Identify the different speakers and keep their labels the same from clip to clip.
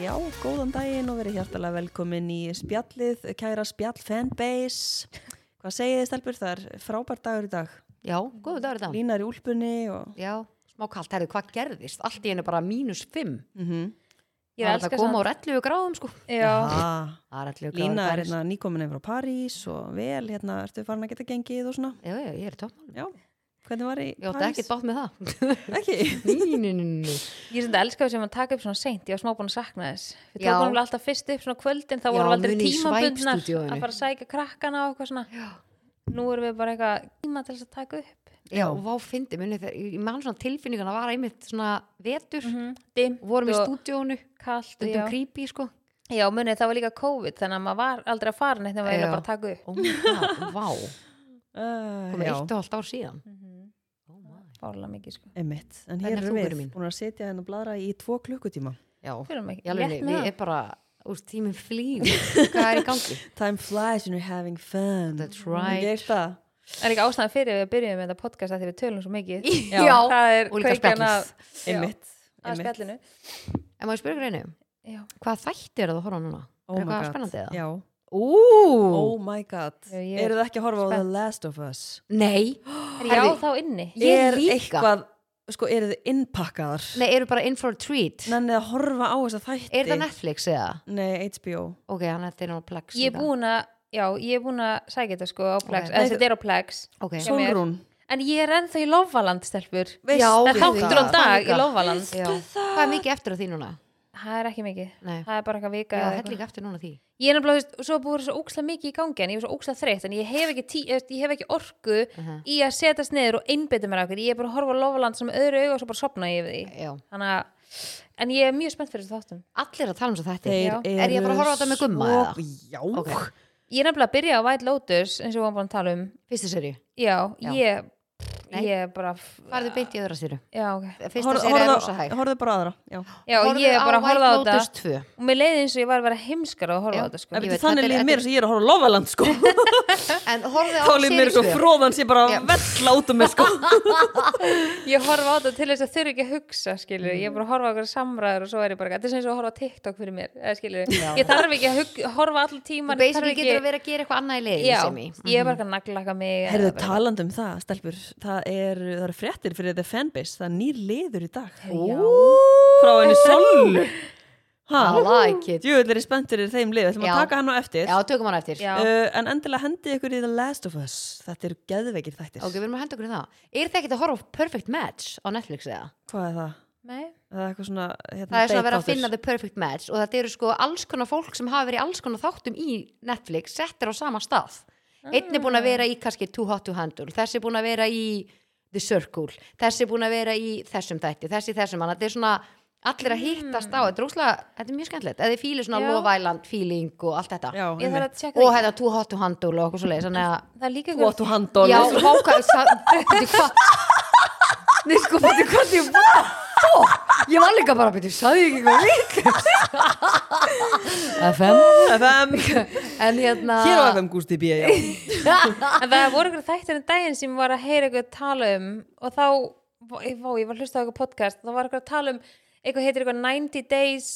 Speaker 1: Já, góðan daginn og verið hjartalega velkomin í spjallið, kæra spjall fanbase. Hvað segið þið stelpur þar? Frábært dagur í dag.
Speaker 2: Já, góðu dagur þetta.
Speaker 1: Línar í úlpunni og...
Speaker 2: Já, smá kallt, herðu, hvað gerðist? Allt í hennu bara mínus 5.
Speaker 1: Mm
Speaker 2: Ég er að koma á 11 gráðum, sko.
Speaker 3: Já,
Speaker 1: ah,
Speaker 2: Það er 11 gráðum.
Speaker 1: Lína er
Speaker 2: París.
Speaker 1: hérna nýkominu frá París og vel, hérna, ertu farin að geta gengið og svona?
Speaker 2: Já, já, ég er í toppmálum.
Speaker 1: Já, hvernig var í
Speaker 2: Ég átti ekkert bátt með það.
Speaker 1: Ekki?
Speaker 2: Nýnininu.
Speaker 3: ég er svona elskað sem að taka upp svona seint, ég var smá búin að sakna þess Við
Speaker 2: Já.
Speaker 3: tókum alveg alltaf fyrst upp svona kvöldin þá
Speaker 2: Já,
Speaker 3: vorum við aldrei
Speaker 2: muni í
Speaker 3: tímabundnar
Speaker 2: Swipe-stúdíóinu.
Speaker 3: að fara að sækja krakkana og eitthvað svona Nú erum við bara eitthvað tíma til þess að taka upp
Speaker 2: Já, og vá, fyndi, muni, þegar, ég man svona tilfinningana var einmitt svona vetur.
Speaker 3: Dimt
Speaker 2: Vorum í
Speaker 3: og
Speaker 2: stúdíónu,
Speaker 3: kalt og
Speaker 2: stundum
Speaker 3: já.
Speaker 2: creepy, sko.
Speaker 3: já, munið það var líka COVID þannig að maður var aldrei að fara neitt nema við
Speaker 2: Já.
Speaker 3: bara að taka upp
Speaker 2: Ó, maður, Oh vá, Mhm.
Speaker 1: Uh,
Speaker 2: komið eitt og halvt ár síðan. Oh Ó, maður.
Speaker 3: Bárlega mikið sko
Speaker 1: Emitt, en
Speaker 2: Hvernig
Speaker 1: hér erum
Speaker 2: er þú, Guðrún
Speaker 1: við
Speaker 2: mín?
Speaker 1: búin að setja henn að bladra í tvo klukkutíma.
Speaker 2: Já,
Speaker 3: Fyrir mig,
Speaker 2: í alveg,
Speaker 3: létt
Speaker 2: við
Speaker 3: með það.
Speaker 2: er bara, úr tíminn flýgur. Hvað er í gangi?
Speaker 1: Time flies when you're having fun.
Speaker 2: That's
Speaker 1: Ég
Speaker 2: right.
Speaker 1: er það.
Speaker 3: Það er ekki ástæðan fyrir að við byrjum með þetta podcast að því við tölum svo mikið
Speaker 2: Já,
Speaker 3: það er
Speaker 2: og líka
Speaker 3: kveikjan
Speaker 2: spjallið.
Speaker 3: að- Já,
Speaker 1: Emitt.
Speaker 3: að spjallinu
Speaker 2: En maður spyrur greinu,
Speaker 3: Já,
Speaker 2: hvað þætti er það að horfa á núna?
Speaker 1: Oh my
Speaker 2: er eitthvað
Speaker 1: god.
Speaker 2: spennandi eða?
Speaker 1: Já.
Speaker 2: Ú,
Speaker 1: Oh my god.
Speaker 3: Já, ég er
Speaker 1: Eru þið ekki að horfa á The
Speaker 3: spennt.
Speaker 1: Last of Us?
Speaker 2: nei,
Speaker 3: er ég á þá inni?
Speaker 2: Ég
Speaker 1: er
Speaker 2: líka.
Speaker 1: eitthvað, sko, eru þið innpakkaðar?
Speaker 2: nei, eru bara in for a treat.
Speaker 1: Nennið að horfa á þessa þætti?
Speaker 2: Er það Netflix eða?
Speaker 1: Nei, HBO.
Speaker 2: Ok, hann þetta er náttúrulega plex.
Speaker 3: Ég er búin að, já, ég er búin að sækja þetta sko á Plex,
Speaker 2: Ok.
Speaker 3: eða þetta er á Plex
Speaker 2: Ok,
Speaker 3: Svo-
Speaker 1: Solrún.
Speaker 3: en ég er ennþá í Lofaland stelpur
Speaker 1: Veistu
Speaker 2: Já,
Speaker 3: það er
Speaker 2: Ókei.
Speaker 3: þáttur á
Speaker 2: Það
Speaker 3: dag
Speaker 2: líka.
Speaker 3: í Lofaland
Speaker 2: já. Hvað er mikið eftir af því núna?
Speaker 3: það er ekki mikið,
Speaker 2: Nei,
Speaker 3: það er bara eitthvað vika
Speaker 2: já,
Speaker 3: eða
Speaker 2: þetta
Speaker 3: eitthvað.
Speaker 2: líka eftir núna því.
Speaker 3: ég er nefnilega, þú veist, svo búið svo óksla mikið í gangi en ég er svo óksla þreytt, en ég hef ekki, tí, ég, ég hef ekki orku
Speaker 2: Mhm.
Speaker 3: í að setast niður og einbytta mér ákveð ég er bara að horfa á Lofaland sem öðru auga og svo bara sopna ég yfir því
Speaker 2: Já.
Speaker 3: þannig að, en ég er mjög spennt fyrir þessu þáttum
Speaker 2: Allir að tala um svo þetta.
Speaker 1: Þeir
Speaker 3: Já.
Speaker 1: eru
Speaker 2: Er ég bara að horfa á þetta með gumma
Speaker 1: svo-
Speaker 2: eða?
Speaker 1: Já.
Speaker 2: Ok.
Speaker 3: ég er nefnilega að byrja á White Lotus eins og við varum búin að tala um
Speaker 2: Fyrstu seri.
Speaker 3: já,
Speaker 2: Já.
Speaker 3: ég,
Speaker 2: Nei.
Speaker 3: ég bara
Speaker 2: Farðu beint í öðra seri.
Speaker 3: já, ok
Speaker 2: Fyrsta
Speaker 1: Horfðu
Speaker 2: seri er
Speaker 1: horfðu
Speaker 2: rosa
Speaker 1: á-
Speaker 2: hæg.
Speaker 1: horfðu bara á aðra. Já.
Speaker 3: Já, ég er bara að horfa á
Speaker 2: Lotus
Speaker 3: þetta
Speaker 2: 2.
Speaker 3: og mér leiði eins og ég var að vera heimskar að horfa
Speaker 2: Já.
Speaker 3: á þetta sko.
Speaker 2: Ég
Speaker 1: Ég
Speaker 2: veit,
Speaker 1: veit, þannig
Speaker 2: þetta er-
Speaker 1: líður mér sem ég er að horfa á Lofaland sko
Speaker 2: En horfðu á
Speaker 1: þá líður mér
Speaker 2: seri
Speaker 1: svo
Speaker 2: 2.
Speaker 1: fróðan sem bara
Speaker 2: Já.
Speaker 1: vell át um mig sko
Speaker 3: Ég horfa á þetta til þess að þurfi ekki að hugsa skilur, ég er bara að horfa á okkur samræður og svo er ég bara, þetta er sem eins og að horfa á TikTok fyrir mér eða, skilur, ég þarf ekki að hug, horfa allan tíman
Speaker 2: Basically getur að vera að gera eitthvað annað í leiðin
Speaker 3: Já,
Speaker 2: sem í.
Speaker 3: ég er bara að naglaka mig
Speaker 1: Herðu
Speaker 3: eða bara-
Speaker 1: talandi um það, stelpur það er, það er fréttir fyrir The Fanbase það er nýr liður í dag
Speaker 3: Já.
Speaker 1: frá henni Sollu
Speaker 2: I
Speaker 1: Hæ,
Speaker 2: like it.
Speaker 1: djúvill er ég spennt fyrir þeim lið, ætlum að
Speaker 2: Já.
Speaker 1: taka hann á eftir
Speaker 2: Já, tökum hann eftir.
Speaker 3: Já.
Speaker 1: uh, en endilega hendi ykkur í The Last of Us þetta eru geðveikir þættir
Speaker 2: Ok, við erum að henda okkur í það. Er það ekki að horfa á Perfect Match á Netflix eða?
Speaker 1: hvað er það?
Speaker 3: Nei,
Speaker 1: Það er eitthvað svona hérna,
Speaker 2: Það er svona að vera að
Speaker 1: date-þáttur.
Speaker 2: finna the perfect match og þetta eru sko alls konar fólk sem hafa verið í alls konar þáttum í Netflix settir á sama stað. Einn er búin að vera í kannski Too Hot to Handle, þessi er búin að vera í The Circle, þessi er búin að vera í þessum þætti, þessi í þessum annað. Þetta er svona allir að hittast á, þetta er, óslega, þetta er mjög skemmtilegt. Eða þið fílu svona
Speaker 3: Já.
Speaker 2: Love Island feeling og allt þetta.
Speaker 1: Já,
Speaker 3: ég þarf
Speaker 1: einmitt.
Speaker 3: að tjekka
Speaker 2: Og
Speaker 3: það
Speaker 2: þetta Too Hot to Handle og okkur svo leið, þannig að...
Speaker 3: Það er líka
Speaker 1: What to handle
Speaker 2: Já, váka, beti hvað Nei, sko, beti hvað því Ég var líka bara, beti, sagði ég ekki eitthvað líka FM
Speaker 1: FM
Speaker 2: En hérna
Speaker 1: Hér á FM Gústi B. Já.
Speaker 3: En það voru ykkur þættir en daginn sem ég var að heyra ykkur tala um og þá, vá, ég vá, ég var að hlusta á ykkur podcast þá var ykkur að tala um, eitthvað heitir ykkur 90 days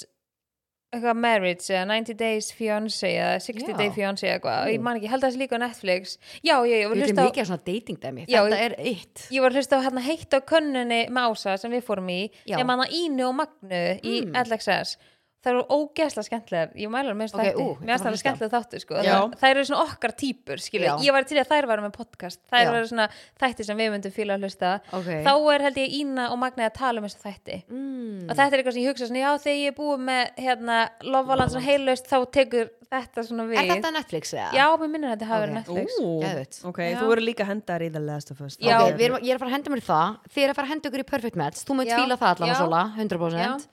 Speaker 3: eitthvað marriage eða 90 days fiancé eða 60
Speaker 2: Já. Mm.
Speaker 3: day fiancé eða eitthvað og ég man ekki, ég held að það sé líka á Netflix Já, já, ég var
Speaker 2: Við erum
Speaker 3: að hlusta á
Speaker 2: mikið að svona dating dæmi
Speaker 3: Já,
Speaker 2: Þetta
Speaker 3: ég-
Speaker 2: er eitt
Speaker 3: Ég var að hlusta á hérna heitt á könnunni með Ása sem við fórum í,
Speaker 2: Já. Mm.
Speaker 3: nema hana Ínu og Magnu í LXS Það eru ógeðslega skemmtilegar, ég mælar mér
Speaker 2: Ok,
Speaker 3: okay, þætti,
Speaker 2: ú, ég þarf að
Speaker 3: mér finnst það
Speaker 2: hlusta.
Speaker 3: skemmtilega þáttu sko.
Speaker 1: Já.
Speaker 3: það, það eru svona okkar típur skilja,
Speaker 2: Já.
Speaker 3: ég var til í að þær varum með podcast þær
Speaker 2: Já.
Speaker 3: eru svona þætti sem við myndum fíla að hlusta
Speaker 2: Ok.
Speaker 3: þá er held ég Ína og Magna að tala um þessu þætti
Speaker 2: mm.
Speaker 3: og þetta er eitthvað sem ég hugsa svona, já þegar ég er búið með hérna, lofaland svona heilaust þá tekur þetta svona við
Speaker 2: Er þetta Netflix eða?
Speaker 3: Já, mér minnir að þetta hafa
Speaker 2: Ok.
Speaker 3: verið Netflix
Speaker 1: Ú,
Speaker 2: Geðveikt.
Speaker 1: ok,
Speaker 3: Já.
Speaker 1: þú verður líka hendar í The Last of Us
Speaker 3: Já.
Speaker 1: Það
Speaker 2: Ok, við erum, ég er að fara að henda mér í það Þið er að fara að henda ykkur í Perfect Match Þú mögt
Speaker 3: Já,
Speaker 2: fíla það allan
Speaker 3: já.
Speaker 2: að sola, 100% uh,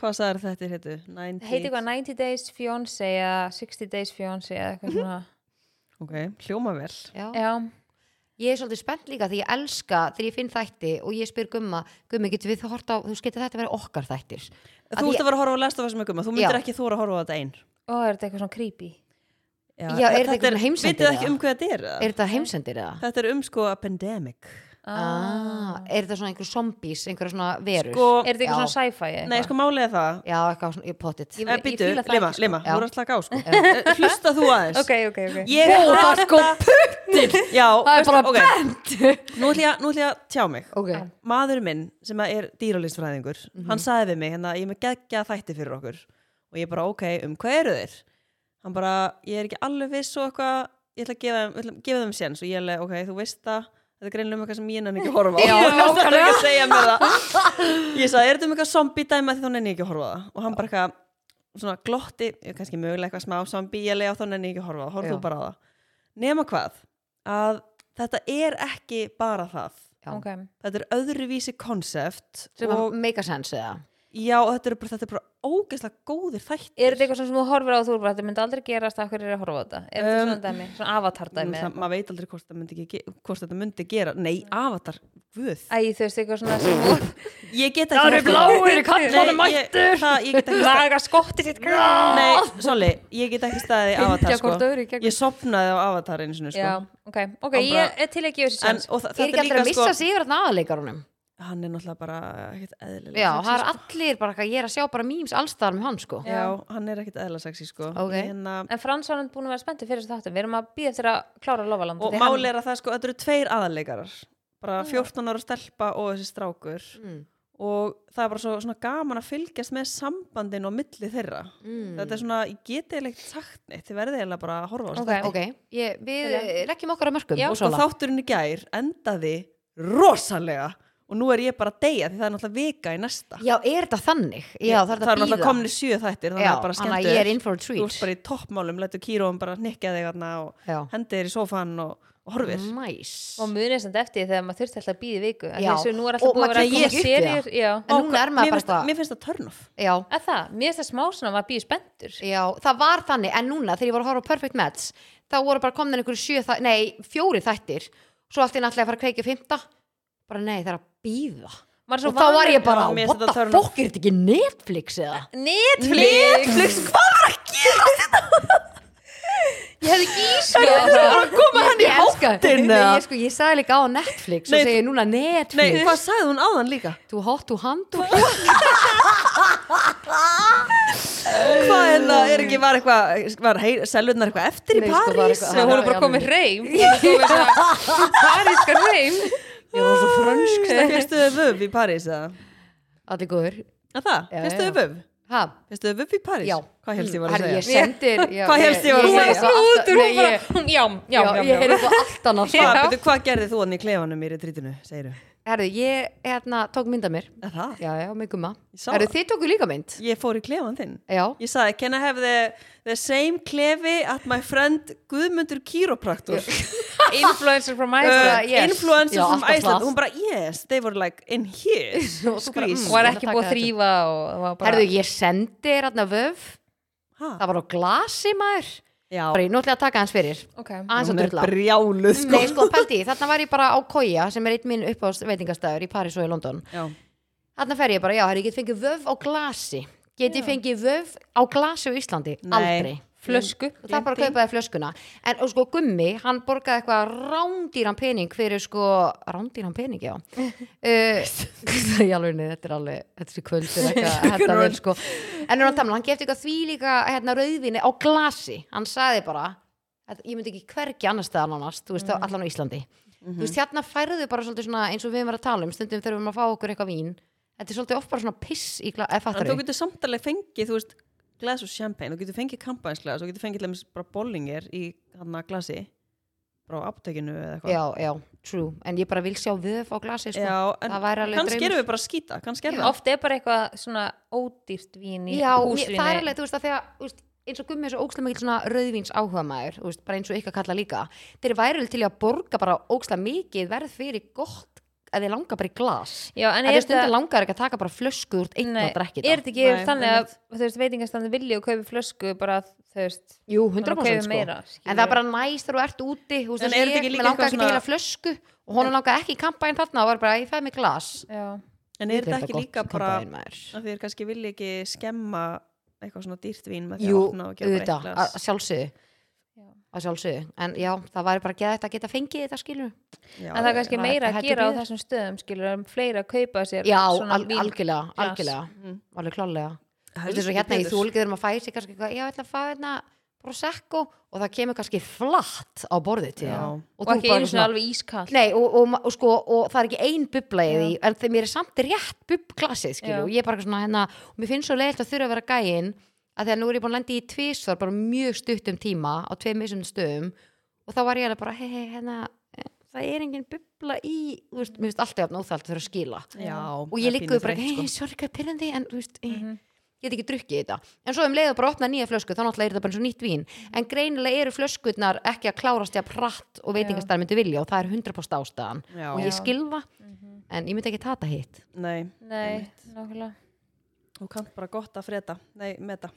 Speaker 1: Hvað sagður þetta héttu? 90...
Speaker 3: Það heiti eitthvað 90 Days Fiancé eða 60 Days Fiancé eða eitthvað svona
Speaker 1: Ok, hljóma vel.
Speaker 2: Já
Speaker 3: Já,
Speaker 2: Ég er svolítið spennt líka því ég elska þegar ég finn þætti og ég spyr Gumma, Gummi, getur við hort á, þú veist, getur þetta verið okkar þættir? Að
Speaker 1: Þú
Speaker 2: ég-
Speaker 1: ert að vera að horfa á Last of Us með gumma, þú myndir
Speaker 2: Já.
Speaker 1: ekki þóra að horfa á þetta einn.
Speaker 3: og er þetta eitthvað svona creepy
Speaker 1: Já,
Speaker 2: er þetta eitthvað svona heimsendir
Speaker 1: Vitið þið ekki
Speaker 2: eða?
Speaker 1: um hvað þetta er? eða?
Speaker 2: Er þetta heimsendir eða?
Speaker 1: Þetta er um sko a pandemic.
Speaker 2: ah, er þetta svona einhver zombies, einhver svona verur
Speaker 1: Sko,
Speaker 3: Er þetta eitthvað svona sci-fi? eða
Speaker 1: nei,
Speaker 3: eitthvað?
Speaker 1: sko málið er það
Speaker 2: já, eitthvað svona, ég pottit
Speaker 3: Ég-
Speaker 2: ég,
Speaker 3: ég
Speaker 1: Eh, Býtu,
Speaker 3: fíla það
Speaker 1: lema,
Speaker 3: ekki, sko.
Speaker 1: lema,
Speaker 2: Já.
Speaker 1: þú er alltaf að gá sko Eh, Hlusta þú aðeins
Speaker 3: Ok, ok, ok
Speaker 1: Ég
Speaker 2: Ó, það er
Speaker 1: hata-
Speaker 2: sko puttir
Speaker 1: Já,
Speaker 2: það er
Speaker 1: veistu,
Speaker 2: bara
Speaker 1: ok,
Speaker 2: bent
Speaker 1: nú ætla ég að- nú ætla ég að tjá mig
Speaker 2: ok,
Speaker 1: maður minn sem að er dýralistfræðingur hann
Speaker 2: Mhm.
Speaker 1: sagði við mig, hérna, ég er með geggja þætti fyrir okkur og ég bara, ok, um hvað eru þeir? hann bara, ég er ekki alveg viss og eitthvað, ég ætla að gefa, þeim- ætla, að gefa þeim séns og ég alveg, ok, þú veist það þetta er greinlega um eitthvað sem ég nenni ekki að horfa á
Speaker 2: Já,
Speaker 1: Þú veist, það er ekki
Speaker 2: nákvæmlega.
Speaker 1: að segja mér það ég sagði, er þetta um eitthvað zombie dæma því þá nenni ég ekki að horfa á það og hann bara eitthvað, svona glotti kannski mögulega eitthvað smá zombie, ég lega þá nenni ég ekki að horfa á það, horfðu
Speaker 2: Já.
Speaker 1: þú bara á það nema hvað, að þetta er ekki bara það
Speaker 3: Ok,
Speaker 1: þetta er öðruvísi konsept
Speaker 2: sem
Speaker 1: og
Speaker 2: að make a sense eða
Speaker 1: já, og þetta er bara, þetta er bara ógeðslega góðir þættir
Speaker 3: Er þetta eitthvað svona sem þú horfir á og þú er bara, þetta myndi aldrei gerast af hverju er ég að horfa á þetta? Er þetta
Speaker 1: Um,
Speaker 3: svona dæmi, svona avatar
Speaker 1: Nú,
Speaker 3: dæmi?
Speaker 1: það, maður veit aldrei hvort þetta myndi, ekki, ge- hvort þetta myndi gera nei, avatar, guð
Speaker 3: Æ, þú veist eitthvað svona sem þú
Speaker 1: ég get ekki horft á
Speaker 2: í kallanum
Speaker 1: Nei, ég, það, ég get ekki staðið
Speaker 3: laga skottið þitt
Speaker 1: nei, svolí, ég get ekki staðið í avatar
Speaker 2: Fylgja
Speaker 1: sko.
Speaker 2: hvort öðru í gegnum.
Speaker 1: ég sopnaði á avatar einu sinni sko.
Speaker 3: Já, ok,
Speaker 1: Hann
Speaker 3: ok,
Speaker 1: bara-
Speaker 3: ég er til ekki þessi
Speaker 1: en,
Speaker 3: sens
Speaker 1: og þa-
Speaker 2: er
Speaker 1: þetta er
Speaker 2: ekki
Speaker 1: líka
Speaker 2: allir að
Speaker 1: sko,
Speaker 2: missa sig yfir þarna aðleikarunum
Speaker 1: hann er náttúrulega bara ekkert eðlilega
Speaker 2: já,
Speaker 1: sexy,
Speaker 2: það er allir bara eitthvað, ég er að sjá bara memes allstaðar með hann sko
Speaker 1: sko. já, hann er ekkert eðlilega sexy sko.
Speaker 2: Ok.
Speaker 1: hérna,
Speaker 3: En Frans var hann búin að vera spenntið fyrir þessu þáttum Við erum að býða eftir að klára Lofaland
Speaker 1: og
Speaker 3: því hann-
Speaker 1: máli er að það sko, þetta eru tveir aðanleikarar bara 14 ára stelpa og þessi strákur
Speaker 2: mm.
Speaker 1: og það er bara svo, svona gaman að fylgjast með sambandin og milli þeirra
Speaker 2: Mm.
Speaker 1: þetta er svona, ég geti eiginlega ekkert sagt neitt þið verðið eiginlega bara að horfa á
Speaker 3: Ok.
Speaker 1: okay.
Speaker 2: ok, ég, við
Speaker 3: Jæja.
Speaker 2: leggjum okkar að mörgum
Speaker 3: Já.
Speaker 2: og
Speaker 1: og sko,
Speaker 2: svona
Speaker 1: þátturinn í gær endaði rosalega og nú er ég bara að deyja því það er náttúrulega vika í næsta
Speaker 2: já, er þetta þannig? já, það er
Speaker 1: það er
Speaker 2: þetta
Speaker 1: náttúrulega
Speaker 2: býða
Speaker 1: komni sjö þættir þannig
Speaker 2: já,
Speaker 1: að bara
Speaker 2: þannig að
Speaker 1: skemmtu
Speaker 2: ég
Speaker 1: þér.
Speaker 2: er in for a
Speaker 1: þú ert
Speaker 2: treat
Speaker 1: bara í toppmálum, letur kýróum bara nikka þig þarna og
Speaker 2: já, Mm.
Speaker 1: hendi þér í sófan og, og horfir
Speaker 2: nice
Speaker 3: Og munið samt eftir því þegar maður þurfti alltaf að býða viku af því
Speaker 2: Já.
Speaker 3: Þessu nú
Speaker 2: Og
Speaker 3: er alltaf búið að
Speaker 2: maður
Speaker 3: vera
Speaker 2: kemur
Speaker 3: að
Speaker 2: ekki
Speaker 3: koma
Speaker 2: upp í það.
Speaker 3: serjur Já,
Speaker 2: en núna er maður
Speaker 1: mér
Speaker 2: bara
Speaker 1: finnst,
Speaker 2: eitthvað
Speaker 1: mér finnst það turn off
Speaker 2: já,
Speaker 3: að það, mér finnst það smá svona að maður býði spenntur
Speaker 2: já, það var þannig en núna þegar ég var að horfa á Perfect Match þá voru bara komin einhverju sjö þæ- nei, fjóri þættir svo allt í náttúrulega að fara að kveikja fymta bara nei, það er að býða
Speaker 3: Maður er svo
Speaker 2: og þá var
Speaker 3: vanur-
Speaker 2: ég bara,
Speaker 1: Já, mér
Speaker 2: what
Speaker 1: finnst
Speaker 2: the
Speaker 1: þetta turn off.
Speaker 2: fuck, er þetta ekki Netflix eða?
Speaker 3: Netflix Netflix, hvað var að gera þetta? Ég hefði gísað
Speaker 2: Það var að koma hann í
Speaker 1: háttinn,
Speaker 2: Nei,
Speaker 1: eða?
Speaker 2: ég, sko, ég sagði líka á Netflix
Speaker 1: Nei,
Speaker 2: og segi núna
Speaker 1: Nei,
Speaker 2: Netflix
Speaker 1: hvað sagði hún áðan líka?
Speaker 2: Too hot to handle
Speaker 1: Hvað er það, er ekki, var eitthvað, var hei, selurnar eitthvað eftir
Speaker 2: Nei,
Speaker 1: í
Speaker 2: sko, var
Speaker 1: París?
Speaker 2: eitthvað-
Speaker 3: Svo hún er
Speaker 2: Já,
Speaker 3: bara
Speaker 2: já,
Speaker 3: komið reym Paríska reym
Speaker 2: Ég var svo frönsk
Speaker 1: Það fyrstu þau vöf í París eða?
Speaker 2: Allir góður
Speaker 1: Að það,
Speaker 2: Já,
Speaker 1: fyrstu
Speaker 2: já.
Speaker 1: þau vöf?
Speaker 2: Ha,
Speaker 1: Fyrstu þau vöf í París?
Speaker 2: já
Speaker 1: Hvað helst ég var að
Speaker 2: Herri,
Speaker 1: segja?
Speaker 2: sendir já,
Speaker 1: Hvað hélstu ég var að
Speaker 3: Hún var
Speaker 1: segja?
Speaker 3: að snú út úr hún
Speaker 2: Nei,
Speaker 3: bara
Speaker 2: ég-
Speaker 3: hún- Já, já,
Speaker 2: Já,
Speaker 3: já,
Speaker 2: ég
Speaker 3: já
Speaker 2: heyrði svo allt annað sko.
Speaker 1: Hvað,
Speaker 3: Já.
Speaker 1: betur, hvað gerði þú hann í klefanum í retrítinu, segir þau?
Speaker 2: Herri, ég hérna, tók mynd af mér
Speaker 1: Að það?
Speaker 2: Já, já, mig gumma
Speaker 1: Ég sá
Speaker 2: Herri,
Speaker 1: það.
Speaker 2: þið tóku líka mynd
Speaker 1: Ég fór í klefan þinn.
Speaker 2: Já,
Speaker 1: Ég sagði, can I have the, the same klefi at my friend Guðmundur Kýropraktur?
Speaker 3: Influencer from
Speaker 1: Uh,
Speaker 3: Iceland
Speaker 2: yes.
Speaker 1: Influencers
Speaker 2: Já,
Speaker 1: from
Speaker 2: alltaf
Speaker 1: Iceland.
Speaker 2: það.
Speaker 1: Hún bara, yes, they were like in here.
Speaker 2: Og þú bara,
Speaker 1: Squeeze.
Speaker 2: mm.
Speaker 3: Og er
Speaker 2: Ég ætla
Speaker 3: ekki
Speaker 2: að
Speaker 3: búið
Speaker 2: taka
Speaker 3: að þrýfa og það var bara
Speaker 2: herri, ég sendi hérna vöf
Speaker 1: Ha?
Speaker 2: Það var á glasi maður
Speaker 1: Já,
Speaker 2: Sorry, nú ætla ég að taka hans fyrir
Speaker 3: Ok.
Speaker 2: Aðeins
Speaker 1: hún
Speaker 2: að
Speaker 1: er
Speaker 2: drulla
Speaker 1: brjáluð, sko.
Speaker 2: Nei, sko, pældi, í, þarna var ég bara á Koja sem er einn minn uppáðs veitingastæður í París og í London
Speaker 1: Já.
Speaker 2: Þarna fer ég bara, já, herri, ég get fengið vöf á glasi Get ég fengið vöf á glasi á Íslandi?
Speaker 1: Nei.
Speaker 2: Aldrei
Speaker 3: Flösku
Speaker 2: og það bara kaupaði flöskuna en og sko Gummi, hann borgaði eitthvað rándýran pening fyrir sko rándýran pening, já uh, í alveg niður, þetta er alveg þetta er kvöld er eitthvað, þetta vel sko en nú er hann tamla, hann gefti eitthvað því líka hérna, rauðvinni á glasi, hann sagði bara að ég myndi ekki hvergi annars staðan annars, þú veist,
Speaker 3: Mhm.
Speaker 2: mm allan á Íslandi þú veist, hérna færðu bara svolítið svona eins og við erum að tala um, stundum þegar við erum að fá okkur eitthvað vín þetta er svolítið oft bara svona piss í gla- eða
Speaker 1: En þú
Speaker 2: fattarðu?
Speaker 1: getur samtalið fengið, þú veist, glas og champagne, þú getur fengið kampansglas, þú getur fengið til dæmis bara bollinger í hann glasi, bara á aptekinu eða eitthvað.
Speaker 2: Já, já, true, en ég bara vil sjá vöf á glasi sko.
Speaker 1: Já, en
Speaker 2: það væri alveg
Speaker 1: kannski
Speaker 2: draumur.
Speaker 1: erum við bara að skýta, kannski er það.
Speaker 3: Oft er bara eitthvað svona ódýrt vín í
Speaker 2: Já, mér-
Speaker 3: húsvíni
Speaker 2: það er alveg, þú veist, að þegar þú veist, eins og gummi er svo ókslega mikil svona rauðvíns áhuga maður, veist, bara eins og ykkar kalla líka þeir væri alveg til í að borga bara ókslega mikið verð fyrir gott að þeir langar bara í glas
Speaker 3: Já, en
Speaker 2: að
Speaker 3: er
Speaker 2: þeir stundar langar ekki að taka bara flösku úr einn
Speaker 3: Nei,
Speaker 2: og drekki
Speaker 3: er
Speaker 2: það
Speaker 3: þetta ekki
Speaker 1: Nei,
Speaker 3: þannig að þú veist, veitingastandi vilji og kaupi flösku bara, þú veist,
Speaker 2: Jú, 100%
Speaker 3: bara kaupi
Speaker 2: sko
Speaker 3: meira
Speaker 2: en það er bara næst þegar þú ert úti þú veist,
Speaker 1: En er
Speaker 2: eins
Speaker 1: þetta
Speaker 2: og
Speaker 1: ekki
Speaker 2: ég,
Speaker 1: líka
Speaker 2: mér langar
Speaker 1: eitthvað
Speaker 2: ekki til
Speaker 1: svona-
Speaker 2: heila flösku og honum langar ekki í kampæn þarna og var bara, ég fæði mig glas
Speaker 3: já,
Speaker 1: En er þetta ekki
Speaker 2: gott
Speaker 1: líka bara,
Speaker 2: kampavín, maður.
Speaker 1: að þið er kannski vilja ekki skemma eitthvað svona dýrt vín með því að
Speaker 2: Jú,
Speaker 1: opna og gefa bara eitt
Speaker 2: auðvitað,
Speaker 1: glas.
Speaker 2: að- að sjálfsögðu
Speaker 3: Já.
Speaker 2: að sjálfsögðu, en já, það væri bara geðvægt að geta fengið þetta skilur
Speaker 1: Já,
Speaker 3: en það er kannski
Speaker 2: maður
Speaker 3: meira að
Speaker 2: heldur
Speaker 3: gera á
Speaker 2: betur.
Speaker 3: þessum stöðum skilur, um fleira að kaupa sér
Speaker 2: já,
Speaker 3: svona
Speaker 2: al
Speaker 3: vín-
Speaker 2: algjörlega,
Speaker 3: glas.
Speaker 2: algjörlega
Speaker 1: Mhm.
Speaker 2: alveg klálega, þú veist
Speaker 1: Heldur
Speaker 2: eins og hérna í
Speaker 1: betur.
Speaker 2: þúlgið þegar maður fæði sig kannski eitthvað, já, ég ætla að fá hérna prosecco og það kemur kannski flatt á borðið til
Speaker 1: Já.
Speaker 2: þín.
Speaker 3: og,
Speaker 2: þú
Speaker 3: ekki
Speaker 2: bara
Speaker 3: einu svona
Speaker 2: svona-
Speaker 3: alveg ískall
Speaker 2: Nei, og, og, ma- og, sko, og það er ekki ein bubla í
Speaker 3: Já.
Speaker 2: því, en þeim er samt rétt bubbglasið, skilju,
Speaker 3: Já.
Speaker 2: og ég er bara eitthvað svona hérna, og mér finnst svo leiðilt að þurfa að vera gæinn að því að nú er ég búin að lenda í tvisvar bara á mjög stuttum tíma á tveim misum stöðum og þá var ég alveg bara, hei, hei, hérna eh, það er engin bubla í þú veist, mér finnst alltaf jafn óþælt fyrir að skila
Speaker 1: Já,
Speaker 2: og ég líkaði bara,
Speaker 1: ekki
Speaker 2: hei, sorry, hvað pyrrandi en þú veist, mm ég get ekki drukkið þetta en svo um leiðu bara opna nýja flösku, þá náttúrulega er þetta bara eins og nýtt vín en greinilega eru flöskurnar ekki að klárast jafn hratt og veitingastar myndi vilja og það er 100% ástæðan
Speaker 1: Já. Já.
Speaker 2: og ég skilfa, en ég myndi ekki tata hitt
Speaker 1: Nei,
Speaker 3: Nei, nákvæmlega
Speaker 1: þú kannt bara gott að freda Nei, meta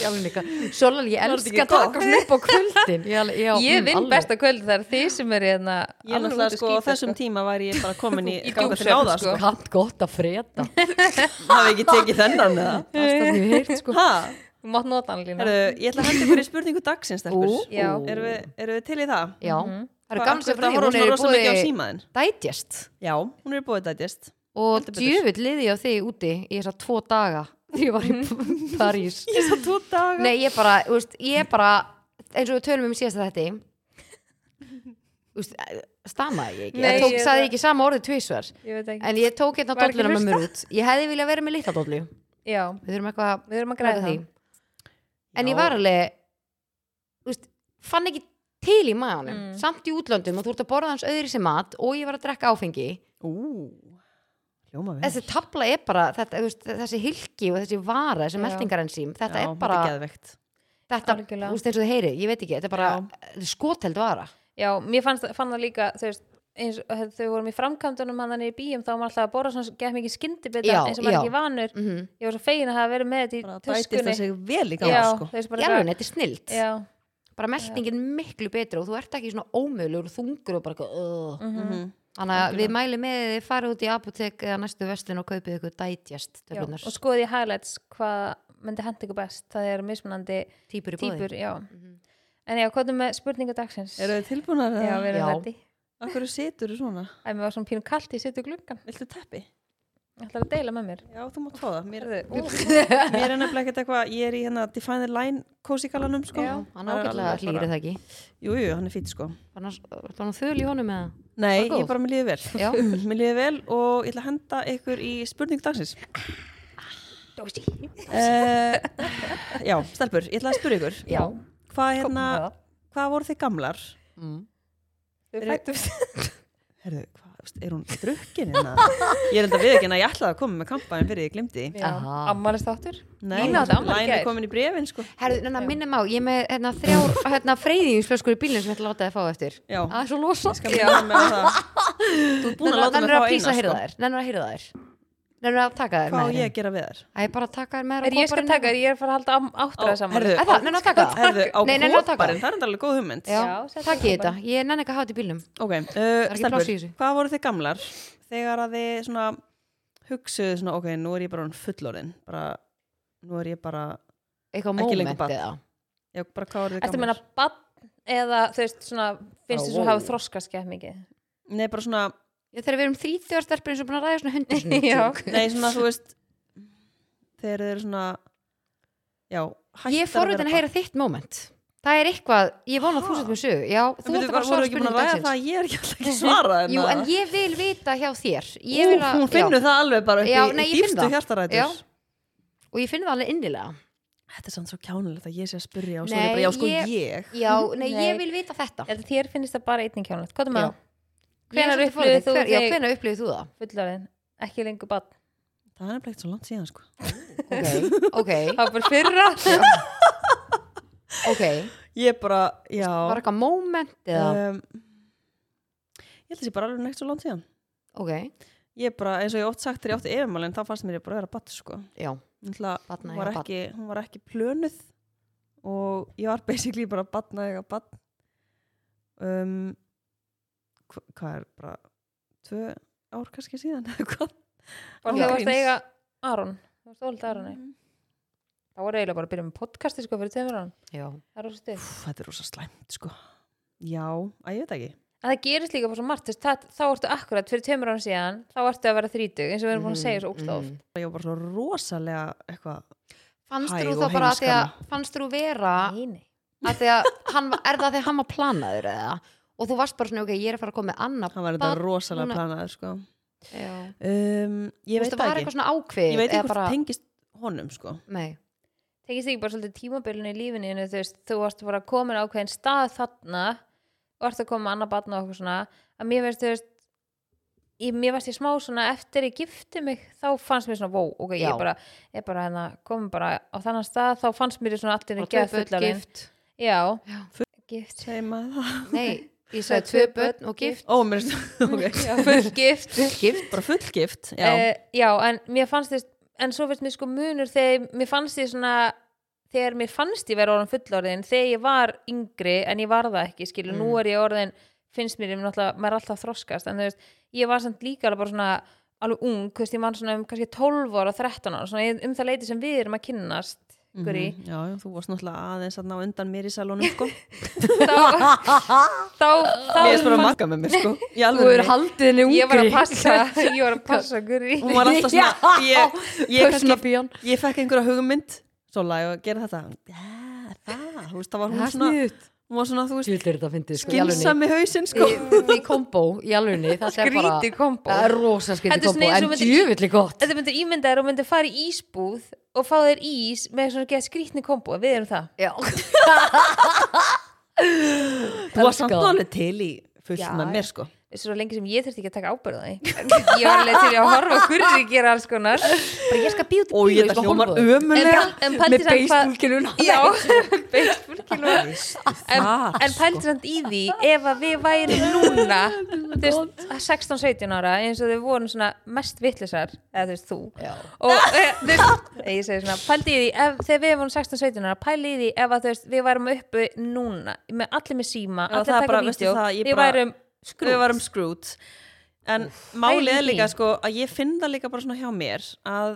Speaker 2: Sjólan, ég
Speaker 1: Var þetta
Speaker 2: elska
Speaker 1: ekki
Speaker 2: að taka
Speaker 1: gott?
Speaker 2: svona upp á kvöldin ég, alveg- já,
Speaker 3: Ég
Speaker 2: mm,
Speaker 3: vinn
Speaker 2: alveg.
Speaker 3: besta kvöld þar þið sem er hérna
Speaker 1: Ég er
Speaker 3: alveg
Speaker 1: náttúrulega
Speaker 3: út að
Speaker 1: sko, á
Speaker 3: skíta,
Speaker 1: þessum tíma væri ég bara komin í
Speaker 3: Í
Speaker 1: ganga til
Speaker 3: djúpsvefn,
Speaker 1: náða
Speaker 3: sko.
Speaker 1: sko.
Speaker 2: Kann gott að freda
Speaker 1: Hafi ekki tekið þennan eða
Speaker 2: Það er það sem ég heirt sko
Speaker 1: Ha,
Speaker 3: Þú mátt nota hann lína
Speaker 1: herru, ég ætla að henda ykkur í spurningu dagsins stelpur.
Speaker 2: Ú.
Speaker 3: Já.
Speaker 1: Erum við, erum við til í það?
Speaker 2: Já, það eru
Speaker 1: Hvað-
Speaker 2: gamsa
Speaker 1: akkur- það
Speaker 2: frið,
Speaker 1: horfum svona
Speaker 2: hún er
Speaker 1: rosa mikið á
Speaker 2: búið
Speaker 1: símaðinn.
Speaker 2: dætjast
Speaker 1: Já, hún er búið dætist
Speaker 2: og
Speaker 1: Heldur betur.
Speaker 2: djöfull liði ég á þig úti í þessa tvo daga þegar ég var í París
Speaker 1: Ég svo tvo daga
Speaker 2: Nei, ég bara, þú veist, ég bara eins og við tölum um síðast að þetta veist, stamaði ég ekki
Speaker 3: Nei,
Speaker 2: ég tók,
Speaker 3: ég-
Speaker 2: saði ekki sama orðið tvísvar
Speaker 3: Ég veit ekki
Speaker 2: en ég tók hérna
Speaker 3: Var ekki
Speaker 2: dolluna með mér út ég hefði viljað vera með litla dollu við
Speaker 3: Já,
Speaker 2: þurfum eitthvað að
Speaker 3: við erum að græða
Speaker 2: ræða
Speaker 3: það
Speaker 2: en
Speaker 1: Já.
Speaker 2: ég var alveg þú veist, fann ekki til í maðanum
Speaker 3: Mm.
Speaker 2: samt í útlöndum og þú ert að borða hans öðri sem mat og ég var að drekka áfengi
Speaker 1: Ú, hljóma við
Speaker 2: þessi tabla er bara þetta, þú veist, þessi hilki og þessi vara þessi
Speaker 3: Já.
Speaker 2: meltingarensím, þetta
Speaker 1: Já,
Speaker 2: er bara
Speaker 1: Þetta er geðveikt.
Speaker 2: þetta,
Speaker 3: Algjörlega.
Speaker 2: þú veist eins og þið heyri, ég veit ekki þetta er bara þetta er skoteld vara
Speaker 3: Já, mér fannst, fann það líka þú veist, eins, og þegar þau vorum í framkvæmdunum hann í bíum þá var maður alltaf að borða svona gett mikið skyndibita
Speaker 2: Já,
Speaker 3: eins og maður
Speaker 2: já.
Speaker 3: er ekki vanur
Speaker 2: mm
Speaker 3: Ég var svo fegin að hafa verið með þetta
Speaker 1: Bara
Speaker 3: í
Speaker 1: dætist
Speaker 3: töskunni
Speaker 1: það sig vel í
Speaker 3: Já,
Speaker 1: ganga sko.
Speaker 3: þú veist
Speaker 2: í
Speaker 3: bara
Speaker 2: alveg, þetta er snilt
Speaker 3: Já,
Speaker 2: bara meltingin miklu betri og þú ert ekki svona ómögulegur og þungur og bara eitthvað, uh.
Speaker 3: Mm,
Speaker 1: Mhm.
Speaker 2: þannig að við mælum með að þið farið út í apotek eða næstu vestin og kaupið ykkur dætjast
Speaker 3: já,
Speaker 2: töflunar,
Speaker 3: og skoði í highlights hvað myndi henda ykkur best það er mismunandi
Speaker 2: típur í bóði
Speaker 3: típur já. En já, hvað er með spurningu dagsins?
Speaker 1: Eru þið tilbúnar?
Speaker 3: Já, við erum
Speaker 2: Já.
Speaker 3: reddi
Speaker 1: Akkur situr svona?
Speaker 3: Æ, mér var svona pínum kalt, ég seti gluggan
Speaker 1: Viltu teppi?
Speaker 3: ætlar að deila með mér
Speaker 1: Já, þú mátt fá það. Mér, mér er nefnilega ekkert eitthvað, ég er í hérna Define the Line kósikalanum, sko.
Speaker 3: Já,
Speaker 2: hann ágætlega hlýri það ekki
Speaker 1: Jú, jú, hann er fýtt, sko.
Speaker 2: þannig að það þöl í honum eða
Speaker 1: Nei,
Speaker 2: góð.
Speaker 1: ég bara mér líður vel.
Speaker 2: Já.
Speaker 3: Mm.
Speaker 1: mér líður vel og ég ætla að henda ykkur í spurningu dagsins.
Speaker 3: Dósi
Speaker 1: Uh, já, stelpur, ég ætla að spyrja ykkur.
Speaker 2: já,
Speaker 1: Hvað, hérna, hvað voru þið gamlar?
Speaker 2: mm.
Speaker 3: Við
Speaker 1: Eru-
Speaker 3: fættumst
Speaker 1: Herðu, hvað, er hún drukkin hérna? Ég er enda við ekki en að ég ætlaði að koma með kampaðin fyrir ég glimti. því.
Speaker 2: Aha.
Speaker 3: Ammálist áttur
Speaker 1: Nei,
Speaker 3: Lína átti afmæli í
Speaker 1: Line
Speaker 3: gær.
Speaker 1: er komin í brefin, sko.
Speaker 2: Herðu, næna, minnum á, ég er með hérna, þrjár hérna, freyðingsflöskur í bílnum sem ég ætla að láta þið fá eftir
Speaker 1: Já.
Speaker 2: Það er svo losa
Speaker 1: Skal við koma með það? Þú er búin að láta mig
Speaker 2: Nennir
Speaker 1: fá
Speaker 2: að písa
Speaker 1: eina,
Speaker 2: að heyra
Speaker 1: sko.
Speaker 2: þær Nennir að heyra þær Nennir að taka þær
Speaker 1: Hvað á
Speaker 2: með
Speaker 1: ég
Speaker 2: þér
Speaker 1: að gera við þær?
Speaker 2: Það er bara hérna. að taka þær með
Speaker 3: Er ég skal taka þér, ég er að fara að halda am- áttræða saman
Speaker 1: herðu,
Speaker 2: Er það, nennir að taka það
Speaker 1: Herðu, á
Speaker 2: Nei, nei, nú taka.
Speaker 1: kóparinn, það er enda alveg góð hugmynd.
Speaker 2: Já,
Speaker 3: Já, settu
Speaker 2: takk
Speaker 3: það
Speaker 2: ég þetta Ég nenni ekki að hafa þetta í bílnum
Speaker 1: Ok, uh,
Speaker 2: ekki
Speaker 1: stelpur,
Speaker 2: pláss í þessu.
Speaker 1: hvað voru þið gamlar þegar að þið svona hugsuðu svona, ok, nú er ég bara orðin fullorðin, bara, nú er ég bara,
Speaker 2: Eitthvað
Speaker 1: Ekki lengur
Speaker 2: moment
Speaker 1: barn.
Speaker 2: eða
Speaker 1: já, bara hvað voru þið
Speaker 3: Ertu að
Speaker 1: gamlar?
Speaker 3: meina bann eða þú veist svona finnst
Speaker 2: Já,
Speaker 3: þú svo
Speaker 2: vó.
Speaker 3: hafa þroskast gett mikið
Speaker 1: Nei, bara svona,
Speaker 2: Ég þegar við erum þrítjóðar stelpur eins og búin að ræða svona hundur svona
Speaker 3: Já.
Speaker 2: tjók.
Speaker 1: nei, svona, þú veist, þegar þið eru svona, já, hættar
Speaker 2: Ég er forvitin að heyra þitt moment Það er eitthvað, ég vona að þú sett með sög Já, þú
Speaker 1: Þú
Speaker 2: ætti
Speaker 1: veitu,
Speaker 2: bara
Speaker 1: voru
Speaker 2: að svara
Speaker 1: ekki búin
Speaker 2: spurning
Speaker 1: að ræða það,
Speaker 2: dagsins
Speaker 1: að ég er ekki alltaf ekki svarað henni
Speaker 2: Jú,
Speaker 1: að-
Speaker 2: en ég vil vita hjá þér Ég
Speaker 1: Ú,
Speaker 2: vil að-
Speaker 1: Hún
Speaker 2: já.
Speaker 1: finnur það alveg bara
Speaker 2: Já,
Speaker 1: upp
Speaker 2: nei,
Speaker 1: í
Speaker 2: ég finn
Speaker 1: dýfstu
Speaker 2: það. Já.
Speaker 1: hjartarætur
Speaker 2: Og ég finn það alveg innilega
Speaker 1: Þetta er samt svo kjánulegt að ég sé að spyrja og svo er
Speaker 2: Nei,
Speaker 1: ég bara, já, sko,
Speaker 2: ég-
Speaker 1: ég
Speaker 2: Já, nei,
Speaker 3: Nei.
Speaker 2: ég vil vita þetta
Speaker 3: Eða þér finnst það bara einnig kjánlegt Hvað er með
Speaker 2: Já.
Speaker 3: það? Hvenær
Speaker 2: Ég er svolítið
Speaker 3: upplifir
Speaker 2: forvitin,
Speaker 3: þú
Speaker 2: hver- Já,
Speaker 3: þig
Speaker 2: hvenær upplifir þú það?
Speaker 3: fullorðin? Ekki lengur bann
Speaker 1: Það er nefnilegt svo langt síðan, sko
Speaker 2: ok, ok,
Speaker 3: Það var bara fyrra
Speaker 2: ok
Speaker 1: Ég bara, já
Speaker 2: var eitthvað moment eða,
Speaker 1: um, Ég held að sé bara alveg neitt svo langt síðan
Speaker 2: ok,
Speaker 1: Ég bara, eins og ég oft sagt þegar ég átti efumálin þá fannst mér ég bara vera batt, sko
Speaker 2: já
Speaker 1: Ætla,
Speaker 2: Barn
Speaker 1: hún,
Speaker 2: að
Speaker 1: var
Speaker 2: eiga
Speaker 1: ekki, hún var ekki plönuð og ég var basically bara batna eða batn um, hva- Hvað er bara tvö ár kannski síðan eða hvað
Speaker 3: Og
Speaker 1: Já.
Speaker 3: þú varst að eiga Aron Þú varst að ólita Aroni
Speaker 1: Mm.
Speaker 2: Þá
Speaker 3: þá var eiginlega bara að byrja með podcasti sko fyrir tveimur árum
Speaker 2: já,
Speaker 3: það er rosa stuð.
Speaker 1: Úff, þetta er rosa slæmt sko já, að ég veit ekki
Speaker 3: en það gerist líka bara svo margt þú veist, það, þá ertu akkurat fyrir tveimur árum síðan þá ertu að vera þrítug eins og við erum búin að
Speaker 2: Mm-hmm.
Speaker 3: segja svo ógst oft
Speaker 1: ég var bara svo rosalega eitthvað
Speaker 2: fannst
Speaker 1: Hæg
Speaker 2: þú
Speaker 1: og
Speaker 2: þá bara að því að
Speaker 1: heimskana.
Speaker 2: fannst þú vera
Speaker 3: Nei, nei.
Speaker 2: að því að hann, er það því að hann var planaður eða og þú varst bara svona, ok, ég er að fara að koma með annað
Speaker 1: hann var þetta
Speaker 2: barn
Speaker 1: rosalega
Speaker 2: núna.
Speaker 1: planaður sko
Speaker 2: já,
Speaker 1: um,
Speaker 2: þú
Speaker 1: ég veit
Speaker 2: veist það var
Speaker 1: það
Speaker 2: eitthvað
Speaker 1: ekki
Speaker 2: svona ákveð
Speaker 1: ég veit ekki hvort það tengist honum sko
Speaker 2: nei,
Speaker 3: tengist ekki bara svolítið tímabilinu í lífinu þínu, þú veist, þú varst bara komin á ákveðin stað þarna og varst að koma með annað batna og okkur svona að mér veist, þú veist ég, mér varst ég smá svona eftir ég gifti mig þá fannst mér svona, vó, ok,
Speaker 2: Já.
Speaker 3: ég bara ég bara hérna, komin bara á þannan stað þá fannst mér ég svona allir
Speaker 2: bara
Speaker 3: en
Speaker 2: tvö
Speaker 3: geð
Speaker 2: börn
Speaker 3: fullarinn
Speaker 2: gift
Speaker 3: já,
Speaker 2: Já.
Speaker 3: gift
Speaker 1: segir maður það
Speaker 2: nei, ég sagði tvö börn og gift
Speaker 1: ó, mér finnst ok
Speaker 3: já, full gift
Speaker 2: gift,
Speaker 1: bara fullgift já,
Speaker 2: Eh,
Speaker 3: já. já, en mér fannst þess en svo finnst mér sko munur þegar mér fannst því svona þegar mér fannst ég vera orðin fullorðin þegar ég var yngri en ég var það ekki skilu, nú er ég orðin finnst mér, ég mun alltaf, maður er alltaf að þroskast en þú veist, ég var samt líka alveg bara svona alveg ung, þú veist, ég man svona um kannski 12 ára, 13 ára, svona um það leiti sem við erum að kynnast ykkur í
Speaker 1: Mhm, já, já, þú varst náttúrulega aðeins að ná undan mér í salónum sko
Speaker 3: þá, þá, þá
Speaker 1: ég er bara að makka með mér sko í
Speaker 2: þú
Speaker 1: alvöru
Speaker 2: eru haldið henni ungri
Speaker 3: ég var að passa ég var að passa guri
Speaker 1: hún var alltaf svona ég, ég, kannski,
Speaker 2: björn
Speaker 1: ég fekk einhverja hugmynd svo lagði og gera þetta já, það, þú veist, það var hún svona hún var svona, þú veist,
Speaker 2: Svildir þetta fyndið sko, í
Speaker 1: gilsa
Speaker 2: alveg
Speaker 1: með hausinn sko
Speaker 2: Í kombo, í alveg Þetta er bara,
Speaker 3: Skrítið kombo.
Speaker 2: það er rosa
Speaker 3: Þetta
Speaker 2: skrítið
Speaker 3: er
Speaker 2: kombo
Speaker 3: svona eins
Speaker 2: En
Speaker 3: og myndi-
Speaker 2: djöfulli gott
Speaker 3: Þetta myndir ímynda þér og myndir fara í ísbúð og fá þér ís með svona geða skrýtni kombo við erum það
Speaker 2: Já,
Speaker 1: þú var samt
Speaker 2: Elska.
Speaker 1: alveg til í fullt
Speaker 3: Já,
Speaker 1: með mér sko
Speaker 3: svo lengi sem ég þurfti ekki að taka ábyrða því ég var alveg til í að horfa hverju gera alls konar
Speaker 2: bara ég skal býða út í
Speaker 1: og
Speaker 2: bíó,
Speaker 1: ég
Speaker 2: ég
Speaker 1: þetta
Speaker 2: skal
Speaker 1: hljómar
Speaker 2: horfa á þig.
Speaker 1: ömulega
Speaker 3: en
Speaker 2: Með
Speaker 3: pældi samt hvað-
Speaker 2: beisbúlkinuna
Speaker 3: já, beisbúlkilur en,
Speaker 2: Ah,
Speaker 1: það,
Speaker 3: en pældi samt í því ef að við værum núna þú veist, 16-17 ára eins og þau vorum svona mest vittlisar eða þú veist þú
Speaker 2: Já.
Speaker 3: og e, þú veist, ég segi svona pældi í því, ef, þegar við vorum 16-17 ára pældi í því ef að þú veist, við værum uppu núna, með allir með síma
Speaker 1: Já,
Speaker 3: allir
Speaker 1: það er
Speaker 3: að taka
Speaker 1: bara, veistu
Speaker 3: vídeo,
Speaker 1: það, ég
Speaker 3: við
Speaker 1: bara-
Speaker 3: værum skrút
Speaker 1: við varum skrút en málið
Speaker 3: pældi
Speaker 1: er
Speaker 3: í
Speaker 1: líka
Speaker 3: því.
Speaker 1: sko að ég finn það líka bara svona hjá mér að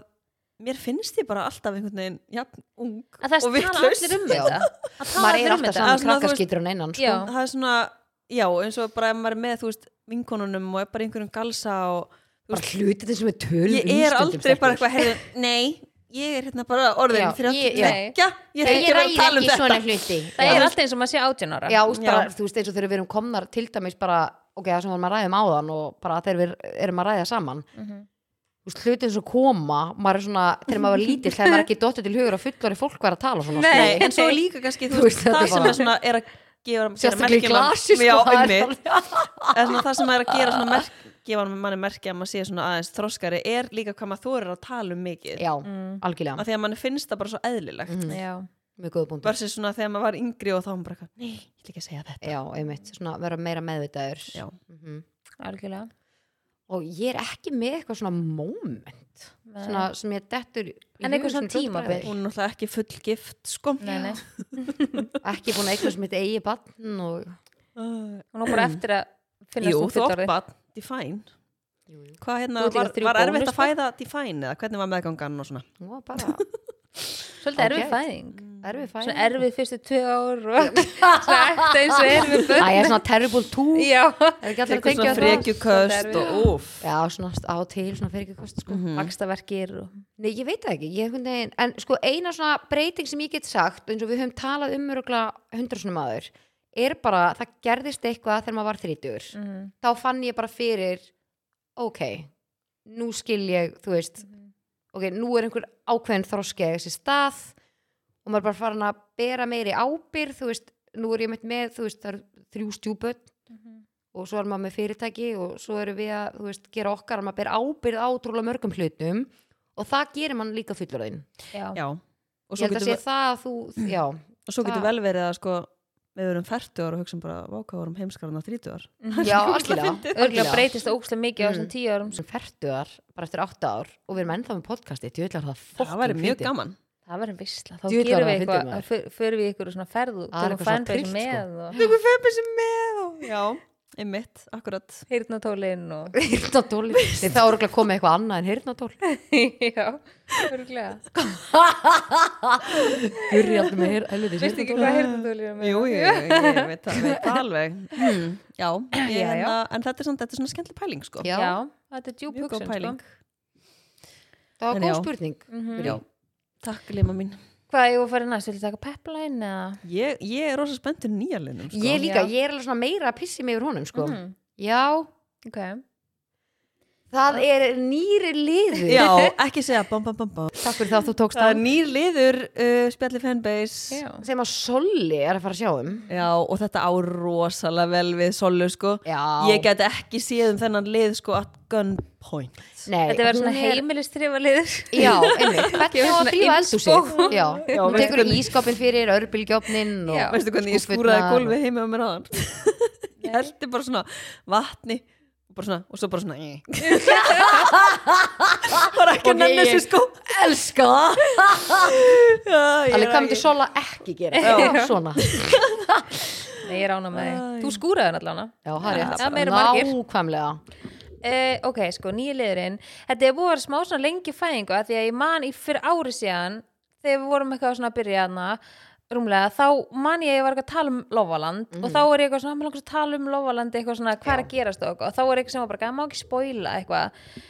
Speaker 1: mér finnst ég bara alltaf einhvern veginn jafn ung
Speaker 3: að það
Speaker 1: og
Speaker 3: tala
Speaker 1: vittlaus
Speaker 3: allir um
Speaker 2: Já.
Speaker 3: þetta það tala
Speaker 2: Maður er
Speaker 3: allir um
Speaker 2: alltaf
Speaker 3: þetta
Speaker 1: Að svona, þú
Speaker 2: saman
Speaker 1: veist-
Speaker 2: krakkaskýtur en einan sko.
Speaker 3: Já.
Speaker 1: það er svona, já, eins og bara ef maður er með, þú veist, vinkonunum og er bara í einhverjum galsa og þú
Speaker 2: Bara
Speaker 1: veist,
Speaker 2: hluti þetta sem við tölum
Speaker 1: ég
Speaker 2: um
Speaker 1: er
Speaker 2: stundum,
Speaker 1: aldrei bara
Speaker 2: stelpur.
Speaker 1: eitthvað, heyrðu, nei ég er hérna bara orðin
Speaker 2: Já,
Speaker 1: fyrir að
Speaker 2: ég- já.
Speaker 1: tvekja ég er
Speaker 2: Ég
Speaker 1: ekki að vera
Speaker 2: ræð
Speaker 1: að tala um
Speaker 2: ekki svona
Speaker 1: þetta
Speaker 2: hluti
Speaker 3: það
Speaker 2: Já.
Speaker 3: er alltaf eins og maður sé 18 ára
Speaker 2: Já, þú veist bara,
Speaker 1: Já.
Speaker 2: þú veist eins og þegar við erum komnar til dæmis bara, ok, það sem vorum að ræðum áðan og bara þegar við erum að ræða saman þú veist, hlutin sem koma maður er svona, þegar maður var lítill þegar maður er ekki dottir til hugur að fullari fólk var að tala svona
Speaker 3: Nei.
Speaker 1: Nei, en svo líka kannski, þú
Speaker 2: Þú veist,
Speaker 1: veist,
Speaker 2: þetta
Speaker 1: það
Speaker 2: er
Speaker 1: sem
Speaker 2: bara-
Speaker 1: er svona er að gefa gera
Speaker 2: sérstaklega í
Speaker 1: merki um hann-
Speaker 2: glasi sko,
Speaker 1: já,
Speaker 2: það er
Speaker 1: einmitt.
Speaker 2: alveg-
Speaker 1: Eða svona það sem er að gera svona merk, gefa manni merki að maður sé svona aðeins þroskari er líka hvað maður þú er að tala um mikið
Speaker 2: Já,
Speaker 3: Mm.
Speaker 1: af
Speaker 2: algjörlega,
Speaker 1: því að manni finnst það bara svo eðlilegt
Speaker 2: Mm.
Speaker 3: Já.
Speaker 2: mjög góða búndur
Speaker 1: versus svona þegar maður var yngri og þá var maður bara, eitthvað, nei, ég vil ekki segja þetta
Speaker 2: Já, einmitt, svona vera meira meðvitaður
Speaker 1: Já.
Speaker 2: Mhm.
Speaker 3: algjörlega
Speaker 2: Og ég er ekki með eitthvað svona moment
Speaker 3: Nei.
Speaker 2: svona sem ég dettur í hug
Speaker 3: En eitthvað
Speaker 2: sem
Speaker 3: svona
Speaker 2: fljótt
Speaker 3: tímabil.
Speaker 2: bragði.
Speaker 1: hún er náttúrulega ekki fullgift sko
Speaker 3: nei, nei.
Speaker 2: Ekki búin að eitthvað sem mitt eigi bann og
Speaker 1: Uh,
Speaker 3: og nú
Speaker 2: Mm.
Speaker 3: bara eftir að finna
Speaker 1: Jú,
Speaker 3: svona
Speaker 1: þú
Speaker 3: fullorði
Speaker 1: oppa Define
Speaker 2: jú, jú.
Speaker 1: Hvað hérna,
Speaker 3: Þú ert líka
Speaker 1: var,
Speaker 3: þrjú
Speaker 1: var erfitt að
Speaker 3: bónus,
Speaker 1: fæða Define eða hvernig var meðgangan og svona
Speaker 2: Nú var bara
Speaker 3: svolítið erfið
Speaker 2: Ágætt.
Speaker 3: fæðing
Speaker 2: erfið fæðing
Speaker 3: svona erfið fyrstu tvö ár og svona eftir eins og erfið börn
Speaker 2: Það er svona terrible two
Speaker 3: já,
Speaker 2: Er ekki allir að
Speaker 1: Eitthvað
Speaker 2: tengja
Speaker 1: svona
Speaker 2: það?
Speaker 1: frekjuköst
Speaker 3: Þetta er
Speaker 1: og úf
Speaker 2: Já, svona á og til, svona fyrir ekki kost
Speaker 3: Mm.
Speaker 2: sko.
Speaker 3: vakstaverkir og
Speaker 2: Nei, ég veit það ekki, ég einhvern veginn En sko, eina svona breyting sem ég get sagt eins og við höfum talað um örugla hundra svona maður er bara, það gerðist eitthvað þegar maður var þrítur
Speaker 3: Mhm.
Speaker 2: þá fann ég bara fyrir ok, nú skil ég þú veist, ok, nú er einhver ákveðin þroski að eiga sér stað og maður er bara farin að bera meiri ábyrð, þú veist, nú er ég meitt með þú veist, það eru þrjú stjúböld
Speaker 3: Mhm.
Speaker 2: og svo er maður með fyrirtæki og svo erum við að þú veist, gera okkar að maður ber ábyrð á trúlega mörgum hlutum og það gerir mann líka fullorðin
Speaker 3: já,
Speaker 1: Já, og
Speaker 2: ég
Speaker 1: svo
Speaker 2: held að
Speaker 1: getur, Mm.
Speaker 2: sé það að þú, já,
Speaker 1: og svo getur
Speaker 2: það-
Speaker 1: vel verið að sko við erum 40 ára og hugsaum bara váka vorum heimskarna 30 ára
Speaker 2: já, algjörlega
Speaker 3: örgulega breytist það ógstlega mikið
Speaker 2: Mm.
Speaker 3: á þessum tíu árum
Speaker 2: sem ferduar bara eftir átta ár og við erum ennþá með podcasti ég ætlar það fokkin
Speaker 1: Það væri mjög gaman
Speaker 3: það verður vissla, þá
Speaker 2: Djöfull var
Speaker 3: gerum
Speaker 2: það
Speaker 3: við
Speaker 2: fyndið,
Speaker 3: eitthvað
Speaker 2: maður.
Speaker 3: þá förum við ykkur svona ferðu,
Speaker 2: Það er
Speaker 3: tökum
Speaker 2: eitthvað svona sko.
Speaker 3: fanbase
Speaker 2: tryllt,
Speaker 3: með og
Speaker 1: Tökum fembisum með og Já, Einmitt, akkurat
Speaker 3: heyrnatólin og
Speaker 2: Hirtnatól Þeir þá eru ekki komið eitthvað annað en hirtnatól
Speaker 3: já, örgulega
Speaker 2: Gurri alltaf með hir- helvitis
Speaker 3: veistu ekki
Speaker 2: heyrnartól
Speaker 3: hvað heyrnatólin er með
Speaker 1: Jú, jú, ég veit það, veit það alveg hmm. Já, ég,
Speaker 3: Já, já.
Speaker 1: hérna, en þetta er, svona, þetta er svona skemmtileg pæling sko.
Speaker 2: Já,
Speaker 3: já, þetta er djúb
Speaker 1: Mjög góð
Speaker 3: hugsun sko.
Speaker 1: pæling
Speaker 2: það var
Speaker 1: En
Speaker 2: góð
Speaker 1: já.
Speaker 2: spurning
Speaker 3: Mhm.
Speaker 2: Mm.
Speaker 1: Já. Takk, Lima mín
Speaker 3: hvað ég var að fara í næst, vil ég taka pepline eða
Speaker 1: Ég, ég er rosa spenntur nýjarlinum sko. Mhm.
Speaker 2: Ég líka,
Speaker 3: Já.
Speaker 2: ég er alveg svona meira að pissi mig yfir honum sko.
Speaker 3: Mm.
Speaker 2: Já,
Speaker 3: ok,
Speaker 2: það er nýri liður
Speaker 1: Já, ekki segja bom, bom, bom, bom.
Speaker 2: Takk fyrir það þú tókst
Speaker 1: Það er
Speaker 2: það
Speaker 1: nýr liður uh, spjalli fanbase
Speaker 3: já
Speaker 2: sem að Solli er að fara að sjá um
Speaker 1: Já, og þetta á rosalega vel við Solu sko
Speaker 2: Já
Speaker 1: Ég get ekki séð um þennan lið sko at gunpoint
Speaker 2: Nei,
Speaker 3: Þetta verður
Speaker 2: hún
Speaker 3: svona
Speaker 2: er-
Speaker 3: heimilistriðaliður
Speaker 2: Já, einmitt, hvernig á að
Speaker 3: svona
Speaker 2: þrýfa eldhúsið
Speaker 3: innskó.
Speaker 2: Já,
Speaker 1: Já,
Speaker 2: hún
Speaker 1: veistu
Speaker 2: tekur
Speaker 1: hvernig-
Speaker 2: ískapin fyrir örbylgjófnin
Speaker 3: Já.
Speaker 1: Veistu hvernig ég skúraði gólfi heima á mér áðan Ég heldi bara svona vatni og bara svona, og svo bara svona Bara ekki
Speaker 2: Og
Speaker 1: að nenni
Speaker 2: ég-
Speaker 1: þessu sko
Speaker 2: Elska það
Speaker 1: Já, ég
Speaker 2: Alveg,
Speaker 1: er
Speaker 2: hvað myndi
Speaker 1: ekki-
Speaker 2: Sola ekki gera? Svona
Speaker 3: Nei, ég rána með
Speaker 1: Æ.
Speaker 3: þig Þú skúraði hann allan
Speaker 2: Já, það er
Speaker 3: Já,
Speaker 2: rétt.
Speaker 3: það meira margir.
Speaker 2: Nákvæmlega
Speaker 3: Uh, ok, sko, nýja liðurinn Þetta er búið að vera smá svona lengi fæðingu að því að ég man í fyrir ári síðan þegar við vorum eitthvað svona að byrja hana rúmlega, þá man ég að ég var eitthvað að tala um Lofaland og þá er ég eitthvað svona, hann langar að tala um Lofaland eitthvað svona, hvað er að gerast og eitthvað og þá er eitthvað sem var bara, "Gæ, má ekki spoila eitthvað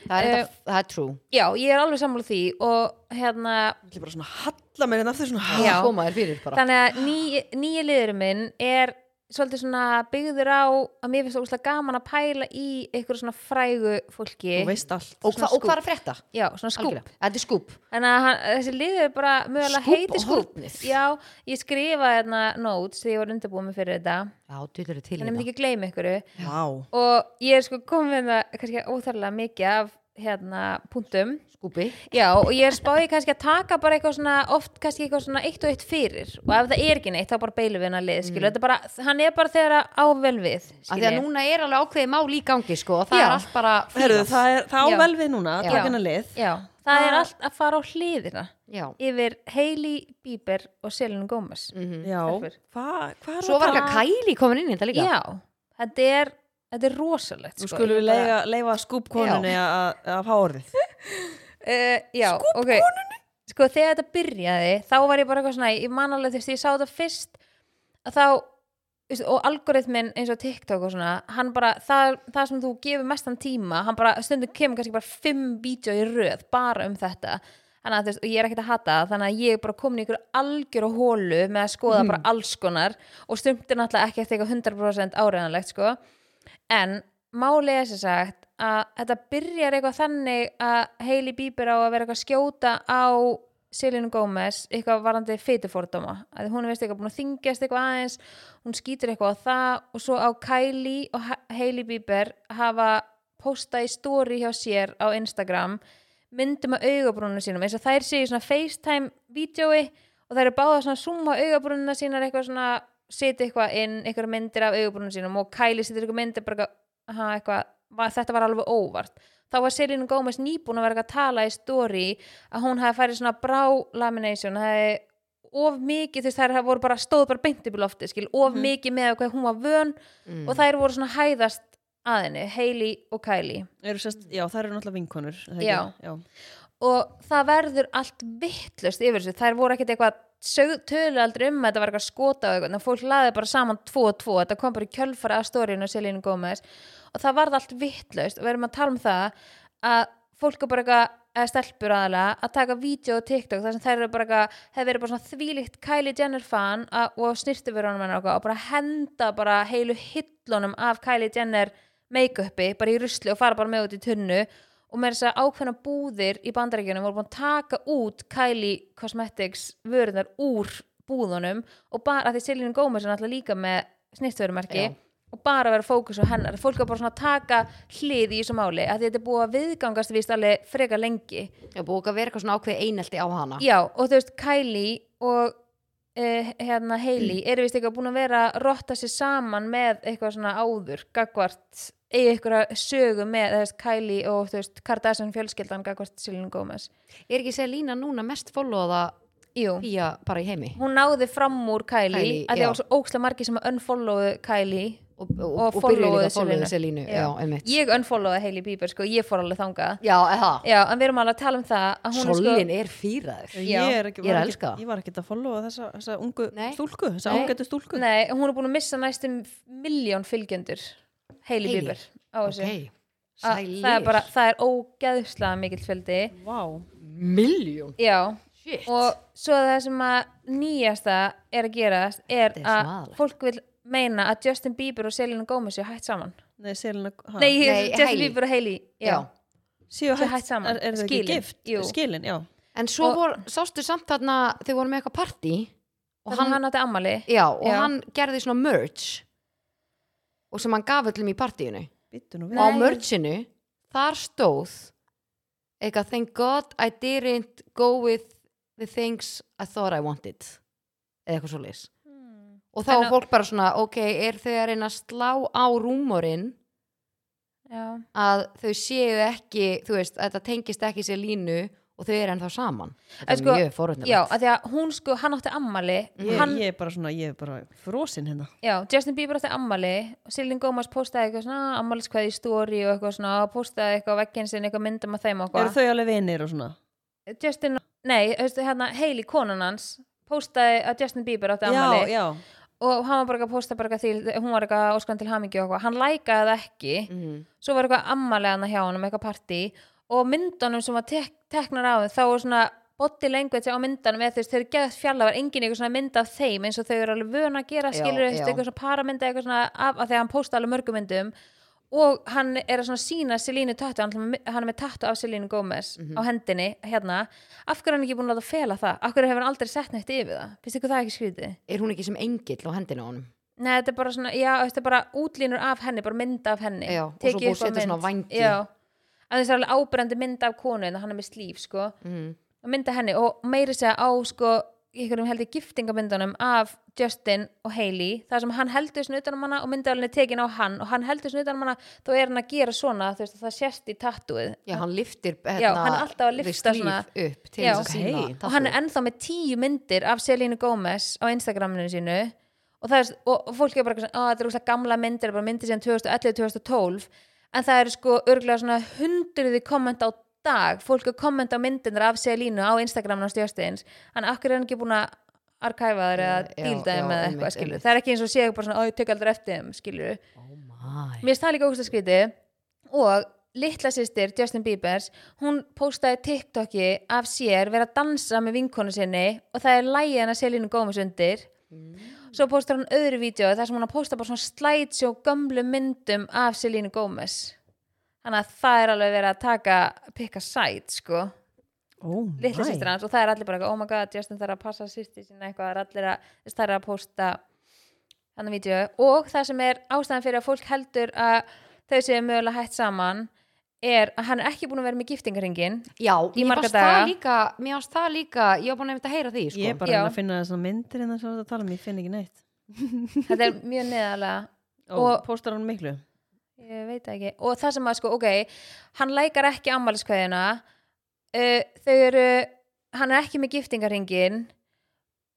Speaker 2: Það
Speaker 3: Eh,
Speaker 2: er, uh, það er true
Speaker 3: Já, ég er alveg sammála því og hérna,
Speaker 1: Ég bara svona halla mér en aftur svona
Speaker 2: Já.
Speaker 3: Já.
Speaker 2: Koma þér fyrir bara
Speaker 3: þannig að ný, nýja liðurinn minn er svolítið svona byggður á að mér finnst ógustlega gaman að pæla í eitthvað svona frægu fólki
Speaker 1: Þú veist allt
Speaker 2: Og, hva, og hvað er að frétta?
Speaker 3: Já, svona skúp
Speaker 2: Algjörlega. Þetta er skúp
Speaker 3: Þannig að hann, þessi liður er bara mögulega
Speaker 2: Skúbb
Speaker 3: heiti
Speaker 2: og
Speaker 3: skúp
Speaker 2: hornið.
Speaker 3: Já, ég skrifaði hérna notes þegar ég var undirbúin mig fyrir þetta
Speaker 2: Já, þú eru til í
Speaker 3: en ég myndi
Speaker 2: það
Speaker 3: ekki gleyma ykkur
Speaker 1: Vá,
Speaker 3: og ég er sko komin með það kannski óþarlega mikið af hérna punktum
Speaker 2: Skúpi
Speaker 3: Já, og ég er spáði kannski að taka bara eitthvað svona oft kannski eitthvað svona eitt og eitt fyrir og ef það er ekki neitt þá bara beilum við hennar lið skilu, þetta er bara, hann er bara þegar að á vel við
Speaker 2: Mm. Af því að
Speaker 3: skilji.
Speaker 2: núna er alveg ákveðið mál í gangi sko og það
Speaker 3: Já.
Speaker 2: er allt bara
Speaker 1: Heru,
Speaker 2: fílað.
Speaker 1: það, er, það á
Speaker 3: Já.
Speaker 1: vel við núna að
Speaker 2: Já.
Speaker 1: taka hennar lið
Speaker 3: Já, það
Speaker 2: Ah.
Speaker 3: er allt að fara á hliðina
Speaker 2: Já
Speaker 3: yfir Hailey Bieber og Selena Gomez
Speaker 1: Já,
Speaker 3: Stelpur.
Speaker 1: hvað hva er
Speaker 2: Mhm. Svo var
Speaker 1: að
Speaker 2: ekki að Kæli komin inn í þetta líka
Speaker 3: Já, þetta er, þetta er rosalegt
Speaker 1: Nú
Speaker 3: sko.
Speaker 1: skulum við
Speaker 3: Ég bara-
Speaker 1: leifa, leifa skúpkonunni að að fá orðið
Speaker 3: Eh, Já, ok Sko þegar þetta byrjaði þá var ég bara eitthvað svona, ég man alveg þess að ég sá þetta fyrst að þá veist, og algoritminn eins og TikTok og svona hann bara, það, það sem þú gefur mestan tíma, hann bara stundum kemur kannski bara fimm vídeo í röð bara um þetta þannig að þú veist, og ég er ekkert að hata það þannig að ég er bara komin í ykkur algjör og hólu með að skoða bara alls konar og stumt er náttúrulega ekki eftir eitthvað 100% áreðanlegt sko, en málið er sem sagt að þetta byrjar eitthvað þannig að Hailey Bieber á að vera eitthvað að skjóta á Selena Gomez eitthvað varandi feitufordóma að hún er veist eitthvað búin að þingjast eitthvað aðeins hún skýtur eitthvað á það og svo á Kylie og Ha- Hailey Bieber hafa postað í story hjá sér á Instagram myndum af augabrúnum sínum eins og þær séu í svona FaceTime vídjói og þær eru báða svona að zooma augabrúnuna sínar eitthvað svona setja eitthvað inn eitthvað myndir af augabrúnum sínum og Kylie setja eitthvað myndir bara eitthvað, aha, eitthvað va- þetta var alveg óvart þá var Selina Gómez nýbúin að vera eitthvað að tala í story að hún hafi farið svona brá lamination það hefði of mikið þess að þær hafi voru bara stóð bara beint upp í lofti skil, of mikið með hvað hún var vön
Speaker 2: Mm.
Speaker 3: og þær voru svona að hæðast að henni Hailey og Kylie
Speaker 1: Eru sest- Já, það eru náttúrulega vinkonur er það ekki?
Speaker 3: Já.
Speaker 1: já
Speaker 3: og það verður allt vittlust yfir þessu, þær voru ekkert eitthvað sög- töluðu aldrei um að þetta var eitthvað skota og eitthvað, þannig að fólk laði bara saman tvo og tvo þetta kom bara í kjölfara að stóriðinu og Selínu Gómez og það varð allt vittlust og við erum að tala um það að fólk er bara eitthvað eða stelpur aðalega, að taka vídeo og TikTok þar sem þær eru bara eitthvað, hefur verið bara svona þvílíkt Kylie Jenner fan að, og snirtifurunum hennar og eitthvað og bara henda bara heilu hillunum af Kylie Jenner make-upi, bara í rusli og fara bara með út í tunnu og með þess að ákveðna búðir í bandaríkjunum voru búin að taka út Kylie Cosmetics vörunar úr búðunum og bara að því Selina Gómez er náttúrulega líka með snirtverumerki
Speaker 2: Já.
Speaker 3: og bara vera fókus á hennar fólk er bara svona að taka hlið í þessu máli að þetta er búið að viðgangast víst alveg frekar lengi
Speaker 2: Já, búið að vera eitthvað svona ákveðið einelti á hana
Speaker 3: Já, og þú veist, Kylie og uh, hérna Hailey
Speaker 2: Mm.
Speaker 3: eru vist eitthvað búin að vera að rotta sér saman með eitthvað svona áður, gagvart eigi eitthvað sögu með þú veist, Kylie og þú veist, Kardashian fjölskyldan gagvart Selena Gomez.
Speaker 2: Er ekki Selina núna mest followaða
Speaker 3: Jú,
Speaker 2: pía bara í heimi?
Speaker 3: hún náði fram úr Kylie,
Speaker 2: Kylie,
Speaker 3: að
Speaker 2: já.
Speaker 3: það var svo ókslega margir sem að unfollowu Kylie
Speaker 2: og, og,
Speaker 3: Og
Speaker 2: og, byrjuðu
Speaker 3: followuðu
Speaker 2: líka að followa
Speaker 3: Selínu.
Speaker 2: þessi línu
Speaker 3: Já.
Speaker 2: já, einmitt
Speaker 3: ég unfollowaði Hailey Bieber sko, ég fór alveg þangað
Speaker 2: já, eða,
Speaker 3: já, en við erum alveg að tala um það að hún
Speaker 2: solin er fýraður
Speaker 3: Já,
Speaker 1: ég er ekki,
Speaker 2: ég er
Speaker 1: var
Speaker 2: að
Speaker 1: ekki-
Speaker 2: elska það.
Speaker 1: ég var ekki að followa þessa, þessa ungu
Speaker 2: Nei.
Speaker 1: stúlku þessa
Speaker 2: Nei.
Speaker 1: ágættu
Speaker 3: sko
Speaker 1: stúlku
Speaker 3: nei, hún er búin að missa næstum miljón fylgjendur
Speaker 2: Hailey?
Speaker 3: Hailey Bieber á þessu
Speaker 2: ok, sælir
Speaker 3: Að Ah, það er bara, það er ógeðslega mikill fjöldi
Speaker 1: Vá.
Speaker 2: miljón
Speaker 3: já,
Speaker 2: shit,
Speaker 3: og svo það sem að nýjasta er að gerast er
Speaker 2: Þetta er
Speaker 3: að
Speaker 2: svaðalegt.
Speaker 3: fólk vil meina að Justin Bieber og Selena Gomez séu hætt saman
Speaker 1: Nei, Selena, ha?
Speaker 3: nei,
Speaker 2: Nei,
Speaker 3: Justin
Speaker 2: Hailey.
Speaker 3: Bieber og Hailey já,
Speaker 2: já
Speaker 1: séu
Speaker 3: séu
Speaker 1: hætt,
Speaker 3: hætt saman,
Speaker 1: er, er það ekki
Speaker 3: skilin.
Speaker 1: gift?
Speaker 3: Jú.
Speaker 1: skilin, já
Speaker 2: En svo
Speaker 3: Og-
Speaker 2: vor, sástu samt þarna þau voru með eitthvað partí og
Speaker 3: og hann,
Speaker 2: hann,
Speaker 3: hann átti ammali
Speaker 2: já, og
Speaker 3: Já.
Speaker 2: hann gerði svona merch og sem hann gaf öllum í partíinu
Speaker 1: Bittu nú
Speaker 2: og
Speaker 1: við
Speaker 2: á
Speaker 3: Nei.
Speaker 2: merchinu þar stóð eitthvað thank god I didn't go with the things I thought I wanted eða eitthvað svo leis og þá
Speaker 3: En
Speaker 2: var
Speaker 3: á-
Speaker 2: fólk bara svona ok, er þau að reyna að slá á rúmorinn
Speaker 3: já,
Speaker 2: að þau séu ekki þú veist, að þetta tengist ekki sér línu og þau eru ennþá saman þetta
Speaker 3: En
Speaker 2: er
Speaker 3: sko-
Speaker 2: mjög
Speaker 3: já,
Speaker 2: forutnilegt
Speaker 3: að því að hún sko, hann átti ammali
Speaker 1: Ég,
Speaker 3: hann,
Speaker 1: ég er bara svona, ég er bara frosin hérna
Speaker 3: já, Justin Bieber átti ammali og Selena Gomez postaði eitthvað svona ammaliskvæði í story og eitthvað svona postaði eitthvað á vegginn sinni, eitthvað myndum að þeim og
Speaker 1: Eru
Speaker 3: eitthvað
Speaker 1: þau alveg vinir og svona?
Speaker 3: Justin, nei, veistu, hérna, Hailey konan hans postaði að Justin Bieber átti ammali
Speaker 1: Já, já
Speaker 3: og hann var bara eitthvað að posta bara eitthvað því hún var eitthvað óskan til hamingju og eitthvað hann lækaði það ekki,
Speaker 1: Mm.
Speaker 2: Mhm.
Speaker 3: svo var eitthvað ammalegana hjá honum, eitthvað partí og myndunum sem var tek teknar á þeim þá var svona body language á myndunum eða þú veist, þau eru geðað fjalla, var engin eitthvað svona mynd af þeim eins og þau eru alveg vön að gera
Speaker 2: Já,
Speaker 3: skilur
Speaker 2: já.
Speaker 3: eitthvað svona paramynda eitthvað svona af, af því að hann posta alveg mörgum myndum og hann er að svona sína Selínu tattu, hann, ætlar með- hann er með tattu af Selínu Gómez
Speaker 2: Mhm.
Speaker 3: á hendinni hérna af hverju er hann ekki búin að láta fela það af hverju hefur hann aldrei sett neitt yfir það finnst ykkur það ekki skrítið?
Speaker 2: er hún ekki sem engill á hendinu á honum
Speaker 3: Nei, þetta er bara svona, já, þetta er bara útlínur af henni, bara mynd af henni.
Speaker 2: Já, og svo
Speaker 3: Tekið
Speaker 2: búið að
Speaker 3: upp á
Speaker 2: setja
Speaker 3: mynd.
Speaker 2: svona vængi.
Speaker 3: Já, en þessi er alveg ábyrjandi mynd af konu, en hann er með slíf, sko.
Speaker 2: mm.
Speaker 3: Og mynd af henni, og meiri segja á, sko, í einhverjum heldur giftingamyndunum af Justin og Hailey, þar sem hann heldur svona utan um hana og myndavælinn er tekin á hann og hann heldur svona utan um hana, þá er hann að gera svona, þú veist, að það sérst í tattúið.
Speaker 2: já, hann liftir hérna,
Speaker 3: hann er alltaf að
Speaker 2: the
Speaker 3: lyfta
Speaker 2: sleeve
Speaker 3: svona-
Speaker 2: upp til
Speaker 3: Já.
Speaker 2: þess að sína
Speaker 1: Ok.
Speaker 2: tattoo.
Speaker 3: og hann er ennþá með tíu myndir af Selínu Gómez á Instagraminu sínu og, það er, og og fólk er bara eitthvað svona, "Á, þetta eru úrslag gamla myndir, bara myndir síðan 2011-2012 en það eru sko örgulega svona hundruði komment á dag fólk er komment á myndirnar af Selínu á Instagraminu á stjórnsteins en akkur er hann ekki búin að arkæfa þær eða
Speaker 2: Já,
Speaker 3: dílda
Speaker 2: já,
Speaker 3: þeim eða
Speaker 2: einmitt,
Speaker 3: eitthvað skilur
Speaker 2: einmitt.
Speaker 3: það er ekki eins og séu bara svona, "Á, ég tek aldrei eftir þeim skilur
Speaker 2: oh my
Speaker 3: Mér finnst það líka ógust að skríti og litla sýstir Justin Biebers hún postaði TikToki af sér vera að dansa með vinkonu sinni og það er lægið hennar Selínu Gómez undir svo postar hún öðru vídeo þar sem hún er að posta bara svona slætsjó gömlu myndum af Selínu Gómez þannig að það er alveg verið að taka pikka sæt sko
Speaker 1: Ó,
Speaker 3: litla
Speaker 1: næ.
Speaker 3: sýstir hans og það er allir bara eitthvað, oh my god, Justin þarf að passa sýstir sinna eitthvað, það er allir að, það er að posta þannig vídeo og það sem er ástæðan fyrir að fólk heldur að þau séu mögulega hætt saman er að hann er ekki búin að vera með giftingaringin
Speaker 2: já, mér
Speaker 3: marga
Speaker 2: varst
Speaker 3: daga.
Speaker 2: það líka mér varst það líka, ég var búin að nefnt að heyra því sko.
Speaker 1: Ég er bara
Speaker 3: Já.
Speaker 1: að reyna að finna þessna myndir innan sem þú ert að tala um, ég finn ekki neitt
Speaker 3: þetta er mjög neðalega
Speaker 1: Og,
Speaker 3: Og-
Speaker 1: postar hann miklu?
Speaker 3: ég veit það ekki, og það sem að sko, ok hann lækar ekki ammæliskveðina uh, þau eru hann er ekki með giftingaringin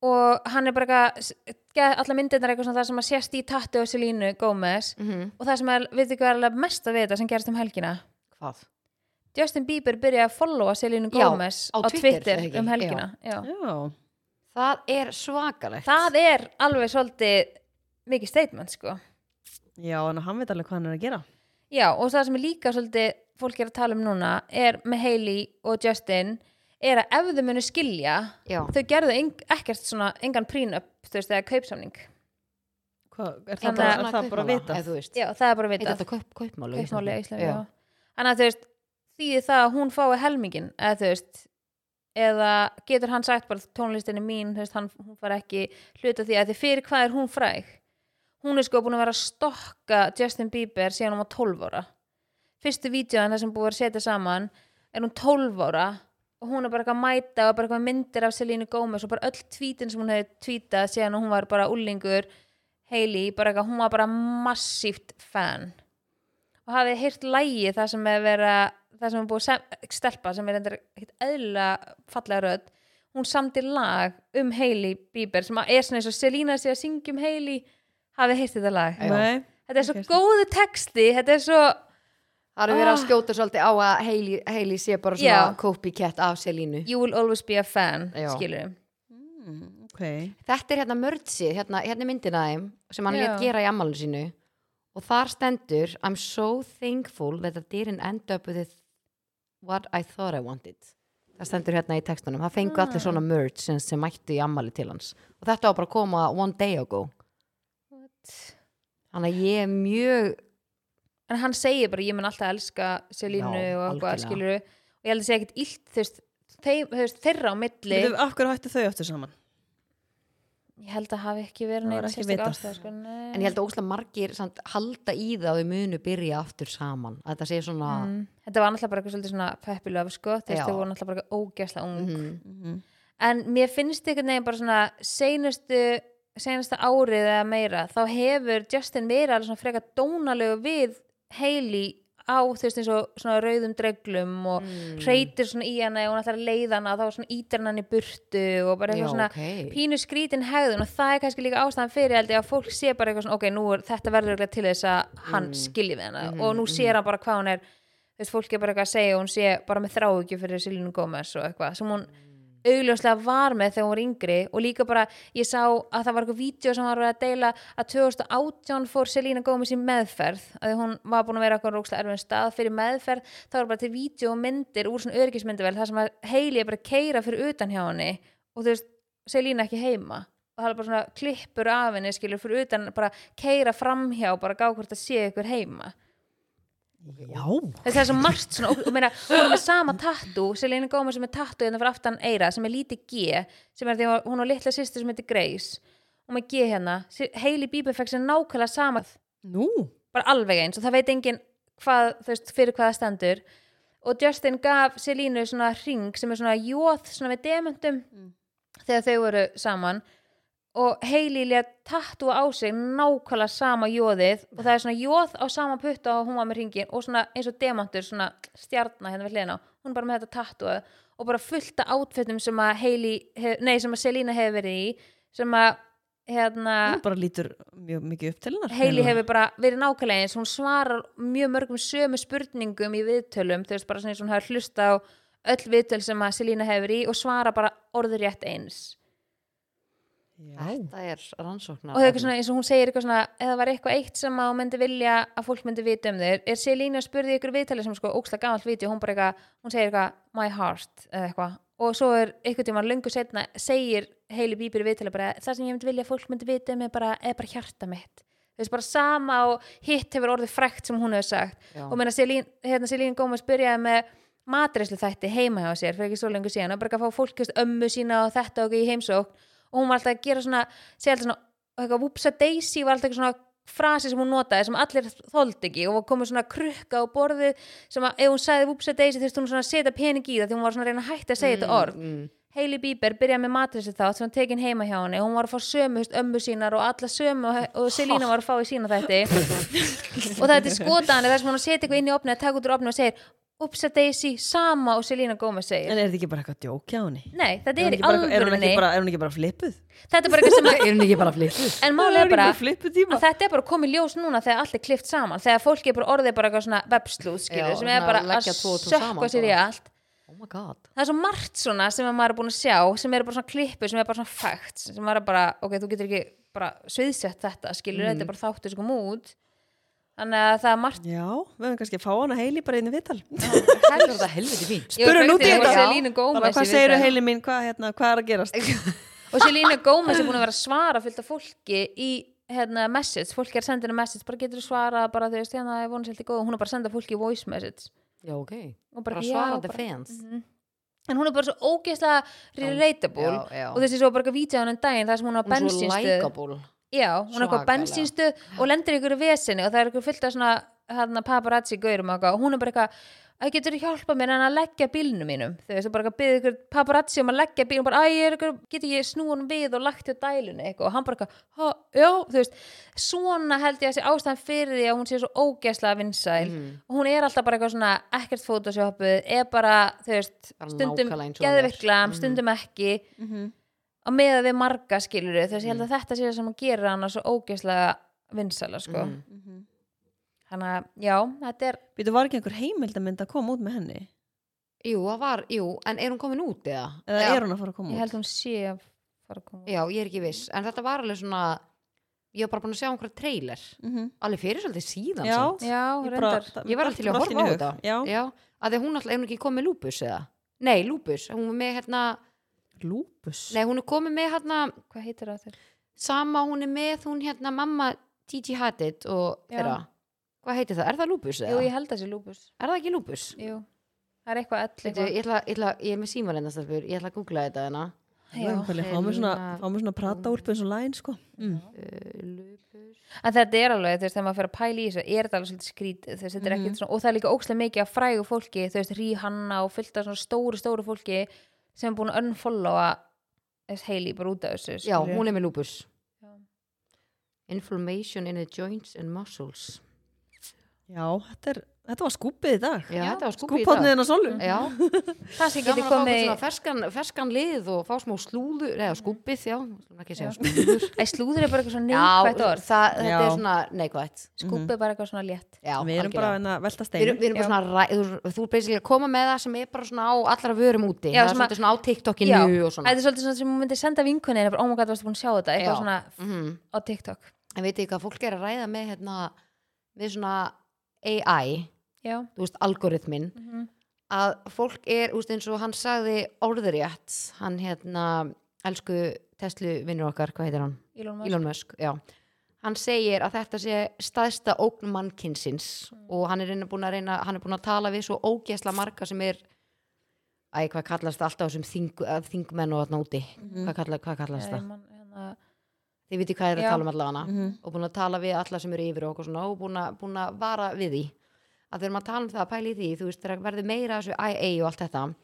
Speaker 3: og hann er bara eitthvað allar myndirnar eitthvað svona það sem að sést í tattu og Selínu Gómez
Speaker 2: Mhm.
Speaker 3: og það sem er, við ekki verðilega mest að við þetta sem gerist um helgina
Speaker 2: hvað?
Speaker 3: Justin Bieber byrjaði að followa Selínu
Speaker 2: Já,
Speaker 3: Gómez
Speaker 2: á
Speaker 3: á
Speaker 2: Twitter,
Speaker 3: Twitter,
Speaker 2: er það ekki?
Speaker 3: um helgina já.
Speaker 1: Já,
Speaker 2: það er svakalegt
Speaker 3: það er alveg svolítið mikið statement sko
Speaker 1: já, en hann veit alveg hvað hann er að gera
Speaker 3: já og það sem er líka svolítið fólk er að tala um núna er með Hailey og Justin er að ef þau munu skilja
Speaker 2: já,
Speaker 3: þau gerðu eng, ekkert svona engan prínup þú veist eða kaupsamning
Speaker 1: Hva, Er
Speaker 3: Þannig
Speaker 1: það bara,
Speaker 3: að-
Speaker 1: er það bara að vita?
Speaker 2: eða þú veist,
Speaker 3: já það er bara að
Speaker 2: heitir
Speaker 3: vita
Speaker 2: þetta kaup, kaupmáli
Speaker 3: kaupmáli í Íslandi já. þannig að þú veist þýðir það að hún fái helmingin eða þú veist eða getur hann sagt bara tónlistin er mín þú veist, hann, hún far ekki hluta því að því fyrir hvað er hún fræg hún er sko búin að vera að stokka Justin Bieber síðan hún var 12 ára fyrstu vídjóðan það sem búið að setja saman er hún 12 ára og hún er bara eitthvað að mæta og bara eitthvað myndir af Selínu Gómez og bara öll tvítin sem hún hefði tvítað síðan hún var bara úlingur Hailey, bara eitthvað, hún var bara massíft fan og hafið heyrt lægi það sem er vera það sem er búið sem, stelpa sem er endur ekkert eðla fallega rödd hún samdi lag um Hailey Bieber sem að er svona eins og Selena sé að syngja um Hailey hafið heyrt þetta lag
Speaker 2: Já.
Speaker 1: Nei,
Speaker 3: þetta er svo
Speaker 1: Ok, sko.
Speaker 3: góðu texti þetta er svo,
Speaker 2: Það eru verið að
Speaker 3: Ah.
Speaker 2: skjóta svolítið á að Hailey, Hailey sé bara svona
Speaker 3: Já.
Speaker 2: copycat af Selínu.
Speaker 3: you will always be a fan
Speaker 2: Já.
Speaker 3: skilur
Speaker 1: Mm, ok
Speaker 2: Þetta er hérna mördsið, hérna, hérna er myndin aðeim sem hann
Speaker 3: Já.
Speaker 2: létt gera í ammálinu sínu og þar stendur I'm so thankful that I didn't end up with what I thought I wanted. Það stendur hérna í textunum. Það fengu allir svona mörds sem, sem mættu í ammali til hans. Og þetta var bara að koma one day ago. Þannig að ég er mjög
Speaker 3: en hann segir bara ég mun alltaf elska Selínu
Speaker 2: Já,
Speaker 3: og
Speaker 2: algjörlega.
Speaker 3: eitthvað skilur og ég held að segja ekkert illt þú veist, þeim, þú veist, þeirra á milli
Speaker 1: Veitum, af hverju hættu þau aftur saman
Speaker 3: ég held að hafi ekki verið
Speaker 1: Það var
Speaker 3: neitt
Speaker 1: ekki
Speaker 3: sérstak
Speaker 1: vitað.
Speaker 3: ástæð sko, nei.
Speaker 2: en ég held að óslega margir samt, halda í það og við munu byrja aftur saman. Að þetta sé svona
Speaker 3: Mm. þetta var náttúrulega bara eitthvað svolítið svona peppi löf sko, þú
Speaker 2: Já.
Speaker 3: veist þau voru náttúrulega bara ógæsla ung
Speaker 2: mhm,
Speaker 3: en mér finnst einhvern veginn bara svona seinustu seinasta árið eða meira þá hefur Justin verið alveg svona frekar dónalegu við Hailey á þú veist eins og svona rauðum dreglum og
Speaker 2: Mm.
Speaker 3: hreytir svona í hana og hún ætlar að leiða hana og þá svona ítir hann í burtu og bara
Speaker 2: Já,
Speaker 3: eitthvað svona
Speaker 2: ok.
Speaker 3: pínu skrítin hegðun og það er kannski líka ástæðan fyrir held ég að fólk sé bara eitthvað svona ok, nú er þetta verður örugglega til þess að
Speaker 2: Mm.
Speaker 3: hann skilji við hana
Speaker 2: Mhm,
Speaker 3: og nú sér hann bara hvað hún er þú veist, fólk er bara eitthvað að segja og hún sé bara með þráhyggju fyrir Silvínu Gómez og eitthvað sem hún augljóslega var með þegar hún var yngri og líka bara, ég sá að það var eitthvað vídeo sem var verið að deila að 2018 fór Selina Gómez í meðferð að því hún var búin að vera eitthvað rókslega erfinn stað fyrir meðferð, þá var bara til vídeo og myndir úr svona örgismyndavel, það sem að Hailey er bara að keira fyrir utan hjá henni og þú veist, Selina ekki heima og það er bara svona klippur af henni skilur fyrir utan bara keira framhjá bara gá hvort það sé ykkur heima
Speaker 1: já
Speaker 3: Þessi, það er svo margt svona, og, og meina, hún er með sama tattu, Selena Gomez sem er tattu hérna fyrir aftan eira, sem er lítið G sem er því að hún á litla sýstu sem heitir Grace og með G hérna Se- Hailey Bieber fekk sér nákvæmlega sama
Speaker 1: nú
Speaker 3: bara alveg eins og það veit enginn hvað, þú veist, fyrir hvað það stendur og Justin gaf Selínu svona ring sem er svona jóð svona með dementum þegar þau voru saman og Hailey létt tattua á sig nákvæmlega sama jóðið og það er svona jóð á sama putta og hún var með ringin og svona eins og demantur svona stjarnar hérna við hliðina á. hún er bara með þetta tattua og bara fullta átfettum sem að Hailey, hef, nei sem að Selína hefur verið í sem að hérna
Speaker 1: hún bara lítur mjög mikið upp til hennar
Speaker 3: Heili hefur bara verið nákvæmlega eins hún svarar mjög mörgum sömu spurningum í viðtölum, þú veist bara svona eins og hún hefur hlusta á öll viðtöl sem að Selína hefur í og svara bara orður rétt eins
Speaker 1: já,
Speaker 2: Þetta er rannsóknar
Speaker 3: og það er eitthvað svona eins og hún segir eitthvað svona eða það var eitthvað eitt sem að hún myndi vilja að fólk myndi vita um þér, er Selína spurði ykkur viðtali sem er sko óksla gamalt vídeo, hún bara eitthvað hún segir eitthvað my heart eða eitthvað og svo er eitthvað tíma löngu setna segir Heili Bíbir viðtali bara það sem ég myndi vilja að fólk myndi vita um er bara, er bara hjarta mitt þú veist bara sama og hitt hefur orðið frækt sem hún hefur sagt
Speaker 2: Já.
Speaker 3: og meina Selín, hérna Selín Gómez byrjaði með matreislu þætti heima hjá sér fyrir ekki svo lengur síðan og bara að fá fólk þú veist, ömmu sína og þetta og ekki í heimsókn og hún var alltaf að gera svona segja alltaf svona, eitthvað whoopsa daisy var alltaf eitthvað svona frasi sem hún notaði sem allir þoldi ekki og komið svona krukka á borðið sem að ef hún sagði whoopsa daisy þurfti hún svona að setja pening í það því hún var svona að reyna að hætta að segja þetta orð
Speaker 2: mm.
Speaker 3: Hailey Bieber byrjaði með matrissi þá sem hann tekin heima hjá henni, hún var að fá sömu hust, ömmu sínar og alla sömu og, og Selína var að fá í sína þætti og það er til skotaðan þar sem hún seti eitthvað inn í opni að taka út úr opni og segir Upsa Daisy, sama og Selína Gómez segir
Speaker 1: en er þetta ekki bara eitthvað djókja henni
Speaker 3: Nei, þetta
Speaker 1: er hún
Speaker 3: er í
Speaker 1: ekki bara eitthvað- er hún
Speaker 3: alvörunni
Speaker 1: ekki bara- er hún ekki bara flippuð
Speaker 3: Þetta er bara eitthvað sem að
Speaker 2: Er hún ekki bara flyttu?
Speaker 3: En
Speaker 1: er
Speaker 3: málið
Speaker 1: hún
Speaker 3: er
Speaker 1: ekki
Speaker 3: bara
Speaker 1: bara flippuð tíma
Speaker 3: að þetta er bara komið ljós núna þegar allt er klift saman þegar fólki er bara orðið bara eitthvað svona webslúð skilur,
Speaker 2: Já,
Speaker 3: sem er
Speaker 2: svona
Speaker 3: bara að
Speaker 2: leggja tvo og tvo saman
Speaker 3: sökka sér í
Speaker 2: bara.
Speaker 3: allt
Speaker 2: Oh my god
Speaker 3: það er svo margt svona sem að maður er búin að sjá sem eru bara svona klippur, sem eru bara svona facts sem maður er bara, ok, þú getur ekki bara sviðsett þetta, skilur,
Speaker 2: Mm.
Speaker 3: þetta er bara þáttur sem kom út þannig að það er margt
Speaker 1: já, við höfum kannski að fá hana heili bara inn í vital
Speaker 2: Það er þetta helviti fínt
Speaker 1: Spurðu hún út í þetta?
Speaker 3: Selínu
Speaker 1: bara
Speaker 3: Gómez
Speaker 1: hvað segir þau heili mín, hvað, hérna, hvað er að gerast
Speaker 3: og Selínu Gómez er búin að vera að svara fullt af fólki í hérna, message, fólki er að senda henni message bara getur svara, bara þau veist, hérna, ég vonið svolítið góð hún er bara að senda fólki voice message
Speaker 2: Já, ok
Speaker 3: Og
Speaker 2: Bara
Speaker 3: bara,
Speaker 2: mm,
Speaker 3: já,
Speaker 2: svarandi
Speaker 3: bara-
Speaker 2: fans
Speaker 3: en hún er bara svo ógeðslega relatable
Speaker 2: Já, já.
Speaker 3: og þessi svo bara eitthvað vítja hann en um daginn þar sem hún á
Speaker 2: Hún er svo
Speaker 3: bensinstöð
Speaker 2: likeable
Speaker 3: Já, hún er eitthvað
Speaker 2: Svakalega.
Speaker 3: bensinstu og lendir í ykkur vesinu og það er ykkur fullt af svona hérna, paparazzi gaurum og eitthvað og hún er bara eitthvað að getur hjálpa mér en að leggja bílnum mínum þú veist, og bara eitthvað byggði ykkur paparazzi um að leggja bílnum bara, æ, ég er ykkur, getur ég snúan við og lagt hjá dælunni eitthvað og hann bara eitthvað, "Ha, já, þú veist svona held ég að sé ástæðan fyrir því að hún sé svo ógeðslega vinsæl
Speaker 2: Mhm.
Speaker 3: og hún er alltaf bara eitthvað svona ekkert fótosjópuð er bara, þú veist,
Speaker 2: Bara
Speaker 3: stundum
Speaker 2: nákvæmlega eins og hún er.
Speaker 3: geðviklam, stundum ekki
Speaker 1: Mhm.
Speaker 3: að meða við marga skilur þess að ég held að þetta sé það sem að gera hana svo ógeðslega vinsala sko
Speaker 2: Mhm.
Speaker 3: þannig að já, þetta er
Speaker 1: Býtu var ekki einhver heimildamind að koma út með henni?
Speaker 2: Jú, það var, jú, en er hún komin út eða?
Speaker 1: Eða
Speaker 3: Já.
Speaker 1: er hún að fara að koma
Speaker 3: ég
Speaker 1: út?
Speaker 3: held hún sé að fara að koma út.
Speaker 2: Já, ég er ekki viss, en þetta var alveg svona ég var bara búin að sjá einhverja trailer
Speaker 1: Mhm.
Speaker 2: alveg fyrir svolítið síðan
Speaker 1: Já,
Speaker 2: samt.
Speaker 3: já,
Speaker 1: Ég bara-
Speaker 3: reyndar
Speaker 1: það-
Speaker 2: ég var alltaf til að
Speaker 1: allt í
Speaker 2: horfa á
Speaker 1: hug.
Speaker 2: þetta
Speaker 1: Já,
Speaker 2: Já, að því hún alltaf, er hún ekki komið lúpus eða? Nei, lúpus, hún er með hérna
Speaker 1: lúpus
Speaker 2: nei, hún er komið með hérna
Speaker 3: hvað heitir það þér?
Speaker 2: sama hún er með, hún hérna mamma T.G. Haddit og
Speaker 3: Já.
Speaker 2: þeirra hvað heitir það, er það lúpus eða?
Speaker 3: jú, ég held það sé lúbus
Speaker 2: er það ekki lúpus?
Speaker 3: jú, það er eitthvað ell
Speaker 2: Veitu,
Speaker 3: eitthvað
Speaker 2: ég, ætla, ég, ætla, ég er með síman ennast ég ætla að googla þetta hérna
Speaker 3: Já.
Speaker 1: Nákvæmlega, Fá mér svona, fá mér svona prata úlpu eins og læn sko. mm.
Speaker 2: uh, lúpus
Speaker 3: en þetta er alveg, þú veist, þegar maður fyrir að pæla í þessu er þetta alveg svolítið skrítið, þú veist, þetta er ekkert svona og það er líka ókslega mikið af frægu fólki þú veist, Ríhanna og fullt af svona stóru, stóru fólki sem er búin að unfollowa þess heili bara út af þessu
Speaker 2: já,
Speaker 3: skilurðu.
Speaker 2: hún er með lúpus
Speaker 3: Já.
Speaker 2: inflammation in the joints and muscles
Speaker 1: Já, þetta, er, þetta var skúpið í dag
Speaker 2: já, þetta var skúpið í
Speaker 1: Skúpaðnið
Speaker 2: dag
Speaker 1: hennar Sólu
Speaker 2: já,
Speaker 3: kannski
Speaker 2: gaman
Speaker 3: geti
Speaker 2: að fá okkur
Speaker 3: komið
Speaker 2: svona ferskan, ferskan lið og fá smá slúður eða skúpið, já, slúðum ekki að segja slúður
Speaker 3: Æ, slúður er bara eitthvað svona
Speaker 2: já,
Speaker 3: neikvætt orð
Speaker 2: það, þetta
Speaker 1: Já.
Speaker 2: er svona neikvætt
Speaker 3: skúpið er bara eitthvað svona létt
Speaker 1: Við
Speaker 2: já,
Speaker 1: erum
Speaker 2: algjörlega.
Speaker 1: bara hérna að velta
Speaker 2: Við erum,
Speaker 1: stein
Speaker 2: við erum bara svona, ræ, þú, þú er basically að koma með það sem er bara svona á allra vörum úti
Speaker 3: Já,
Speaker 2: það er
Speaker 3: sem að-
Speaker 2: svolítið svona á
Speaker 3: Já,
Speaker 2: TikTokinu og svona
Speaker 3: þetta er svolítið svona sem hún myndi senda vinkunni en bara, oh my god, varstu búin að sjá þetta eitthvað
Speaker 2: Já.
Speaker 3: svona
Speaker 2: Mhm.
Speaker 3: á TikTok
Speaker 2: en veit ekki hvað fólk er að ræða með hérna, með svona AI
Speaker 3: já,
Speaker 2: þú veist, algoritmin
Speaker 3: Mhm.
Speaker 2: að fólk er, þú veist, eins og hann sagði orðurétt, hann hérna elsku Tesla vinnur okkar hvað heitir hann?
Speaker 3: Elon Musk
Speaker 2: Elon Musk, já hann segir að þetta sé staðsta ógn mannkinsins
Speaker 3: Mm.
Speaker 2: og hann er, reyna- búinn að reyna, hann er búin að tala við svo ógesla marga sem er æ, hvað kallast það alltaf á þessum þing, að þingmenn og þarna úti
Speaker 3: Mm.
Speaker 2: hvað, kalla, hvað kallast
Speaker 3: Elon
Speaker 2: það?
Speaker 3: Musk hérna,
Speaker 2: Þið viti hvað er að
Speaker 3: Já.
Speaker 2: tala um allavega
Speaker 1: Mhm.
Speaker 2: og búin að tala við alla sem eru yfir okkur svona, og búin að, búin að vara við því að þegar maður tala um það að pæla í því þú veist, þegar verður meira af þessu IA og allt þetta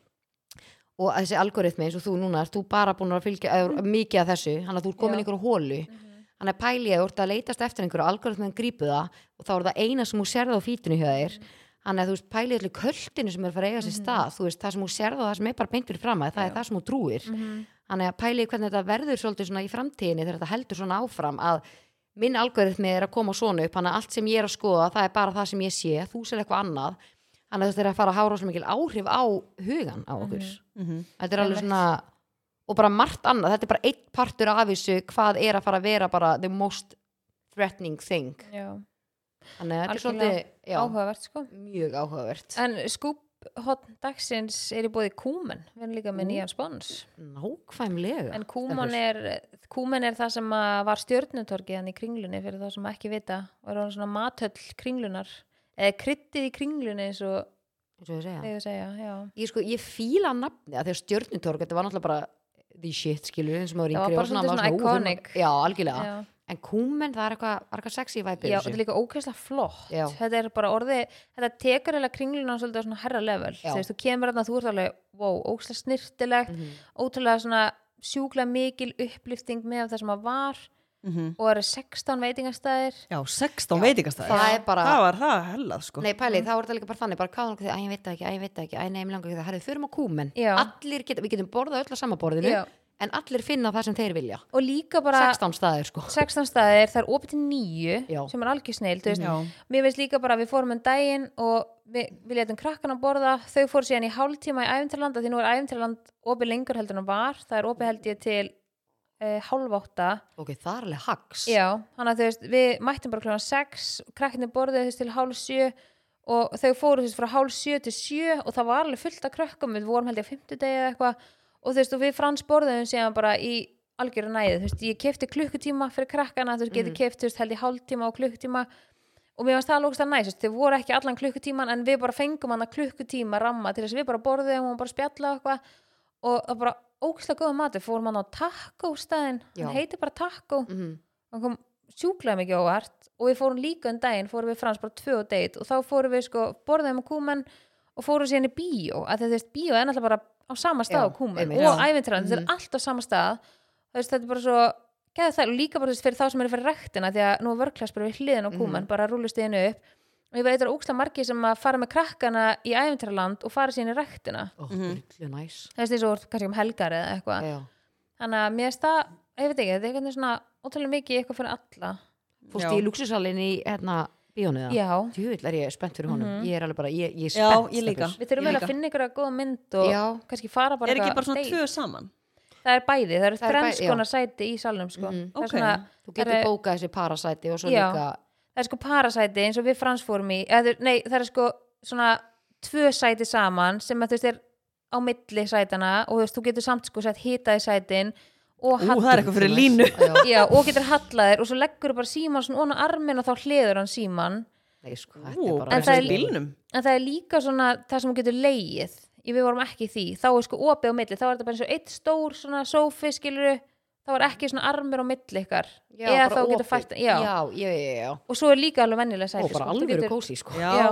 Speaker 2: og að þessi algoritmi eins og þú núna, ert þú bara búin að fylgja eða, mikið af þessu, hann að þú er komin
Speaker 3: Já.
Speaker 2: einhverju hólu mm -hmm. hann er pælið, þú ert að leitast eftir einhverju algoritmin grípu það og þá er það eina sem hún sérði á fítinu hjá þér hann er þú veist pælið allir költinu sem er að fara að eiga sér stað, þú veist það sem hún sérði og það sem er bara beint fyrir fram að það er það sem hún trúir Þannig að pæli hvernig þetta verður svolítið svona í framtíðinni þegar þetta heldur svona áfram að minn algoritmi er að koma svona upp þannig að allt sem ég er að skoða það er bara það sem ég sé þú sér eitthvað annað þannig að þetta er að fara að hára svo mikil áhrif á hugan á okkur
Speaker 1: Mhm.
Speaker 2: þetta er alveg svona og bara margt annað, þetta er bara eitt partur af þessu hvað er að fara að vera bara the most threatening thing
Speaker 3: já,
Speaker 2: þannig að þetta er
Speaker 3: Algjörlega.
Speaker 2: svolítið já,
Speaker 3: áhugavert sko
Speaker 2: mjög áhugavert
Speaker 3: en skúphotn dagsins er í bóði kúmen við erum líka með nýjan spons
Speaker 2: nákvæmlega
Speaker 3: en kúmen
Speaker 2: stelpur.
Speaker 3: er, kúmen er það sem að var stjörnutorgið hann í kringlunni fyrir þá sem ekki vita og er hann svona matöll kringlunar eða kryttið í kringlunni eins og
Speaker 2: eins og ég segja
Speaker 3: þegar segja, já
Speaker 2: ég sko, ég fíla nafni að því að stjörnutorg, þetta var náttúrulega bara the shit, skilur, eins og maður
Speaker 3: Það var
Speaker 2: yngri
Speaker 3: bara
Speaker 2: og
Speaker 3: svolítið
Speaker 2: maður
Speaker 3: svona
Speaker 2: ú, þurfum að-
Speaker 3: iconic.
Speaker 2: já, algjörlega,
Speaker 3: já.
Speaker 2: en kúmen það er eitthvað, var eitthvað sexy væpið
Speaker 3: Já, og þetta er líka ókvæslega flott
Speaker 2: Já.
Speaker 3: þetta er bara orðið, þetta tekur eða kringluna svolítið á svona herra level
Speaker 2: Já.
Speaker 3: þú veist, þú kemur þarna, þú ert alveg, wow, ókvæslega snirtilegt
Speaker 2: Mhm.
Speaker 3: ótrúlega svona sjúkla mikil upplifting með það sem að var
Speaker 1: Mhm.
Speaker 3: og eru 16 veitingastæðir
Speaker 1: Já, 16 veitingastæðir
Speaker 2: það er bara-
Speaker 1: Það var það hellað sko
Speaker 2: Nei, pælið, þá er þetta líka bara þannig, bara hvað hann, að ég veit það ekki, að ég veit það ekki, að nei, mér langar ekki það, herrið, förum á kúmen,
Speaker 3: Já.
Speaker 2: allir geta, við getum borðað öll að sama borðinu,
Speaker 3: Já.
Speaker 2: en allir finna það sem þeir vilja,
Speaker 3: og líka bara
Speaker 2: 16 staðir, sko,
Speaker 3: 16 staðir, það er opið til 9
Speaker 2: Já. Mhm.
Speaker 3: sem er algjör sneil, þú veist
Speaker 1: Já.
Speaker 3: mér veist líka bara að við fórum en daginn og við, við letum krakkana borða þau fóru síðan í hálftíma í æfintarland því nú er æfintarland opið lengur heldur en það var það er opið held ég til eh, hálfátta
Speaker 2: ok, það er alveg hags,
Speaker 3: já, þannig að þú veist, við mættum bara kljóðan 6 krakkinni borðið þú veist til hálf 7 og þau fóru þú veist frá hálf 7 til 7 og það var alveg fullt af krökkum við vorum held ég á 50 degi eða eitthvað og þú veist, og við frans borðum síðan bara í algjöru næði, þú veist, ég kefti klukkutíma fyrir krakkana, þú veist, geti keft, þú veist, held ég hálftíma og klukkutíma og mér varst það lókst að næst, þau voru ekki allan klukkutíman en við bara fengum hana klukkutíma ramma til þess að við bara borðum og bara spjalla og eitthvað og það var bara ógæslega góða matur fórum hann á takkó staðinn
Speaker 2: Já.
Speaker 3: hann heitir bara takkó,
Speaker 2: mm
Speaker 3: hann kom sjúklega mikið óvart og við fórum líka um daginn fórum við frans bara tvö og deitt og þá fórum við sko borðum á kúmen og fórum síðan í bíó, að þetta veist bíó er náttúrulega bara á sama stað
Speaker 2: Já,
Speaker 3: á kúmen
Speaker 2: einmitt.
Speaker 3: og
Speaker 2: Já. Mm.
Speaker 3: æfintræðan, þetta er allt á sama stað þú veist, þetta er bara svo geða það, líka bara þú veist, fyrir þá sem eru fyrir rektina því að nú er vörklass bara við hliðin
Speaker 2: Mm.
Speaker 3: á kúmen bara rúlust einu upp og ég veit að það eru ókslega margir sem að fara með krakkana í æfintræðland og fara síðan í rektina
Speaker 2: oh, mm næs,
Speaker 3: þú veist, eins og þú ert kannski um helgar eða eitthvað
Speaker 2: já,
Speaker 3: þannig að mér finnst það, ég veit ekki, þetta er eitthvað svona ótrúlega mikið eitthvað fyrir alla
Speaker 2: fórst
Speaker 1: Já.
Speaker 2: í luxusalinn í hérna bíónu
Speaker 3: Já. Mhm.
Speaker 2: djúvill er ég spennt fyrir honum ég er alveg bara, ég, ég er
Speaker 1: Já,
Speaker 2: spennt
Speaker 1: ég líka.
Speaker 2: stelpur.
Speaker 3: Við þurfum
Speaker 1: Ég
Speaker 3: vel
Speaker 1: líka.
Speaker 3: að finna ykkur að góða mynd og
Speaker 2: Já.
Speaker 3: kannski fara bara
Speaker 1: er ekki
Speaker 3: eitthvað
Speaker 1: bara svona
Speaker 3: date.
Speaker 1: tvö saman
Speaker 3: Það er bæði, það eru
Speaker 2: Það er
Speaker 3: þrenns
Speaker 2: bæ- já.
Speaker 3: konar sæti í salnum sko.
Speaker 2: Mhm.
Speaker 3: það,
Speaker 1: Ok.
Speaker 3: er svona,
Speaker 2: þú
Speaker 3: það
Speaker 2: getur
Speaker 3: er-
Speaker 2: bókað þessi parasæti og svo
Speaker 3: Já.
Speaker 2: líka
Speaker 3: það er sko parasæti eins og við fransfórum í eða, nei, það er sko svona tvö sæti saman sem að þú veist er á milli sætana og þú veist, þú getur samt sko sett hitaði sætin og
Speaker 1: Ú, það er eitthvað fyrir línu
Speaker 2: já,
Speaker 3: Já, og getur hallaðir og svo leggur bara síman svona onna armin og þá hliður hann síman
Speaker 2: nei, sko, þetta
Speaker 1: Ú,
Speaker 2: er
Speaker 1: bara
Speaker 2: bara
Speaker 1: eins og í
Speaker 3: það er-
Speaker 1: bílnum
Speaker 3: en það er líka svona það sem þú getur leið við vorum ekki í því, þá er sko opið á milli þá er þetta bara eins og eitt stór svona sófi skilur þá er ekki svona armur á milli ykkar
Speaker 2: já,
Speaker 3: eða
Speaker 2: bara
Speaker 3: þá
Speaker 2: opið.
Speaker 3: getur fætt
Speaker 2: já,
Speaker 3: já.
Speaker 2: já, já, já, já.
Speaker 3: og svo er líka alveg vennilega sæti
Speaker 2: og bara
Speaker 3: sko. Þú
Speaker 2: alveg
Speaker 3: getur-
Speaker 2: eru kósi sko
Speaker 1: já,
Speaker 3: Já.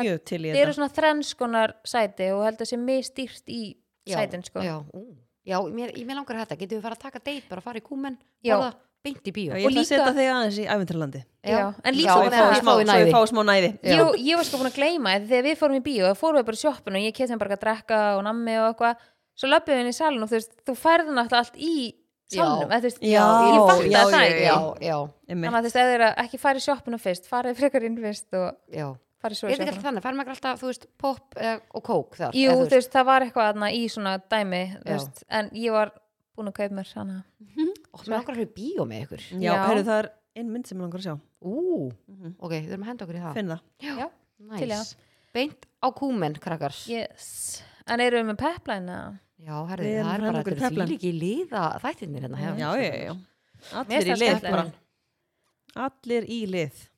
Speaker 1: mjög til í
Speaker 3: Þið eru
Speaker 1: þetta
Speaker 3: svona þrenskonar sæti og held að sé mistýrt í
Speaker 2: Já,
Speaker 3: sætin sko.
Speaker 2: já, ú. já mér, ég- mér langar að þetta, getum við fara að taka date bara að fara í kúmen,
Speaker 3: Já.
Speaker 2: borða beint í bíó
Speaker 1: Já, ég ætla
Speaker 3: Og
Speaker 1: að
Speaker 3: líka-
Speaker 1: setja þig aðeins í æfintralandi
Speaker 3: Já, en líka
Speaker 2: Já,
Speaker 1: svo
Speaker 3: bara
Speaker 1: ég
Speaker 2: bara
Speaker 1: fái
Speaker 2: að
Speaker 1: smá,
Speaker 2: fá í
Speaker 1: svo ég
Speaker 2: næði.
Speaker 1: fái smá næði
Speaker 2: Já.
Speaker 3: Ég, ég var sko búin að gleyma því þegar við fórum í bíó þá fórum við bara í sjoppun og ég kefti mér bara að drekka og nammi og eitthvað svo löpum við inn í salun og þú veist þú færði náttúrulega allt í salnum
Speaker 2: Já.
Speaker 3: eða þú veist,
Speaker 1: Já,
Speaker 3: ég fatt
Speaker 1: já,
Speaker 3: það
Speaker 1: já,
Speaker 3: ekki
Speaker 2: já, já,
Speaker 1: Einmitt.
Speaker 3: þannig að þú veist, ef þið eru að ekki farið sjoppunum fyrst farið frekar inn fyrst og
Speaker 2: já.
Speaker 3: farið svo
Speaker 2: Er þetta
Speaker 3: í
Speaker 2: ekki alltaf
Speaker 3: sjoppunum
Speaker 2: þannig, fær maður ekki alltaf, þú veist, pop eh, og kók þar?
Speaker 3: Jú,
Speaker 2: eða
Speaker 3: þú veist, það var eitthvað þarna í svona dæmi þú
Speaker 2: Já.
Speaker 3: veist, en ég var búin að kaupa mér hana
Speaker 2: Ó, mér oh, langar að hljóða bíó með ykkur.
Speaker 1: Já,
Speaker 3: Já.
Speaker 1: heyrðu, það er einn mynd sem ég langar að sjá
Speaker 2: Ú,
Speaker 1: Mhm.
Speaker 2: ok, við erum að henda okkur í það.
Speaker 1: Finn það
Speaker 3: Já,
Speaker 2: Næs.
Speaker 3: til í það.
Speaker 2: Beint á kúmen, krakkar.
Speaker 3: yes En eru við með pepline eða?
Speaker 2: Já, herðu,
Speaker 1: Við erum
Speaker 2: það
Speaker 1: að
Speaker 2: er
Speaker 1: henda
Speaker 2: bara,
Speaker 1: okkur í
Speaker 2: þetta er
Speaker 1: teflan.
Speaker 2: því líki liða þættirnir hérna.
Speaker 1: Já, já, já, já
Speaker 3: Mér
Speaker 1: Allir í
Speaker 3: finnst
Speaker 1: lið
Speaker 3: það
Speaker 1: bara
Speaker 3: skemmtilegt.
Speaker 1: Allir í lið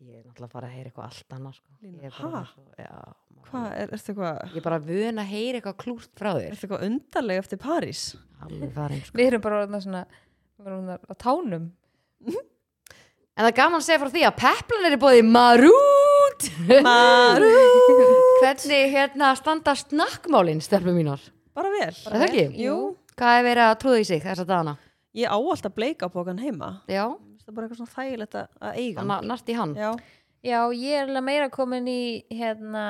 Speaker 2: Ég er náttúrulega bara að heyra eitthvað allt annað, sko. Ég er
Speaker 1: Ha?
Speaker 2: bara, svo, já, maður-
Speaker 1: Hvað, er þetta eitthvað
Speaker 2: Ég er bara vön að heyra eitthvað klúrt frá
Speaker 1: Er
Speaker 2: þér.
Speaker 1: þetta eitthvað undarlega eftir París?
Speaker 2: Alveg farin, sko.
Speaker 3: Við erum bara orðnar svona við erum orðnar á tánum
Speaker 2: En það er gaman að segja frá því að peplan er bóðið marút.
Speaker 1: Maru
Speaker 2: Hvernig hérna standa snakkmálinn, stelpur mínar?
Speaker 1: Bara vel
Speaker 2: Er það ekki?
Speaker 1: Jú
Speaker 2: Hvað er verið að trúða í sig þessa dagana?
Speaker 1: Ég á alltaf bleika bókan heima
Speaker 2: Já,
Speaker 1: Það er bara eitthvað svona þægilegt að- að eiga
Speaker 2: þannig að næst í hann.
Speaker 1: Já,
Speaker 3: Já, ég er alveg meira komin í hérna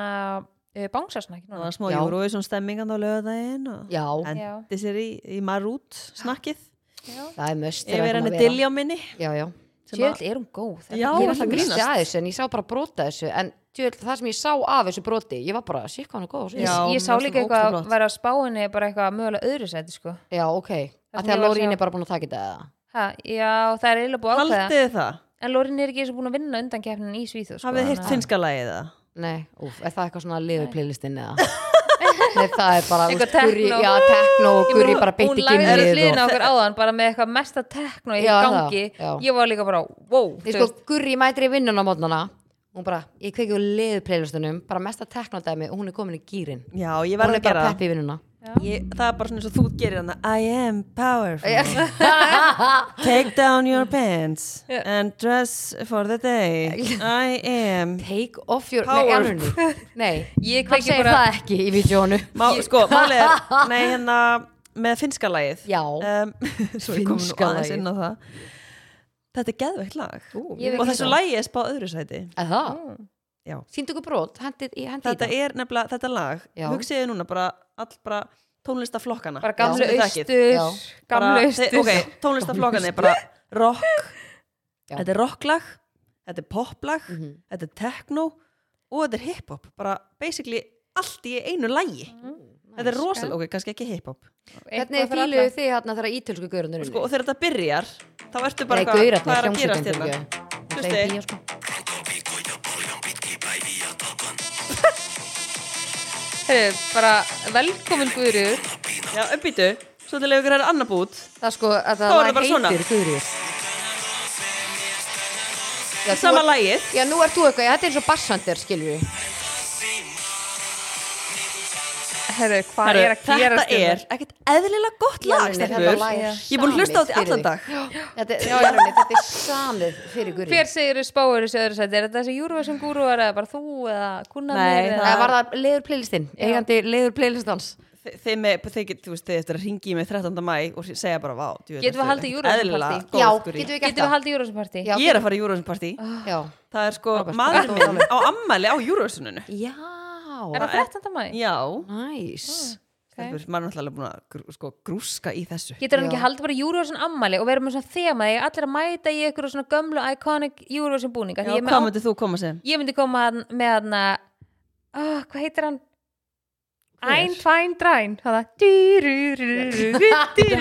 Speaker 3: uh, bánsasnakki
Speaker 1: það var
Speaker 3: núna
Speaker 1: smá
Speaker 2: Já.
Speaker 1: Eurovision stemmingan á lögadaginn og
Speaker 2: Já,
Speaker 3: Já.
Speaker 1: endi sér í, í Marút snakkið
Speaker 3: Já.
Speaker 2: það er möst.
Speaker 1: Ég verið henni dilja minni
Speaker 2: Já, já.
Speaker 1: sem að-
Speaker 3: Sjöld, er hún góð?
Speaker 1: Já, var
Speaker 2: Ég var
Speaker 1: alltaf
Speaker 2: alltaf
Speaker 1: að grínast.
Speaker 2: grínast að þessu en ég sá bara brota þessu en tjöld, það sem ég sá af þessu broti, ég var bara síkka hann er góð. á þessu."
Speaker 1: Já,
Speaker 3: ég,
Speaker 1: mér
Speaker 3: ég sá
Speaker 1: fannst
Speaker 3: líka
Speaker 1: hún
Speaker 3: eitthvað
Speaker 1: ótrúlega
Speaker 3: að vera á spáinni bara eitthvað mögulega öðru sæti sko.
Speaker 2: já ok.
Speaker 3: sem
Speaker 2: Að því
Speaker 3: ég
Speaker 2: að
Speaker 3: var að
Speaker 2: Lórín
Speaker 3: sjá.
Speaker 2: er bara búin að taka þetta eða?
Speaker 3: ha, Já, það er eiginlega búið að ákveða
Speaker 1: Haldið þið það?
Speaker 3: En Lorin er ekki eins og búin að vinna undan keppnin í Svíþjóð sko,
Speaker 1: Hafið þið heyrt
Speaker 3: þannig
Speaker 1: finnska lagið það?
Speaker 2: Nei, úf, er það eitthvað svona liður playlistin eða? Nei, það er bara, þú veist,
Speaker 3: Eitthvað
Speaker 2: gurri,
Speaker 3: techno.
Speaker 2: já, tekno og
Speaker 3: að-
Speaker 2: gurri
Speaker 3: Ég meina,
Speaker 2: bara beint í
Speaker 3: Hún lagði
Speaker 2: gimnið
Speaker 3: hliðin á
Speaker 2: og...
Speaker 3: okkur áðan bara með eitthvað mesta tekno í
Speaker 2: Já, það,
Speaker 3: gangi
Speaker 2: já.
Speaker 3: Ég var líka bara, wow
Speaker 2: Nei, sko, Gurri mætir í vinnun á mótnana hún bara, ég kveiki úr liðplaylistunum bara mesta teknodæmi og hún er komin í gýrin
Speaker 1: Já, ég
Speaker 2: hún
Speaker 1: verði
Speaker 2: er
Speaker 1: að gera
Speaker 2: bara
Speaker 1: það
Speaker 2: peppi í vinnuna
Speaker 1: ég, Það er bara svona eins og þú gerir hann I am powerful Take down your pants and dress for the day I am
Speaker 2: take off your,
Speaker 1: Power.
Speaker 2: nei, alveg nei,
Speaker 3: Ég
Speaker 2: hann
Speaker 3: kveiki
Speaker 2: segir
Speaker 3: bara-
Speaker 2: það ekki í videónu
Speaker 1: Má, Sko, málið er Nei, hérna með finnska lagið
Speaker 2: já,
Speaker 1: um, Svo ég kom nú
Speaker 2: Finnska
Speaker 1: aðeins
Speaker 2: lagið.
Speaker 1: inn á það Þetta er geðveikt lag
Speaker 3: Ég
Speaker 1: Og
Speaker 3: veit
Speaker 1: þessu
Speaker 3: það.
Speaker 1: lagi er spáð öðru sæti
Speaker 2: eða það
Speaker 3: Mm.
Speaker 2: síndu ykkur brot, hendið í hendi
Speaker 1: Þetta er nefnilega, þetta lag
Speaker 2: Já.
Speaker 1: Hugsiði núna bara, all bara tónlistaflokkana
Speaker 3: Bara gamlu
Speaker 1: sem þið þekkið.
Speaker 3: austur
Speaker 2: Já.
Speaker 3: Gamlu
Speaker 1: Bara-
Speaker 3: austur
Speaker 1: þe- ok, tónlistaflokkan er bara rock
Speaker 2: Já.
Speaker 1: þetta er rocklag, þetta er poplag
Speaker 2: mm -hmm.
Speaker 1: þetta er techno og þetta er hiphop bara basically allt í einu lagi
Speaker 3: Mm,
Speaker 1: þetta er rosalega, ok, kannski ekki hiphop
Speaker 2: hvernig
Speaker 3: Eitthvað fyrir
Speaker 2: fíluðu
Speaker 3: alla.
Speaker 2: þið hérna þegar ítölsku gaurunur
Speaker 1: sko, og þegar þetta byrjar þá ertu bara
Speaker 2: nei,
Speaker 1: eitthvað,
Speaker 2: gaurarnir,
Speaker 1: er að gerast
Speaker 2: hljómsveitin
Speaker 1: hérna
Speaker 2: það
Speaker 1: Hlustið.
Speaker 2: er bíó sko
Speaker 3: Heyrðu, bara velkomin Guður
Speaker 1: já, uppbyttu, svo til leiður er annar bút
Speaker 2: það er sko,
Speaker 1: Þá
Speaker 2: að það
Speaker 1: er það bara svona.
Speaker 2: heitir Guri já, þú
Speaker 1: sama
Speaker 2: ert-
Speaker 1: lagið
Speaker 2: Já, nú ert þú eitthvað, já, þetta er eins og bassandir, skilur við.
Speaker 3: Herru, hvað
Speaker 1: Herru,
Speaker 3: er að hérna? gera
Speaker 1: þetta er ekkert eðlilega gott lag stelpur. ég er búin að hlusta á þetta allan dag
Speaker 2: Þetta, já, alveg, þetta er samið fyrir gurri.
Speaker 3: Hver segir þú spáur þessu öðru sæti? Er þetta þessi Júruvæsum gúruvar eða bara þú eða kunna
Speaker 1: Nei,
Speaker 3: mér?
Speaker 2: Það var það leður playlistinn, eigandi leður playlistans.
Speaker 1: Þi- Þið með, þið get, þú veist, þið eftir að ringi mig 13. mæ og segja bara, vá, djú,
Speaker 3: Getum við haldið Eurovision-partí?
Speaker 2: Já,
Speaker 1: getum
Speaker 2: getum
Speaker 1: við
Speaker 2: við
Speaker 3: Getum
Speaker 2: gert
Speaker 3: við
Speaker 2: það?
Speaker 3: haldið Júruvæsum partí?
Speaker 2: Já.
Speaker 1: Ég er að fara í Eurovision partí
Speaker 2: Já.
Speaker 1: Það er sko,
Speaker 2: Frábært.
Speaker 1: maðurinn minn á ammæli á Eurovisioninu
Speaker 2: Já.
Speaker 3: Er það 13. mæ?
Speaker 1: Já,
Speaker 2: Næs.
Speaker 1: Stelpur, maður er náttúrulega alveg búin að grú, sko, grúska í þessu
Speaker 3: Getur hann
Speaker 2: Já.
Speaker 3: ekki haldið bara Eurovision ammali og verið með svona þema þegar allir að mæta í ykkur svona gömlu iconic Eurovision búninga
Speaker 1: Já,
Speaker 3: Því ég, er
Speaker 1: hvað
Speaker 3: með,
Speaker 1: myndir þú koma sem?
Speaker 3: ég myndi koma hann- með hann að oh, hvað heitir hann?
Speaker 1: Hver?
Speaker 3: Ein, tvæn, dræn hann var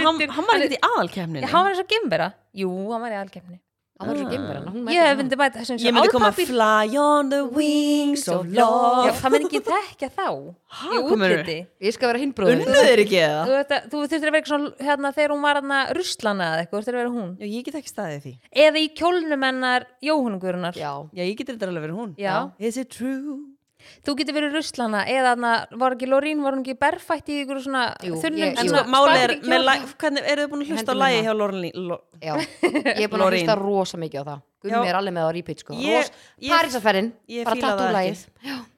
Speaker 1: Hann, hann var ekkert í aðalkefninu
Speaker 3: eins og gimbera Jú, hann var í aðalkefni
Speaker 2: hann var svo
Speaker 1: Ah.
Speaker 2: gimmur hann hún
Speaker 3: Ég
Speaker 2: mætir
Speaker 3: myndi mæta þessum
Speaker 1: Ég myndi koma fly on the wings of
Speaker 3: Já,
Speaker 1: love
Speaker 3: það myndi ekki þekka þá
Speaker 1: Ha,
Speaker 3: í
Speaker 1: hvað meinarðu?
Speaker 3: útliti
Speaker 2: svona. ég skal vera hinn bróður
Speaker 1: Unnu þeir ekki eða?
Speaker 3: Þú, veit að- þú þurftir að vera ekki svona hérna, þegar hún var hérna ruslana eða eitthvað, þú þurftir að vera hún
Speaker 1: Já, ég get ekki staðið í því
Speaker 3: eða í kjólnum hennar Jóhannugurunar
Speaker 2: já,
Speaker 1: Já, ég get þetta alveg verið hún
Speaker 3: Já.
Speaker 1: Is it true?
Speaker 3: þú getur verið ruslana eða hana, var ekki Lorín, var hún ekki berfætt í ykkur svona
Speaker 2: Jú,
Speaker 3: þunnum
Speaker 2: ég-
Speaker 1: En
Speaker 2: jú.
Speaker 1: sko,
Speaker 3: svona
Speaker 1: máli er,
Speaker 3: spaghetti
Speaker 1: með,
Speaker 3: kjól?
Speaker 1: lag- hvernig, eru þið búin að hlusta á
Speaker 2: Hendur
Speaker 1: lagi
Speaker 2: minna.
Speaker 1: hjá Lorelín? Lo-
Speaker 2: já ég er búin að
Speaker 1: Lorín.
Speaker 2: hlusta rosa mikið á það
Speaker 1: Já.
Speaker 2: Gummi er alveg með á repeat sko
Speaker 1: Ég-
Speaker 2: Ros-
Speaker 1: ég-
Speaker 2: Parísarferðin,
Speaker 1: ég
Speaker 2: bara
Speaker 1: fíla það
Speaker 2: tattoo
Speaker 1: ekki.
Speaker 2: lagið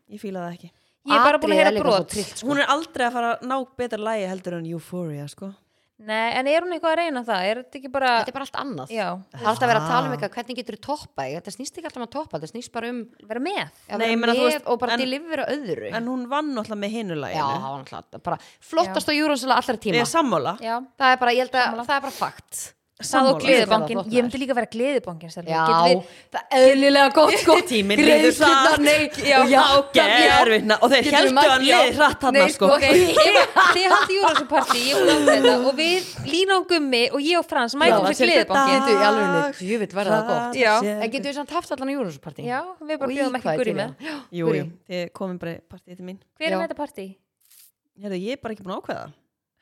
Speaker 1: Ég fíla það ekki
Speaker 3: ég er bara búin
Speaker 2: Atriðið
Speaker 3: að
Speaker 2: er
Speaker 3: heyra
Speaker 2: líka svo
Speaker 3: brot
Speaker 2: trillt, sko.
Speaker 1: Hún er aldrei að fara að ná betra lagi heldur en Euphoria, sko
Speaker 3: Nei, en er hún eitthvað að reyna það, er þetta ekki bara
Speaker 2: þetta er bara allt annað
Speaker 3: já,
Speaker 2: það er alltaf að vera að tala um
Speaker 1: Ah.
Speaker 2: eitthvað hvernig getur þú toppa þig? þetta snýst ekki alltaf um að toppa, þetta snýst bara um
Speaker 3: vera
Speaker 2: að
Speaker 3: með
Speaker 1: Nei,
Speaker 2: vera
Speaker 1: ég meina, þú
Speaker 2: með
Speaker 1: veist,
Speaker 2: og bara
Speaker 1: en-
Speaker 2: delivera öðru
Speaker 1: En hún vann náttúrulega með hinu
Speaker 2: já,
Speaker 1: laginu
Speaker 2: það var alltaf bara flottast á júrónslega allra
Speaker 1: Ég
Speaker 2: tíma
Speaker 1: er sammála
Speaker 3: já,
Speaker 2: það er bara, ég held að það er bara fakt
Speaker 3: það og
Speaker 1: Sammála
Speaker 2: gleði.
Speaker 3: gleðibankin
Speaker 2: Þetta er
Speaker 3: ég myndi líka vera gleðibankin
Speaker 2: já, það er eðlilega gott sko
Speaker 1: Tíminn líður hratt.
Speaker 2: já, já,
Speaker 1: Gerfitna Og þeir
Speaker 2: Getum við
Speaker 1: heldur
Speaker 2: mætt-
Speaker 1: hann
Speaker 2: já.
Speaker 1: liði hratt hann
Speaker 2: Nei,
Speaker 1: sko
Speaker 2: sko,
Speaker 3: ok, ef- þið haldi Júrasson partí ég er búin að ákveða þetta og við Lína og Gummi og ég og Frans mætum
Speaker 1: Já,
Speaker 3: fyrir gleðibankin
Speaker 1: dag.
Speaker 2: getur í alveg djúvitt verða það gott
Speaker 3: Já.
Speaker 2: en getur við samt haft allan á júrónsparti
Speaker 3: já, við bara bjóðum ekki guri með
Speaker 1: Jú, jú, þið komum bara í partíð til mín
Speaker 3: hver er
Speaker 2: Já.
Speaker 3: með þetta partí?
Speaker 1: Herðu, ég er bara ekki búin að ákveða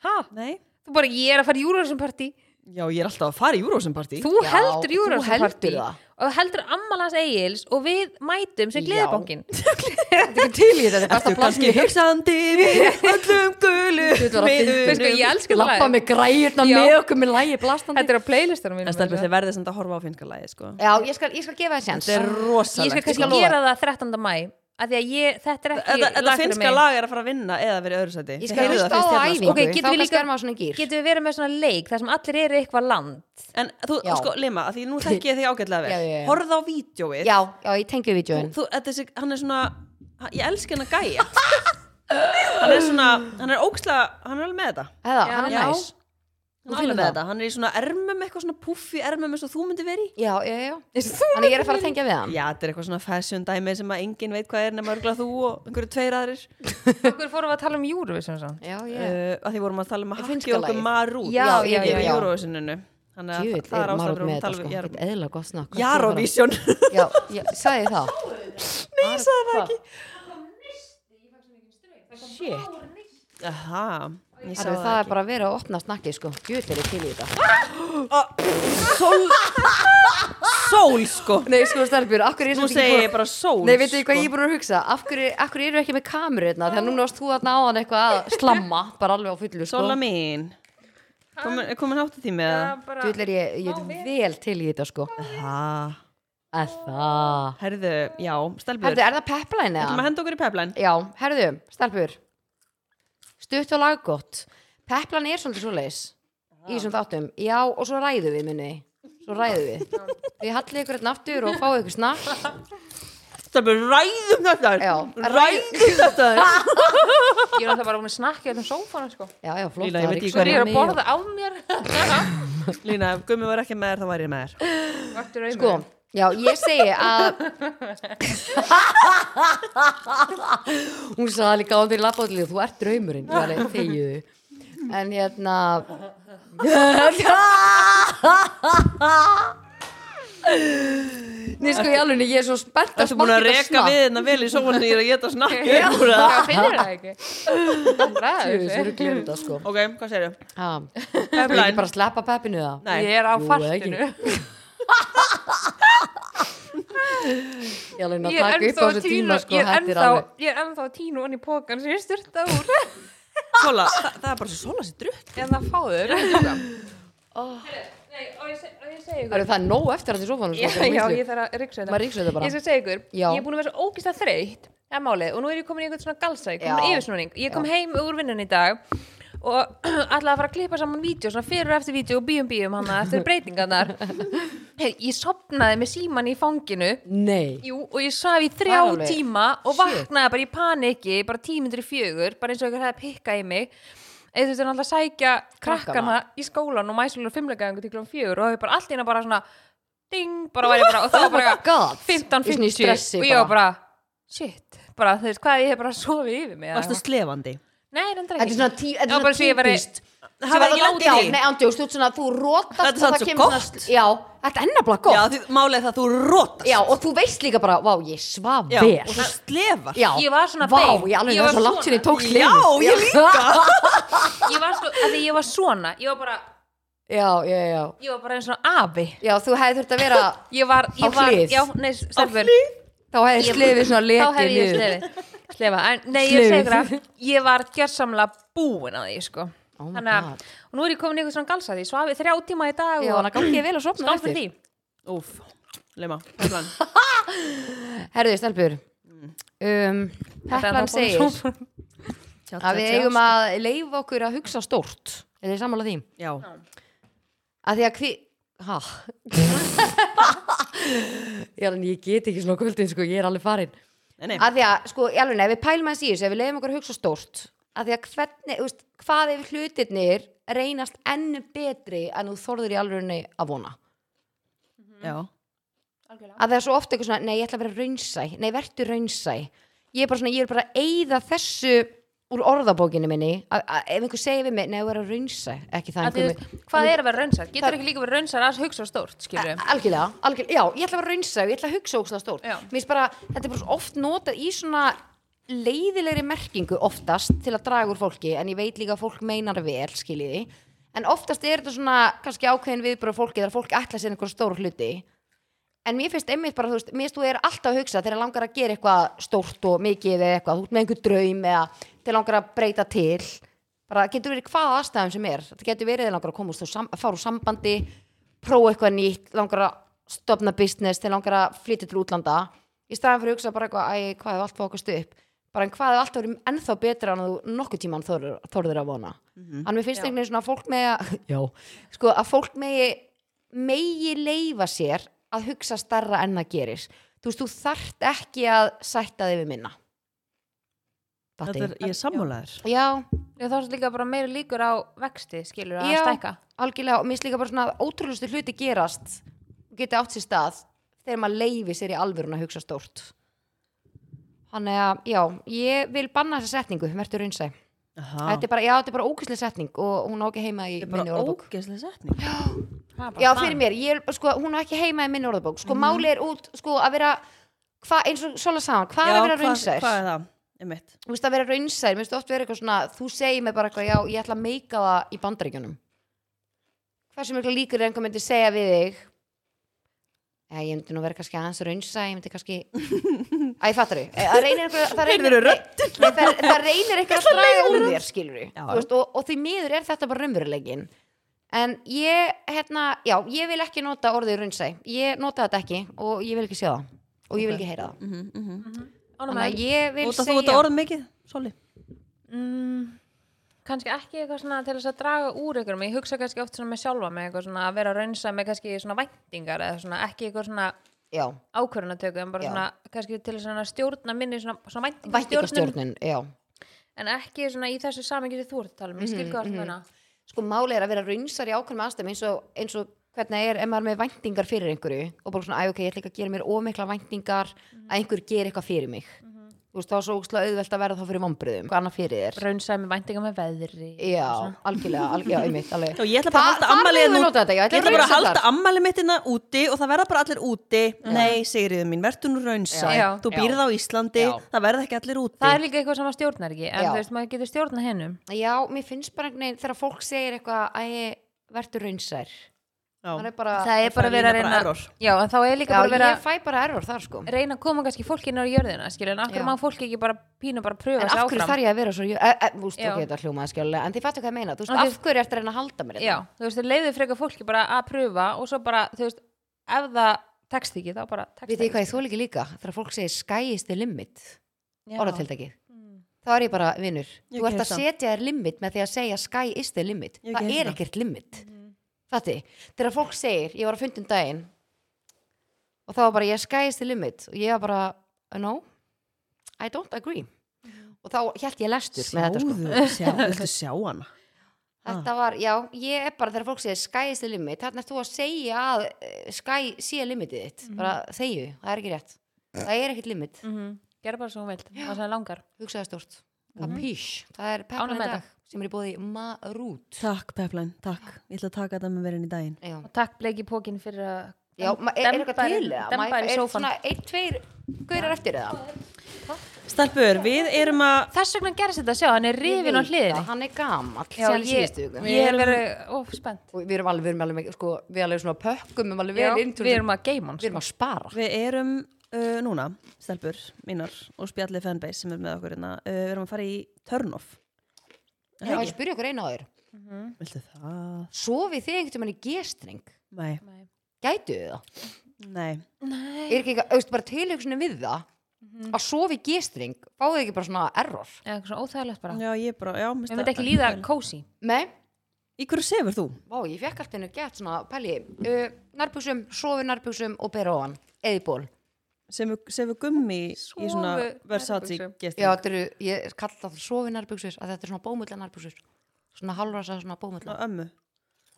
Speaker 3: Ha?
Speaker 1: Nei
Speaker 3: þú bara, ég er að fara Júrasson partí
Speaker 1: Já, ég er alltaf að fara í Eurovision partí
Speaker 3: þú
Speaker 2: Já,
Speaker 3: heldur
Speaker 2: þú
Speaker 3: Júrasson
Speaker 2: heldur
Speaker 3: partí
Speaker 2: það.
Speaker 3: og heldur ammalans eigils og við mætum sem
Speaker 2: Já.
Speaker 3: gleðibankin
Speaker 2: þetta er til í þetta, þetta er besta
Speaker 1: Ertu kannski
Speaker 2: plantið
Speaker 1: hugsandi við öllum gulu
Speaker 2: Þetta var að fyndið.
Speaker 1: miðunum?
Speaker 3: Veistu hvað, ég elska það
Speaker 2: lappa
Speaker 3: lag.
Speaker 2: með græjurna
Speaker 3: Já.
Speaker 2: með okkur með lægi blastandi
Speaker 3: þetta er á playlistanum
Speaker 1: En stelpur, þið verðið samt að horfa á finnska lagi, sko
Speaker 2: já, ég skal, ég skal gefa það séns
Speaker 1: Þetta er rosalegt
Speaker 3: ég skal
Speaker 2: Ég skal
Speaker 3: kannski
Speaker 2: lofa
Speaker 3: gera það 13. mæ að því að ég, þetta er ekki
Speaker 1: Þetta, þetta
Speaker 3: fyrir
Speaker 1: finnska
Speaker 3: mig.
Speaker 1: lag er að fara að vinna eða verið öðru sæti
Speaker 2: ég
Speaker 1: Þið
Speaker 2: skal
Speaker 1: heyrðuð
Speaker 2: hlusta á
Speaker 1: fyrst
Speaker 2: það á
Speaker 1: hérna,
Speaker 2: æfingu
Speaker 3: Ok,
Speaker 2: þá
Speaker 3: getum við
Speaker 2: kannski
Speaker 3: líka-
Speaker 2: er maður svona gýr
Speaker 3: getum við verið með svona leik þar sem allir eru eitthvað land
Speaker 1: sko. En þú,
Speaker 2: Já.
Speaker 1: sko, Lima, að því nú þekki ég þig ágætlega vel
Speaker 2: Já, já, já.
Speaker 1: Horfð á vídjóið
Speaker 2: já, já, ég tengi við vídjóin
Speaker 1: þú, þetta er sig, hann er svona hann- ég elska hennar gæja hann er svona, hann er ókslega hann er alveg með þetta
Speaker 2: eða,
Speaker 3: Já,
Speaker 2: hann er
Speaker 1: já.
Speaker 2: næs
Speaker 1: hann
Speaker 2: Þú
Speaker 1: er alveg
Speaker 2: finnur
Speaker 1: með
Speaker 2: það?
Speaker 1: þetta, hann er í svona ermum eitthvað svona puffi ermum eins og þú myndi veri
Speaker 2: já, já, já,
Speaker 3: Þú-
Speaker 2: þannig ég er að fara að tengja við hann
Speaker 1: já, þetta er eitthvað svona fashion dæmi sem að enginn veit hvað er nema örgla þú og einhverju tveir aðrir
Speaker 3: okkur fórum við að tala um Eurovision samt.
Speaker 2: já, já,
Speaker 1: yeah. uh, að því vorum að tala um að
Speaker 2: Ég finnska
Speaker 1: hakki okkur
Speaker 2: lagið.
Speaker 1: marút
Speaker 3: Já, já,
Speaker 1: ég
Speaker 2: já.
Speaker 1: Eurovisioninu þannig að
Speaker 2: djúvill
Speaker 1: það
Speaker 2: er
Speaker 1: er
Speaker 2: marút
Speaker 1: ástæður að
Speaker 2: með þetta
Speaker 1: tala
Speaker 2: sko,
Speaker 1: um
Speaker 2: þetta er eðlilega gott snakk Hvað er það?
Speaker 1: Jarovision
Speaker 2: já, já, sagði ég það nei, ég sagði það ekki shit
Speaker 1: Aha, ég sá
Speaker 2: Arfi, það er bara að vera að opna snakki sko djúvill er ég til í þetta
Speaker 1: Sól Sól sko
Speaker 2: nei, sko, stelpjur, akkur er
Speaker 1: Nú segi ég bara sól
Speaker 2: Nei, veitu
Speaker 1: sko.
Speaker 2: hvað ég er búin að hugsa? Af hverju, af hverju eru ekki með kameru hérna? Þegar núna varst þú að náðan eitthvað að slamma, bara alveg á fullu, sko.
Speaker 1: Sóla mín Komin, er komin hátta tími eða?
Speaker 3: bara,
Speaker 2: Þú er ég, ég er vel til í þetta, sko.
Speaker 1: Það
Speaker 2: Að það.
Speaker 1: Herðu, já, stelpur
Speaker 2: Herðu, er það pepline
Speaker 1: Ætlum að
Speaker 2: eða?
Speaker 1: henda okkur í peplæn
Speaker 2: Já, herðu, stelpur. Stutt og laggott. Pepline er svolítið svoleiðis í þessum þáttum. Já, og svo ræðu við, munni. Svo ræðu við. Við hallið ykkur hérna aftur og fáið ykkur snakk.
Speaker 1: Stelpur, ræðum þetta
Speaker 2: Já,
Speaker 1: Ræðum þetta
Speaker 3: ég er alltaf bara búin að snakka í öllum sófanum sko.
Speaker 2: Já, já, flott.
Speaker 1: Lína, ég
Speaker 2: það er
Speaker 1: veit ekki
Speaker 2: ykkur
Speaker 3: svo er ég að
Speaker 2: mig og-
Speaker 3: borða af mér
Speaker 1: Lína, ef Gummi var ekki með þér, þá væri ég með þér
Speaker 3: Vaktur augun.
Speaker 1: hérna.
Speaker 2: Sko, já, ég segi að Hún sagði líka á því labbáðlið Þú ert draumurinn, ég var alveg þegiðu En hérna Nei, sko, ég alveg, ég er svo spennt að
Speaker 1: Þetta búin að
Speaker 2: smakka þetta
Speaker 1: reka
Speaker 2: snakk.
Speaker 1: við hérna vel í sófanum þegar ég er að
Speaker 3: Já,
Speaker 1: snakka úr það.
Speaker 3: það finnir það ekki Það
Speaker 2: Jú,
Speaker 3: bræður
Speaker 2: Þessu eru glemt það, sko
Speaker 1: Ok, hvað segir þau?
Speaker 2: Ha, Þú ekki
Speaker 1: Peplæn
Speaker 2: bara að sleppa peppinu það
Speaker 1: Nei,
Speaker 3: Ég er á
Speaker 2: Jú,
Speaker 3: fartinu
Speaker 2: Ég alveg að
Speaker 3: Ég er
Speaker 2: taka upp á
Speaker 3: ennþá að
Speaker 2: þessu
Speaker 3: tína
Speaker 2: tíma, sko
Speaker 3: Ég er
Speaker 2: þetta
Speaker 3: ennþá
Speaker 2: alveg-
Speaker 3: Ég er ennþá að tína onni í pókan sem ég styrta úr Hérna,
Speaker 1: Sóla, það, það er bara svo Sóla sér drutt
Speaker 3: En það fáður Nei,
Speaker 2: Oh.
Speaker 3: og ég seg- og ég segi ykkur
Speaker 2: Alveg, Það er nóg eftir að því sofanum
Speaker 3: Já,
Speaker 2: sko,
Speaker 3: já,
Speaker 2: miklu.
Speaker 3: ég þarf að ryksa þetta
Speaker 2: Maður ríksu þetta bara.
Speaker 3: Ég skal segja ykkur,
Speaker 2: Já.
Speaker 3: ég er búin að vera svo ógist að þreytt Það er málið, og nú er ég komin í einhvern svona galsa Ég komin
Speaker 2: Já.
Speaker 3: í yfirsnúning, ég kom heim úr vinnun í dag Og ætlaði að fara að klippa saman vídeo Svona fyrir og eftir vídeo og bíum bíum hana Eftir breytingarnar Hey, ég sopnaði með síman í fanginu
Speaker 2: Nei
Speaker 3: Jú, og ég svaf í þrjá
Speaker 2: Var alveg-
Speaker 3: tíma og
Speaker 2: Shit.
Speaker 3: vaknaði bara í paniki bara tímyndur í fjögur, bara eins og ykkur hefði að pikka í mig eða þú veist, er alltaf að sækja krakkana í skólan og mæsulega fimmlegaðingu til klón fjögur og það er bara allt í eina bara svona ding, bara var ég bara, og það var bara
Speaker 2: God. Í svona í
Speaker 3: 15-50
Speaker 2: stressi
Speaker 3: og ég var bara, shit bara, þú veist, hvað ég hef bara sofið yfir mig eða
Speaker 1: Varstu
Speaker 3: eitthvað.
Speaker 1: slefandi?
Speaker 3: Nei, reyndar
Speaker 2: Þetta er
Speaker 3: ekki
Speaker 2: svona, tí, þetta
Speaker 3: Já,
Speaker 2: er
Speaker 3: bara
Speaker 2: svona
Speaker 3: svo ég væri-
Speaker 2: típist
Speaker 1: Hafa ekki látið í því?
Speaker 2: Nei, andjóks, hérna, þú ert svona, þú rótast
Speaker 1: Þetta er
Speaker 2: og
Speaker 1: samt svo
Speaker 2: kemur
Speaker 1: gott.
Speaker 2: Já, þetta er ennabla
Speaker 1: Já,
Speaker 2: gott
Speaker 1: því málið er það að þú rótast
Speaker 2: Já, og þú veist líka bara, vá, ég svaf
Speaker 1: Já,
Speaker 2: vel
Speaker 1: og þú slefar
Speaker 2: Já,
Speaker 3: Ég var svona
Speaker 2: Vá,
Speaker 3: bein.
Speaker 2: ég alveg
Speaker 3: Ég
Speaker 2: það var
Speaker 3: var
Speaker 2: svo langt
Speaker 3: svona.
Speaker 2: sinni ég tók
Speaker 1: Já,
Speaker 2: slefur
Speaker 1: ég líka
Speaker 3: ég var, sko, að því ég var svona, ég var bara
Speaker 2: Já, já, já
Speaker 3: ég var bara eins og afi
Speaker 2: Já, þú hefði þurft að vera
Speaker 3: ég var,
Speaker 2: Á
Speaker 3: ég var,
Speaker 2: hlið.
Speaker 3: já, nei, stelfur
Speaker 2: Þá hefði slefið svona lekið
Speaker 3: þá hefði ég
Speaker 2: niður.
Speaker 3: slefi slefa, en nei, ég
Speaker 2: Slefið.
Speaker 3: segi það ég var gjörsamlega búin að því sko.
Speaker 2: Oh my
Speaker 3: Þannig
Speaker 2: God.
Speaker 3: að, og nú er ég komin í eitthvað svona galsa því svo hafið þrjá tíma í dag
Speaker 2: Já,
Speaker 3: og
Speaker 2: þannig að gangi ég vel að sofna
Speaker 3: skál fyrir því
Speaker 1: Úf, leima, hefðan
Speaker 2: Herðu, stelpur um,
Speaker 3: Þetta er
Speaker 2: Heplan
Speaker 3: þá
Speaker 2: segir
Speaker 3: búin að-
Speaker 2: að við eigum að leifa okkur að hugsa stórt Er þið sammála því?
Speaker 1: Já,
Speaker 2: Að því að hví Ha? ég, alveg, ég get ekki svona á kvöldin sko, ég er alveg farin
Speaker 1: nei, nei
Speaker 2: að því að, sko, ég alveg, nefn, við pælum hans í þessu ef við leiðum okkur að hugsa stórt að því að hvernig, þú veist, hvað ef hlutirnir reynast enn betri en þú þorður í alveg að vona
Speaker 1: Já,
Speaker 2: að það er svo ofta eitthvað svona, nei ég ætla að vera raunsæ nei vertu raunsæ ég er bara svona, ég er bara að eyða þessu úr orðabókinu minni að, að, ef einhver segir við mig, nei vera raunsæ ekki það
Speaker 3: Að því,
Speaker 2: einhver
Speaker 3: þú veist, hvað er að vera raunsar? Getur ekki líka verið raunsar að hugsa stórt, skilur
Speaker 2: A- algjörlega, algjörlega, já, ég ætla að vera raunsæ og ég ætla að hugsa ógstlega stórt
Speaker 3: Já.
Speaker 2: mér finnst bara, þetta er bara svo oft notað í svona leiðilegri merkingu oftast til að draga úr fólki en ég veit líka að fólk meinar vel, skiljiði en oftast er þetta svona kannski ákveðin viðbröð fólki þegar fólk ætla sér einhver stór hluti en mér finnst einmitt bara, þú veist, mér finnst þú er alltaf að hugsa þegar langar að gera eitthvað stórt og mikið eða eitthvað, þú ert með einhver draum eða þegar langar að breyta til bara getur verið hvaða aðstæðum sem er það getur verið þegar langar að koma úr sam, fara úr sambandi prófa eitthvað nýtt, langar að stopna business, þegar langar að flytja til útlanda í staðan fyrir að hugsa bara eitthvað æ, hvað hefur allt fókast upp bara en hvað hefur allt verið ennþá betra en þú nokkuð tíman þorður, þorður að vona mm en mér finnst einhvern veginn svona að fólk megi að, sko, að fólk megi megi leifa sér að hugsa starra enn það gerir þú veist, þú þarft ekki að sætta þig við minna
Speaker 1: þetta er, ég er sammálaður
Speaker 2: já,
Speaker 3: Þá er þetta líka bara meira líkur á vexti, skilur að
Speaker 2: ah. Já.
Speaker 3: stækka
Speaker 2: algjörlega og mér finnst líka bara svona að ótrúlustu hluti gerast og geti átt sér stað þegar maður leifi sér í alvörun að hugsa stórt þannig að já, ég vil banna þessa setningu verður raunsæ,
Speaker 1: Aha.
Speaker 2: þetta er bara, já, þetta er bara ókvæslega setning og hún á ekki heima í
Speaker 1: Ah. Þetta er
Speaker 2: minni
Speaker 1: bara
Speaker 2: orðabók
Speaker 1: ógeðslega setning
Speaker 3: Það er bara
Speaker 2: já,
Speaker 3: plan.
Speaker 2: fyrir mér, ég, er- sko, hún á ekki heima í minni orðabók sko, máli er út, sko, að vera hva, eins og svona saman, hvað er að vera raunsær
Speaker 1: Hvað er það? Einmitt.
Speaker 2: þú veist að vera raunsær, mér finnst oft vera eitthvað svona þú segir mér bara eitthvað, já, ég ætla að meika það í bandaríkjunum hversu mikla líkur er einhver myndi segja við þig Já, ég myndi nú vera kannski aðeins raunsæ, ég myndi kannski Æ, fattar þau, það reynir einhver það reynir,
Speaker 1: Heyrðirðu röddina?
Speaker 2: Nei, það, það reynir einhver að draga úr þér, skilur
Speaker 1: Já.
Speaker 2: veist, og, og því miður er þetta bara raunverulegin en ég, hérna já, ég vil ekki nota orðið raunsæ ég nota þetta ekki og ég vil ekki sjá það og ég vil ekki heyra það
Speaker 1: Mhm, mhm.
Speaker 3: Ánægð
Speaker 2: Þannig
Speaker 3: með
Speaker 2: að ég vil
Speaker 1: Notar þú
Speaker 2: segja
Speaker 1: þetta orð mikið? Soli
Speaker 3: mm, kannski ekki eitthvað svona til þess að draga úr ykkur ég hugsa kannski oft svona með sjálfa með eitthvað svona að vera raunsa með kannski svona væntingar eða svona ekki eitthvað svona
Speaker 2: Já,
Speaker 3: ákvörunatöku en bara
Speaker 2: Já.
Speaker 3: svona kannski til þess að stjórna minni svona, svona væntingastjórnum
Speaker 2: vættingastjórnun, já
Speaker 3: en ekki svona í þessu samengi sem þú ert að tala um ég skil hvað mm -hmm.
Speaker 2: sko málið er að vera raunsar í ákveðum aðstæðum eins og, eins og hvernig er ef maður er með væntingar fyrir einhverju og bara svona, æ ok, ég ætla ekki að gera mér ómikla væntingar
Speaker 1: Mhm.
Speaker 2: að einhver ger eitthvað fyrir mig þú veist, þá er svo ógstlega auðvelt að verða þá fyrir vombriðum, hvað annað fyrir þér
Speaker 3: raunsa með væntingar með veðri
Speaker 2: já, algjörlega, algjörlega, einmitt alveg.
Speaker 1: Já, ég ætla bara að
Speaker 2: Þa-
Speaker 1: halda
Speaker 2: þar
Speaker 1: ammælið
Speaker 2: megum við
Speaker 1: nú-
Speaker 2: nota þetta, já,
Speaker 1: Ég
Speaker 2: ætla að
Speaker 1: ætla bara að
Speaker 2: raunsa
Speaker 1: halda
Speaker 2: þar.
Speaker 1: ammæli mitt hérna úti og það verða bara allir úti Nei, segriðu mín, verður nú raunsæ
Speaker 3: Já.
Speaker 1: Þú býrð á Íslandi,
Speaker 2: Já.
Speaker 1: það verða ekki allir úti
Speaker 3: það er líka eitthvað sem að stjórnar ekki en
Speaker 2: Já.
Speaker 3: þú veist maður getur stjórna hennum
Speaker 2: já, mér finnst bara einhvern veginn þegar fólk segir eitthvað æ, verður raunsar það
Speaker 1: Já.
Speaker 2: er bara,
Speaker 3: það er bara
Speaker 1: fær
Speaker 3: að vera að
Speaker 1: líka bara
Speaker 3: reyna
Speaker 1: error.
Speaker 3: já, en þá er
Speaker 2: já,
Speaker 3: líka bara að vera
Speaker 2: ég fæ bara error þar sko
Speaker 3: reyna að koma kannski fólkinu á jörðina skilur, en akkur
Speaker 2: Já.
Speaker 3: má fólk ekki bara pínu bara pröfa
Speaker 2: en
Speaker 3: sig
Speaker 2: af hverju
Speaker 3: áfram
Speaker 2: þarf ég að vera svo e, e, úst,
Speaker 3: Já.
Speaker 2: okay, þetta hljómaði skjálega, en þið fattu hvað ég meina þú veist,
Speaker 3: Ok.
Speaker 2: af hverju ertu að reyna að halda mér hérna? þetta?
Speaker 3: Já, þú veist, leiðu frekar fólki bara að pröfa og svo bara, þú veist, ef það tekst ekki, þá bara tekst
Speaker 2: Vitið þið hvað ég þóla ekki líka? Þegar fólk segir sky is the limit orðatildakið,
Speaker 3: Mm.
Speaker 2: þá er ég bara vinnur,
Speaker 1: Ég
Speaker 2: þú ert
Speaker 1: get
Speaker 2: að
Speaker 1: það.
Speaker 2: setja þér limit með því að segja sky is the limit
Speaker 1: Ég
Speaker 2: það
Speaker 1: get
Speaker 2: er
Speaker 1: það.
Speaker 3: Mhm.
Speaker 2: ekkert limit Fatti, þegar fólk segir, ég var að fundum daginn og þá var bara ég skæðist til limit og ég var bara, "Uh, no I don't agree
Speaker 3: Mhm.
Speaker 2: og þá held ég lestur með þetta sko
Speaker 1: Sjáðu, sjá, viltu sjá hana?
Speaker 3: Ah.
Speaker 2: Þetta var, já, ég er bara þegar fólk segir sky is the limit, þannig að þú að segja að eh, sky sé limitið þitt
Speaker 3: Mhm.
Speaker 2: bara þegju, það er ekki rétt
Speaker 3: Eh.
Speaker 2: það er ekkit limit,
Speaker 3: mm -hmm. gera bara svo hún vilt, það sem það langar
Speaker 2: hugsaði stort kapís, það er
Speaker 3: Mhm. Ánægð
Speaker 2: peppan
Speaker 3: með
Speaker 2: í dag sem er í bóði marút
Speaker 1: Takk, Peplæn, takk. Ég ætla að taka þetta með verðin í daginn.
Speaker 2: já,
Speaker 3: og takk bleiki pókin fyrir að
Speaker 2: já ma- er, er eitthvað
Speaker 3: Dembar-
Speaker 2: til eða? Ma-
Speaker 3: dembar í
Speaker 2: er
Speaker 3: sófann.
Speaker 2: svona ein, tveir, gaurar eftir eða
Speaker 1: Stelpur, við erum að...
Speaker 3: þess vegna gerðist þetta, sjá, hann er rifin
Speaker 2: Ég
Speaker 3: á
Speaker 2: veit
Speaker 3: hliðinni
Speaker 2: það, hann er gamall
Speaker 3: Já,
Speaker 2: síðan í
Speaker 3: ég,
Speaker 2: síðustu viku.
Speaker 3: ég er verið ofspennt
Speaker 2: og við erum alveg, við erum alveg, sko, við alveg svona pökkum um alveg
Speaker 3: Já,
Speaker 2: vel inn
Speaker 3: við erum að
Speaker 2: við
Speaker 3: geima hann
Speaker 2: erum að sko. spara
Speaker 1: Við erum uh, núna, stelpur, mínar og spjallið fanbase sem er með okkur hérna, uh, við erum að fara í turn-off.
Speaker 2: Já, ég spyrja okkur eina á þér
Speaker 1: Viltu það?
Speaker 2: sofið þið einhvern veginn í gestring
Speaker 1: Nei.
Speaker 2: gætu þið það?
Speaker 1: Nei.
Speaker 3: nei,
Speaker 2: er ekki eitthvað, auðvitað bara tilhugsunum við það að sofa í gestring, fáið þið ekki bara svona error
Speaker 3: eða svona óþægilegt bara
Speaker 1: Já, ég bara, já,
Speaker 3: við
Speaker 1: mista...
Speaker 3: myndum ekki líða kósi
Speaker 2: nei,
Speaker 1: Í hverju sefur þú?
Speaker 2: vá, ég fekk allt hennu gett svona pæli, uh, nærbuxum sofið nærbuxum og bera ofan, eðból
Speaker 1: Sefur, sefur gummi í svona
Speaker 3: Sofu-
Speaker 1: Versace
Speaker 3: nærbuxum.
Speaker 1: gestur?
Speaker 2: já, þetta eru, ég kalla það sofið nærbuxur að þetta er svona bómullar nærbuxur svona hálfrasa, svona bómullar
Speaker 1: Ömmu.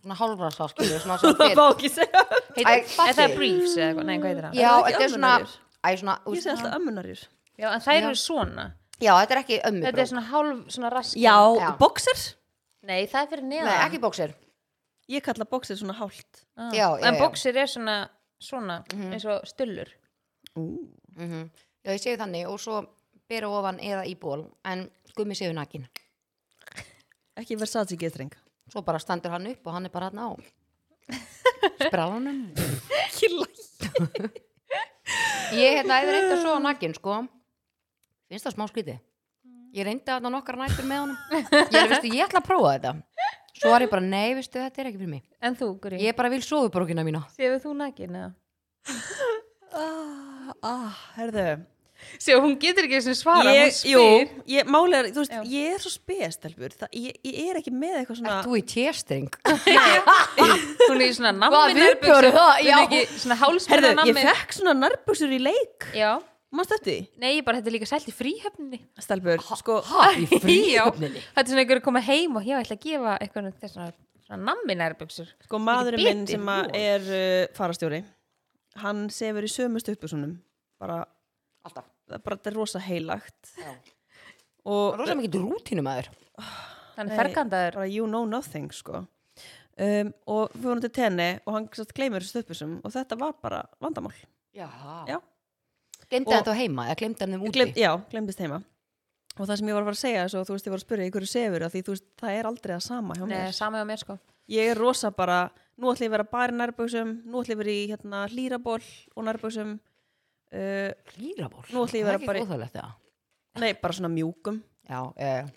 Speaker 2: svona hálfrasa, skilur, svona sem
Speaker 1: Það
Speaker 2: fyrir
Speaker 1: má ekki segja.
Speaker 2: Æ,
Speaker 3: heitir,
Speaker 2: fattu.
Speaker 3: er það briefs eða eitthvað, nei, hvað heitir það
Speaker 2: já,
Speaker 1: Er það ekki ömmunarjur?
Speaker 2: þetta er svona æ, svona, úr,
Speaker 1: Ég segi alltaf ömmunarjur.
Speaker 3: já, en það eru svona
Speaker 2: já, þetta er ekki ömmu
Speaker 3: þetta er svona hálf, svona rask
Speaker 1: Já,
Speaker 2: Já.
Speaker 1: boxer?
Speaker 3: nei, það er fyrir neðan
Speaker 2: nei, ekki bóksir
Speaker 1: Ég kalla boxer svona hálft.
Speaker 3: Ah.
Speaker 2: Já, já, Mhm.
Speaker 3: en
Speaker 2: já.
Speaker 3: bóksir er svona, svona eins og stullur
Speaker 1: Ú.
Speaker 2: Mhm. já, ég segi þannig og svo bera ofan eða í ból en gummi séu nakin
Speaker 1: Ekki Versace getring.
Speaker 2: svo bara standur hann upp og hann er bara hann á sprálanum
Speaker 1: Ekki læg.
Speaker 2: ég hérna, ég reyndi að sofa nakin sko finnst það smá skríti ég reyndi að það nokkar nættur með honum ég, er, veistu, ég ætla að prófa þetta svo var ég bara, nei, veistu, þetta er ekki fyrir mig
Speaker 3: en þú, Guri,
Speaker 2: ég bara vil sofubrókina mína
Speaker 3: séu þú nakin eða
Speaker 1: Ah, herðu.
Speaker 3: séu, hún getur ekki þessum svara,
Speaker 1: Ég,
Speaker 3: hún
Speaker 1: jú,
Speaker 3: spyr
Speaker 1: ég málega, þú veist, ég er svo spestelpur. Ég, ég er ekki með eitthvað svona...
Speaker 2: þú í tjestring
Speaker 3: hún er í svona
Speaker 2: Hvað,
Speaker 3: nammi
Speaker 2: viðbjóður það?
Speaker 3: hún er
Speaker 2: Já.
Speaker 3: ekki svona hálsmenn
Speaker 1: Herðu, ég fekk svona nærbuxur í leik.
Speaker 3: já,
Speaker 1: Mást eftir því?
Speaker 3: nei, bara þetta er líka sælt í fríhöfninni
Speaker 1: Stelpur, sko...
Speaker 2: ha, í
Speaker 3: Já,
Speaker 2: fríöfninni
Speaker 3: þetta er svona einhver að koma heim og já, ég ætla að gefa eitthvað þess að svona nammi nærbuxur
Speaker 1: Sko maðurinn minn
Speaker 3: biti,
Speaker 1: sem að
Speaker 3: jú.
Speaker 1: er uh, farastjóri hann sefur í sömu stuppusunum bara,
Speaker 2: alltaf,
Speaker 1: það- bara þetta er rosa heilagt
Speaker 2: Já.
Speaker 1: og
Speaker 2: rosa mikið rútinu maður
Speaker 3: þannig fergandaður
Speaker 1: bara you know nothing sko um, og við vorum til tenni og hann satt, gleymur þessu stuppusum og þetta var bara vandamál
Speaker 2: já,
Speaker 1: Já.
Speaker 2: glemdi
Speaker 1: Og-
Speaker 2: þetta á heima eða glemdi hann þeim úti
Speaker 1: Glem, já, glemdist heima og það sem ég var að fara að segja svo, þú veist, ég var að spyrja í hverju sefur af því þú veist, það er aldrei að sama hjá
Speaker 3: Nei,
Speaker 1: mér
Speaker 3: sama hjá mér sko
Speaker 1: ég er rosa bara, nú ætlum ég að vera bara í nærböksum nú ætlum ég að vera í hérna, hlýraból og nærböksum uh,
Speaker 2: hlýraból,
Speaker 1: Nú ætla ég að vera bara í-
Speaker 2: óþægilegt það
Speaker 1: nei, bara svona mjúkum
Speaker 2: já, eh,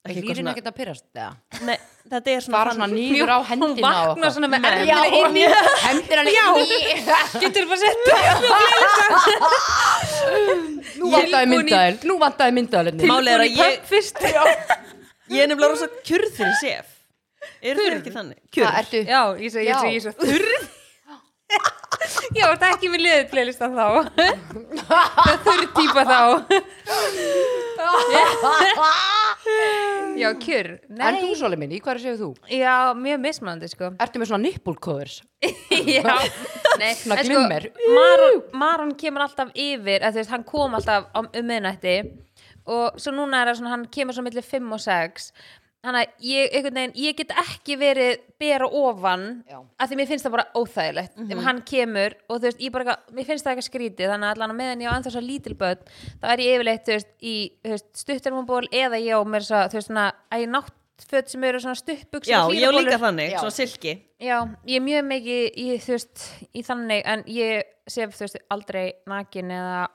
Speaker 1: Ekki
Speaker 2: ekki
Speaker 1: eitthvað
Speaker 2: hlýrinu
Speaker 1: svona-
Speaker 2: ekkert að pyrrast eða
Speaker 1: Nei, þetta er svona
Speaker 2: bara svona nýður á hendina
Speaker 3: hún vaknar svona með ermina inn í
Speaker 2: hendur hann í
Speaker 3: getur bara sett
Speaker 2: nú vantaði myndaðil nú vantaði myndaðil
Speaker 1: Málið er að ég,
Speaker 3: fyrst
Speaker 1: ég er nefnilega rosa kjörð fyrir sef Er þau ekki þannig?
Speaker 2: það
Speaker 1: Kjörð
Speaker 2: ertu
Speaker 3: já, ég segi, ég segi, ég segi þurr já, þetta er ekki með liðið playlistan þá það er þurr típa þá já, kjör
Speaker 2: en
Speaker 3: nei,
Speaker 2: þú svolei minn, í hverju séu þú?
Speaker 3: já, mjög mismunandi sko
Speaker 2: ertu með svona nippulcovers
Speaker 3: já, nei,
Speaker 2: Svona
Speaker 3: en sko,
Speaker 2: glimmer.
Speaker 3: Maron, Maron kemur alltaf yfir eða, þú veist, hann kom alltaf á, um miðnætti og svo núna er það svona hann kemur svo millir 5 og 6 þannig að ég, einhvern veginn, ég get ekki verið bera ofan
Speaker 2: Já.
Speaker 3: af því mér finnst það bara óþægilegt mm
Speaker 1: Mhm.
Speaker 3: hann kemur og þú veist, ég bara eitthvað- mér finnst það eitthvað skrítið, þannig að allan á meðan ég á ennþá svo lítil börn, þá er ég yfirleitt þú veist, í þú veist, stuttarmumból eða ég á mér svo, þú veist, svona, að ég náttföt sem eru svona stuttbuks
Speaker 1: Já, ég er líka þannig,
Speaker 2: Já.
Speaker 1: svona silki
Speaker 3: Já, ég er mjög mikið í, þú veist, í þannig en ég sef þú veist, aldrei nakin eða,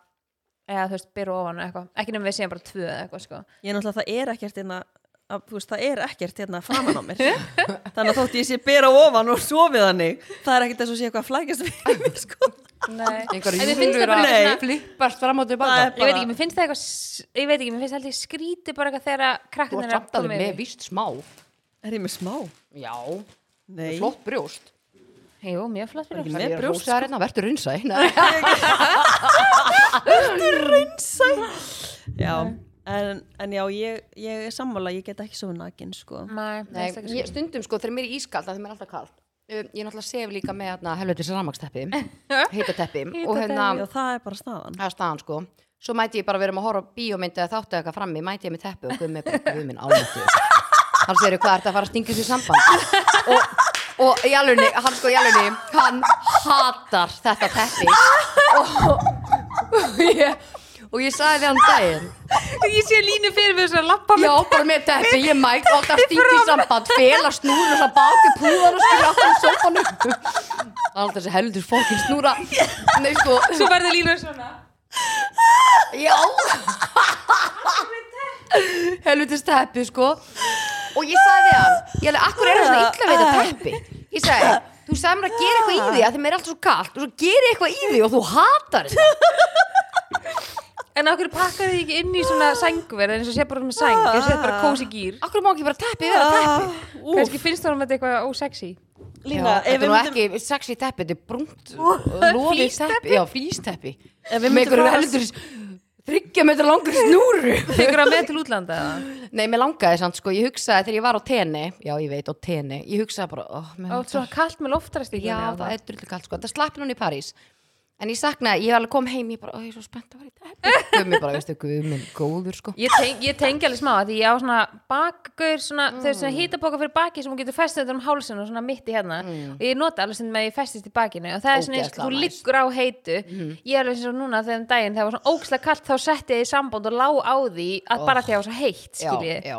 Speaker 3: eða þú veist, byrja ofan eða eitthvað, ekki nefnum við séum bara tvö eða eitthvað sko.
Speaker 1: Ég er náttúrulega, það er ekkert hérna að, þú veist, það er ekkert hérna framan á mér þannig að þótt ég sé bera ofan og sofið þannig það er ekkert þess að sé eitthvað að flækjast við mig, sko.
Speaker 3: Nei, en
Speaker 2: einhverju
Speaker 3: mér finnst það
Speaker 2: júlur
Speaker 3: bara
Speaker 1: Nei.
Speaker 2: að
Speaker 3: eitthvað svona-
Speaker 2: flippast fram og
Speaker 1: Það
Speaker 2: tilbaka
Speaker 1: er-
Speaker 3: ég veit ekki, mér finnst það eitthvað s- ég veit ekki, mér finnst það alltaf skríti bara eitthvað þegar að
Speaker 2: þú
Speaker 3: krakkarnir
Speaker 2: ert samt alveg með
Speaker 3: yfir.
Speaker 2: vist smá
Speaker 1: Er ég með smá?
Speaker 2: já,
Speaker 1: Nei,
Speaker 2: flott brjóst
Speaker 3: Jú, mjög flott
Speaker 1: Var
Speaker 3: fyrir
Speaker 1: ekki
Speaker 3: okkur.
Speaker 1: með brjóst
Speaker 2: Það er
Speaker 3: sko.
Speaker 2: hérna, verður reynsæ
Speaker 1: já, en, en já, ég, ég er sammála ég get ekki svo nakin sko
Speaker 3: Nei,
Speaker 2: Nei,
Speaker 3: alls ekki,
Speaker 2: ég, stundum sko, þegar mér er ískalt það er mér alltaf kalt um, Ég náttúrulega sef líka með hérna, helvetis rannmaksteppi Heitateppi Og hérna,
Speaker 1: já, það er bara staðan
Speaker 2: það er staðan sko Svo mæti ég bara vera með að horfa á bíómyndu eða þáttu eða eitthvað frammi, mæti ég með teppi og guðmi bara, guð minn álmættu. Hann segir, hvað ertu að fara að stinga þessu samband? Og, og í alunni, hann sko í alunni, hann hatar þetta teppi. Og, og ég, og ég sagði við hann daginn,
Speaker 3: Ég sé línu fyrir mig þess að lappa
Speaker 2: já, bara með teppi, ég mæk alltaf stingi samband, fela snúrun og svo baki púðan og skilja alltaf í sófanum. Það er alltaf þessi heldur fókin snúra. Nei, sko,
Speaker 3: Svo verður línu svona
Speaker 2: Já Helvitis teppi sko Og ég sagði við hann Ég alveg, akkur er það svona illa við þetta teppi Ég sagði, þú sagði mér að gera eitthvað í því að þeim er alltaf svo kalt og svo gera eitthvað í því og þú hatar þetta
Speaker 3: En af hverju pakkar þið ekki inn í svona sænguverð eins og sé bara með sæng, eins og sé bara kósi gýr
Speaker 2: Akkur má ekki bara teppi
Speaker 1: Ah,
Speaker 2: vera teppi
Speaker 3: Ah. Kanski finnst það um þetta eitthvað ósexy
Speaker 1: Lína,
Speaker 2: Já,
Speaker 1: ef
Speaker 2: Þetta
Speaker 1: við
Speaker 2: er nú
Speaker 1: myndum,
Speaker 2: ekki sexy teppi, þetta er brúnt lofið teppi, já flýsteppi
Speaker 1: Ef við
Speaker 2: Með
Speaker 1: myndum
Speaker 2: einhverju
Speaker 1: fara-
Speaker 2: heldur þryggja metra langur snúru
Speaker 3: Tekur það með til útlanda eða?
Speaker 2: Nei, mér langaði samt sko, ég hugsaði þegar ég var á tenni Já, ég veit, á tenni, ég hugsaði bara oh,
Speaker 3: Ó, svona kallt með loftarastíkunni
Speaker 2: Já, það er drullu kallt sko, það slapp núna í París En ég saknaði, ég alveg kom heim, ég bara, ó, ég er svo spennt að vera í dag Gumi bara, veistu, gumi, góður sko
Speaker 3: Ég, teng, ég tengi alveg smá að því ég á svona bakgaur, svona, mm. þeir svona hýtabóka fyrir baki sem hún getur festið þetta um hálsinn og svona mitt í hérna og ég nota alveg sem með ég festist í bakinu og það er svona eins og
Speaker 2: Ógeðslega
Speaker 3: þú
Speaker 2: næs.
Speaker 3: liggur á heitu ég er alveg eins og núna þegar um daginn þegar var svona ókslega kallt þá setti ég í samband og lá á því að bara því að það var svo heitt
Speaker 2: Já,
Speaker 3: skiljið
Speaker 2: já,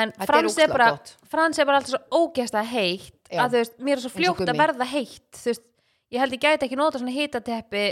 Speaker 3: en
Speaker 2: Þetta er
Speaker 3: frans er,
Speaker 2: ógeðslega
Speaker 3: bara
Speaker 2: gott.
Speaker 3: frans er bara alltaf svo ógæsta heitt
Speaker 2: Já.
Speaker 3: að þú veist, mér er svo
Speaker 2: og
Speaker 3: fljótt
Speaker 2: gúmmí.
Speaker 3: að verða heitt þú veist, ég held ég gæti ekki nota svona hitateppi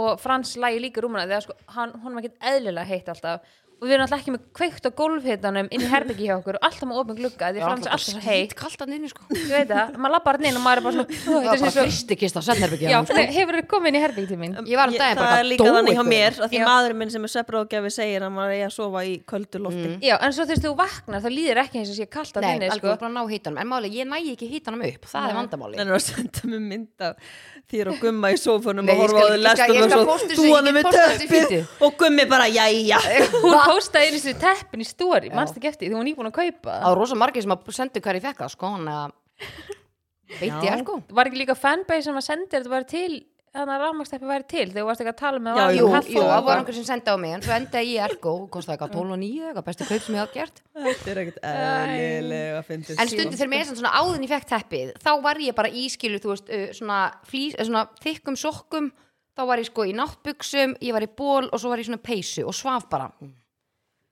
Speaker 3: og frans lægi líka rúmuna þegar sko, hann, hún er ekki eðlilega heitt alltaf og við erum alltaf ekki með kveikt á gólfhitanum inn í herbyggi hjá okkur og alltaf með opin glugga því
Speaker 2: já
Speaker 3: frans er alltaf svo heitt
Speaker 2: Kallt að nynni sko
Speaker 3: ég veit það, maður lappar hann inn og maður er bara svona "Ó,
Speaker 2: Það var
Speaker 3: þetta er
Speaker 2: bara
Speaker 3: sem svo-
Speaker 2: fristikist á Sennherbyggja
Speaker 3: Já, nei, hefur þið komið inn í herbyggi til mín
Speaker 2: Ég var um
Speaker 1: Ég-
Speaker 2: daginn
Speaker 1: það er
Speaker 2: bara hvað
Speaker 1: líka
Speaker 2: dóu
Speaker 1: þannig hjá
Speaker 2: ykkur.
Speaker 1: mér að því
Speaker 3: Já.
Speaker 1: maðurinn minn sem er svefnráðgjafi segir að maður er að sofa í köldu lofti
Speaker 2: Mm.
Speaker 3: Já, en svo þú veist, þú vaknar, þá líður ekki eins og sé kallt að
Speaker 2: Nei,
Speaker 3: inni,
Speaker 2: alveg
Speaker 3: sko
Speaker 2: sko. bara að ná hítanum, en máli, ég nægi ekki hítanum upp, það er vandamáli
Speaker 1: en er að senda mér mynd af þér og gumma í sófunum
Speaker 2: Nei,
Speaker 1: og
Speaker 2: ég
Speaker 1: horfa á þau
Speaker 2: skal- ég
Speaker 1: lestum
Speaker 2: skal- ég
Speaker 1: og
Speaker 2: skal
Speaker 1: svo
Speaker 2: posta þessu,
Speaker 1: dúana
Speaker 2: ég
Speaker 1: með
Speaker 2: posta þessu í
Speaker 1: teppi
Speaker 2: fítu.
Speaker 1: og gummi bara jæja
Speaker 3: Hún postaði einu sér teppin í stóri, mannst ekki eftir, því hún var nýbúin að kaupa það.
Speaker 2: Það var rosa margir sem að sendu hverju fekk það sko, hann að Veit ég sko
Speaker 3: var ekki líka fanbase sem að senda þér þetta væri til þannig að rafmagsteppi væri til þegar þú varst ekki að tala með
Speaker 1: Já,
Speaker 2: Jú,
Speaker 1: Kaffi
Speaker 2: jú,
Speaker 1: og
Speaker 2: það var
Speaker 1: eitthvað.
Speaker 2: einhver sem sendi á mig en svo endaði ég í Ergo og kostaði eitthvað 12 og 9 eitthvað bestu kaup sem ég hafði gert
Speaker 1: þetta er ekkert eðlilega fyndið
Speaker 2: en stundu þegar mér er svona áðin ég fekk teppið þá var ég bara ískilu, þú veist, uh, svona, flýs, eh, svona þykkum sokkum þá var ég sko í náttbuxum, ég var í ból og svo var ég í svona peysu og svaf bara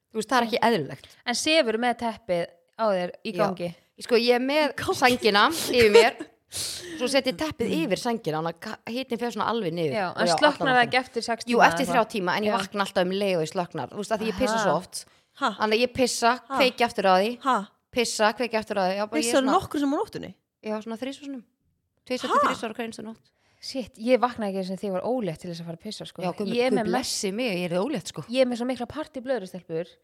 Speaker 2: þú veist, það er ekki eðlilegt
Speaker 3: en sefur með teppið á þér í gangi
Speaker 2: Já. Ég sko, ég er með sængina yfir mér svo sett ég teppið yfir sængina þannig að hittin fyrir svona alveg niður
Speaker 3: Já,
Speaker 2: Og
Speaker 3: en
Speaker 2: allan
Speaker 3: sloknar það
Speaker 2: allan.
Speaker 3: ekki eftir
Speaker 2: Jú,
Speaker 3: 6
Speaker 2: eftir
Speaker 3: tíma eða
Speaker 2: þrjá
Speaker 3: eitthvað?
Speaker 2: tíma, en ég
Speaker 3: Já.
Speaker 2: vakna alltaf um leið og ég slöknar Þú veist, að því ég pissa
Speaker 3: Aha.
Speaker 2: svo oft
Speaker 1: Ha?
Speaker 2: Þannig að ég pissa, kveiki aftur á því
Speaker 1: ha,
Speaker 2: Pissa, kveiki aftur á því Já, bara ég er
Speaker 1: vissar
Speaker 2: svona,
Speaker 1: nokkur sem á nóttunni
Speaker 2: já, svona þrísvarsunum Tvísvar til þrísvar og hverjumstu nótt
Speaker 3: Shit, ég vakna ekki eins og því var ólétt til þess að fara að pissa sko.
Speaker 2: Já, guð,
Speaker 3: ég, er
Speaker 2: guð
Speaker 3: með mest,
Speaker 2: blessi mig, ég er ólétt sko
Speaker 3: ég er með svo mikla partyblöðurstelpur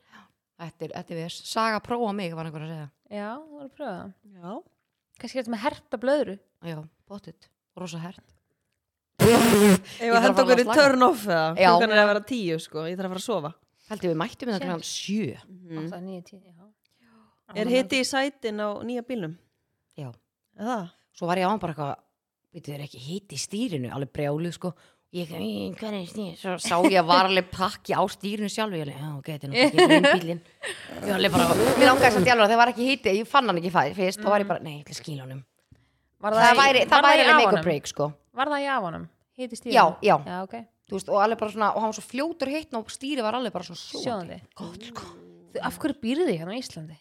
Speaker 2: Þetta er, þetta er vers, saga prófa mig var einhver að segja
Speaker 3: Já, þú var að pröfa það
Speaker 1: já,
Speaker 3: Kannski er þetta með herta blöðru
Speaker 2: Já, bóttið, rosa hert
Speaker 1: ég var að
Speaker 2: þarf
Speaker 1: henda
Speaker 2: alveg
Speaker 1: okkur
Speaker 2: að
Speaker 1: í
Speaker 2: slaka.
Speaker 1: turn off eða
Speaker 2: Já.
Speaker 1: klukkan er að vera tíu sko, ég þarf að fara að sofa
Speaker 2: Hældi við mættum
Speaker 3: Shit.
Speaker 2: þetta hann sjö
Speaker 1: Mm.
Speaker 3: 8, 9, 10 já. Ah,
Speaker 1: er hiti í sætin á nýja bílnum
Speaker 2: Já,
Speaker 1: Er það?
Speaker 2: svo var ég á hann bara eitthvað Við þau ekki hitt í stýrinu, alveg brjáluð sko Ég, hver er stýrinu? Svo sá ég að var alveg pakki á stýrinu sjálf Ég alveg, já, ok, þetta er náttúrulega ekki bílinn Ég alveg bara, mér ángaði samt í alveg að Það var ekki hitti, ég fann hann ekki fæ- fyrst Þá var ég bara, nei, ég ætla að skýla honum
Speaker 3: Var
Speaker 2: Mm. Það
Speaker 3: í-
Speaker 2: væri, það
Speaker 3: var
Speaker 2: væri
Speaker 3: í
Speaker 2: alveg make
Speaker 3: afanum?
Speaker 2: or break sko
Speaker 3: Var það í afanum? Hiti stíðum?
Speaker 2: Já, já,
Speaker 3: Já, ok
Speaker 2: þú veist, og alveg bara svona Og hann var svo fljótur hitt og stýri var alveg bara svona sjóðandi.
Speaker 3: Sjóðandi.
Speaker 2: Gott sko,
Speaker 3: Þú- Af hverju býrði ég hérna á Íslandi?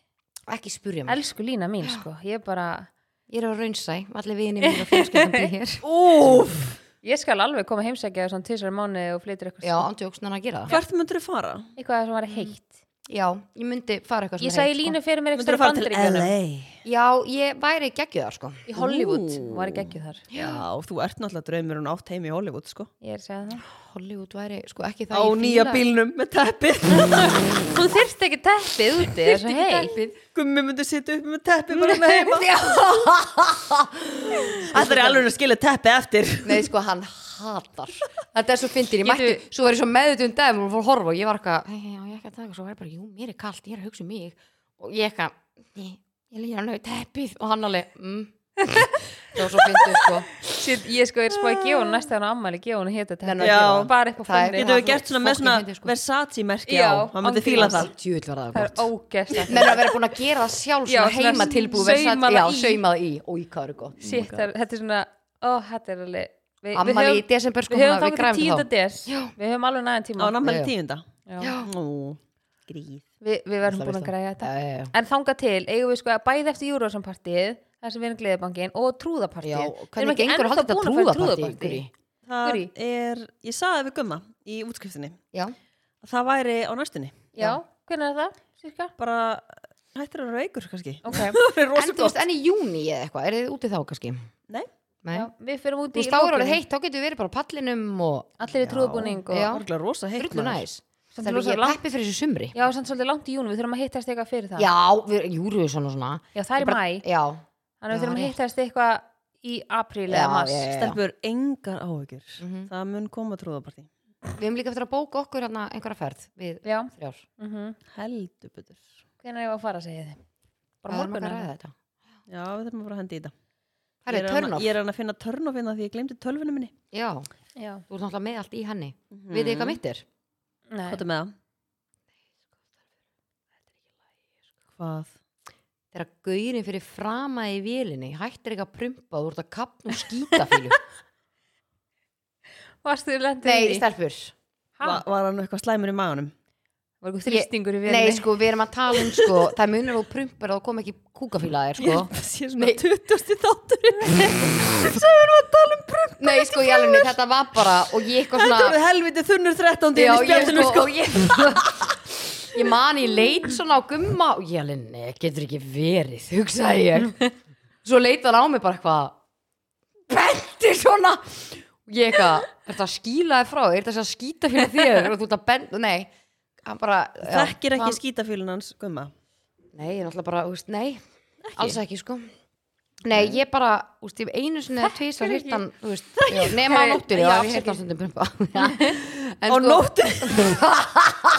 Speaker 2: ekki spurja mig
Speaker 3: Elsku lína mín, sko Ég bara
Speaker 2: Ég er á raunsæ, allir vini mín og fjölskyldum býr hér
Speaker 1: Úf,
Speaker 3: Ég skal alveg koma heimsækja þér svona tísar mánu og flytur eitthvað
Speaker 2: Já, andjóksnana að gera það
Speaker 1: hvert myndur þú fara?
Speaker 3: eitthvað sem var heitt
Speaker 2: já, ég myndi fara eitthvað
Speaker 3: Ég
Speaker 2: svona
Speaker 3: sagði
Speaker 2: heim,
Speaker 3: línu fyrir mér
Speaker 1: Myndur
Speaker 3: eitthvað
Speaker 1: þú fara til
Speaker 3: bandaríkjunum
Speaker 1: LA?
Speaker 2: sko. já, ég væri geggjuðar sko
Speaker 3: Í Hollywood,
Speaker 1: Ú.
Speaker 3: var ekki ekki þar
Speaker 1: Já, þú ert náttúrulega draumur hún átt heim í Hollywood sko
Speaker 3: Ég er að segja það
Speaker 2: Hollywood væri sko ekki
Speaker 1: Á
Speaker 2: það ég
Speaker 1: nýja
Speaker 2: fíla-
Speaker 1: bílnum með teppið
Speaker 3: Þú þyrft ekki teppið úti, það er svo hei
Speaker 2: Teppið.
Speaker 1: Gummi myndi sitja upp með teppið bara með heima
Speaker 2: Já.
Speaker 1: Þetta er alveg að skilja teppið eftir
Speaker 2: Nei, sko, hann hatar Þetta er svo fyndin, ég mætti,
Speaker 3: Getum
Speaker 2: svo var ég svo um meðutun dagum og fór að horfa og ég var eitthvað "Hei, hei, á ég ekki að taka, svo var ég bara, jú, mér er kalt, ég er að hugsa um mig og ég eitthvað, nei, ég lýja hann auðvitað teppið og hann alveg, mm Það var svo fyndin, sko
Speaker 3: Shit, Ég sko er spáði Gjónu næstu hann ammæli Gjónu hita
Speaker 2: Nenna
Speaker 1: að
Speaker 3: teppið
Speaker 1: gera það.
Speaker 3: bara upp á
Speaker 2: Það er-
Speaker 3: fónni
Speaker 1: Getur við
Speaker 2: það
Speaker 1: gert svona með
Speaker 2: fólk í
Speaker 1: svona
Speaker 2: myndi, sko.
Speaker 1: Versace merki
Speaker 3: Já,
Speaker 1: á Hann myndi
Speaker 3: án
Speaker 1: fíla
Speaker 3: gríns.
Speaker 1: það
Speaker 2: Djúvill var það
Speaker 3: Það er
Speaker 2: gott
Speaker 3: ógæst
Speaker 2: Menn að vera búin að gera það sjálf
Speaker 3: Já,
Speaker 2: svona
Speaker 3: svona
Speaker 2: heima tilbúið
Speaker 3: saumað
Speaker 2: Já,
Speaker 3: í.
Speaker 2: saumað í, og í hvað eru gott
Speaker 3: Shit, það er- þetta er svona Ó, þetta er alveg Við- við
Speaker 2: Ammali í
Speaker 3: höfum-
Speaker 2: desember, sko,
Speaker 3: Við
Speaker 2: hann-
Speaker 3: höfum
Speaker 2: við
Speaker 3: þangað til
Speaker 2: græfum
Speaker 3: tíunda
Speaker 2: þá
Speaker 3: des
Speaker 2: Já.
Speaker 3: Við höfum alveg næðan
Speaker 1: Á
Speaker 3: tíma
Speaker 1: námæli
Speaker 2: Já.
Speaker 1: tíunda
Speaker 3: Já.
Speaker 2: Já,
Speaker 1: Ó, gríð
Speaker 3: Við við verðum
Speaker 2: Það
Speaker 3: búin
Speaker 2: veist
Speaker 3: að
Speaker 2: það.
Speaker 3: græja þetta
Speaker 2: Já, já, já.
Speaker 3: En þangað til eigum við sko að bæði eftir Júrósampartið þar sem við erum gleðibankin og trúðapartið
Speaker 2: Já,
Speaker 3: Við erum
Speaker 2: hvernig
Speaker 3: ekki
Speaker 2: gengur að
Speaker 3: ennþá
Speaker 2: halda þetta
Speaker 3: búin að fara í
Speaker 2: trúðapartí,
Speaker 3: trúðapartí.
Speaker 2: Guri?
Speaker 1: Það
Speaker 3: Guri?
Speaker 1: er, ég sagði við Gumma í útskriftinni
Speaker 2: Já,
Speaker 1: að það væri á næstunni
Speaker 3: Já, hvernig er það? Cirka?
Speaker 1: bara hættir að vera veikur kannski
Speaker 3: Ok,
Speaker 1: það er
Speaker 2: en
Speaker 1: rosa
Speaker 2: þú veist,
Speaker 1: gott
Speaker 2: en í júni eða eitthvað, er þið úti þá kannski?
Speaker 1: Nei.
Speaker 2: Nei.
Speaker 3: já, við fyrir
Speaker 2: Þú
Speaker 3: úti
Speaker 2: veist, þá er
Speaker 3: lokunum.
Speaker 2: orðið heitt, þá getur við verið bara á pallinum og
Speaker 3: Allir í trúðbúning og
Speaker 2: Já.
Speaker 1: Það er rosa heitt
Speaker 2: drullu
Speaker 1: maður.
Speaker 2: næs.
Speaker 3: Samt
Speaker 2: Þannig
Speaker 3: rosa
Speaker 2: ég er
Speaker 3: langt.
Speaker 2: peppið fyrir þessu sumri.
Speaker 3: Já, samt svolítið langt í júnu, við þurfum að hittast eitthvað fyrir það
Speaker 2: Já, við, Júruvísson og svona.
Speaker 3: Já, það er í
Speaker 2: Ég bara-
Speaker 3: mæ,
Speaker 2: Já.
Speaker 3: þannig
Speaker 2: Já,
Speaker 3: við þurfum að
Speaker 2: rétt.
Speaker 3: hittast eitthvað í apríl eða
Speaker 2: Já,
Speaker 3: mars
Speaker 2: já, já.
Speaker 1: stelpur engar áhugur
Speaker 2: Mhm.
Speaker 1: það mun koma trúðapartí
Speaker 2: Við hefum líka eftir að bóka okkur hérna einhverja ferð við
Speaker 3: Já,
Speaker 2: þrjár.
Speaker 3: mm
Speaker 1: heldur betur
Speaker 3: hvernig er að fara að segja þið? Bara
Speaker 2: Hvað erum
Speaker 3: morgun
Speaker 2: að
Speaker 3: eða?
Speaker 2: ræða þetta?
Speaker 1: já við þurfum að fara að hendi í þetta
Speaker 2: Það
Speaker 1: ég
Speaker 2: er
Speaker 1: er að-
Speaker 2: törnoff.
Speaker 1: ég er að reyna að finna törnoff hérna því ég glemdi tölvunum minni
Speaker 2: Já,
Speaker 3: Já,
Speaker 2: þú ert náttúrulega með allt í henni. Mm. Við þið hvað mitt er?
Speaker 3: nei,
Speaker 1: hvað er með það? hvað?
Speaker 2: Þegar gaurin fyrir frama í vélinni hættir ekki að prumpa og þú ert að kapna og skýta fílu.
Speaker 3: varstu þið lendið
Speaker 2: Nei, stelpur.
Speaker 3: Ha?
Speaker 1: Va var hann eitthvað slæmur í maganum?
Speaker 3: Var eitthvað þrýstingur í
Speaker 2: Nei,
Speaker 3: viðinni?
Speaker 2: sko, við erum að tala um, sko, það munur og prumpar og kom ekki kúkafíla þér, sko.
Speaker 1: Ég sé svona
Speaker 2: Nei.
Speaker 1: 20. þátturinn
Speaker 2: Nei, sko, ég alveg, þetta var bara, og ég eitthvað
Speaker 1: Þetta
Speaker 2: svona,
Speaker 1: eru helviti þunnur 13. í
Speaker 2: Já, ég
Speaker 1: spjaldinu
Speaker 2: sko,
Speaker 1: sko
Speaker 2: og ég, ég man ég leit svona á gumma og ég alveg, nei, getur ekki verið, hugsaði ég. Svo leit hann á mig bara eitthvað, bendi svona. Og ég eitthvað, er þetta að skýla þér frá, er þetta að skýta fyrir þér og þú ert að bendi, nei. Hann bara, já,
Speaker 1: þekkir ekki
Speaker 2: hann-
Speaker 1: skítafílun hans gumma
Speaker 2: Nei, ég er náttúrulega bara, úst, nei, alls ekki, sko. Nei, ég bara, úst, ég hef einu sinni eða tvis að hýrt hann, þú veist, já, nema á nóttunni, já,
Speaker 3: Já,
Speaker 2: ég hýrt hann stundum prumpa.
Speaker 1: á
Speaker 2: sko-
Speaker 1: nóttu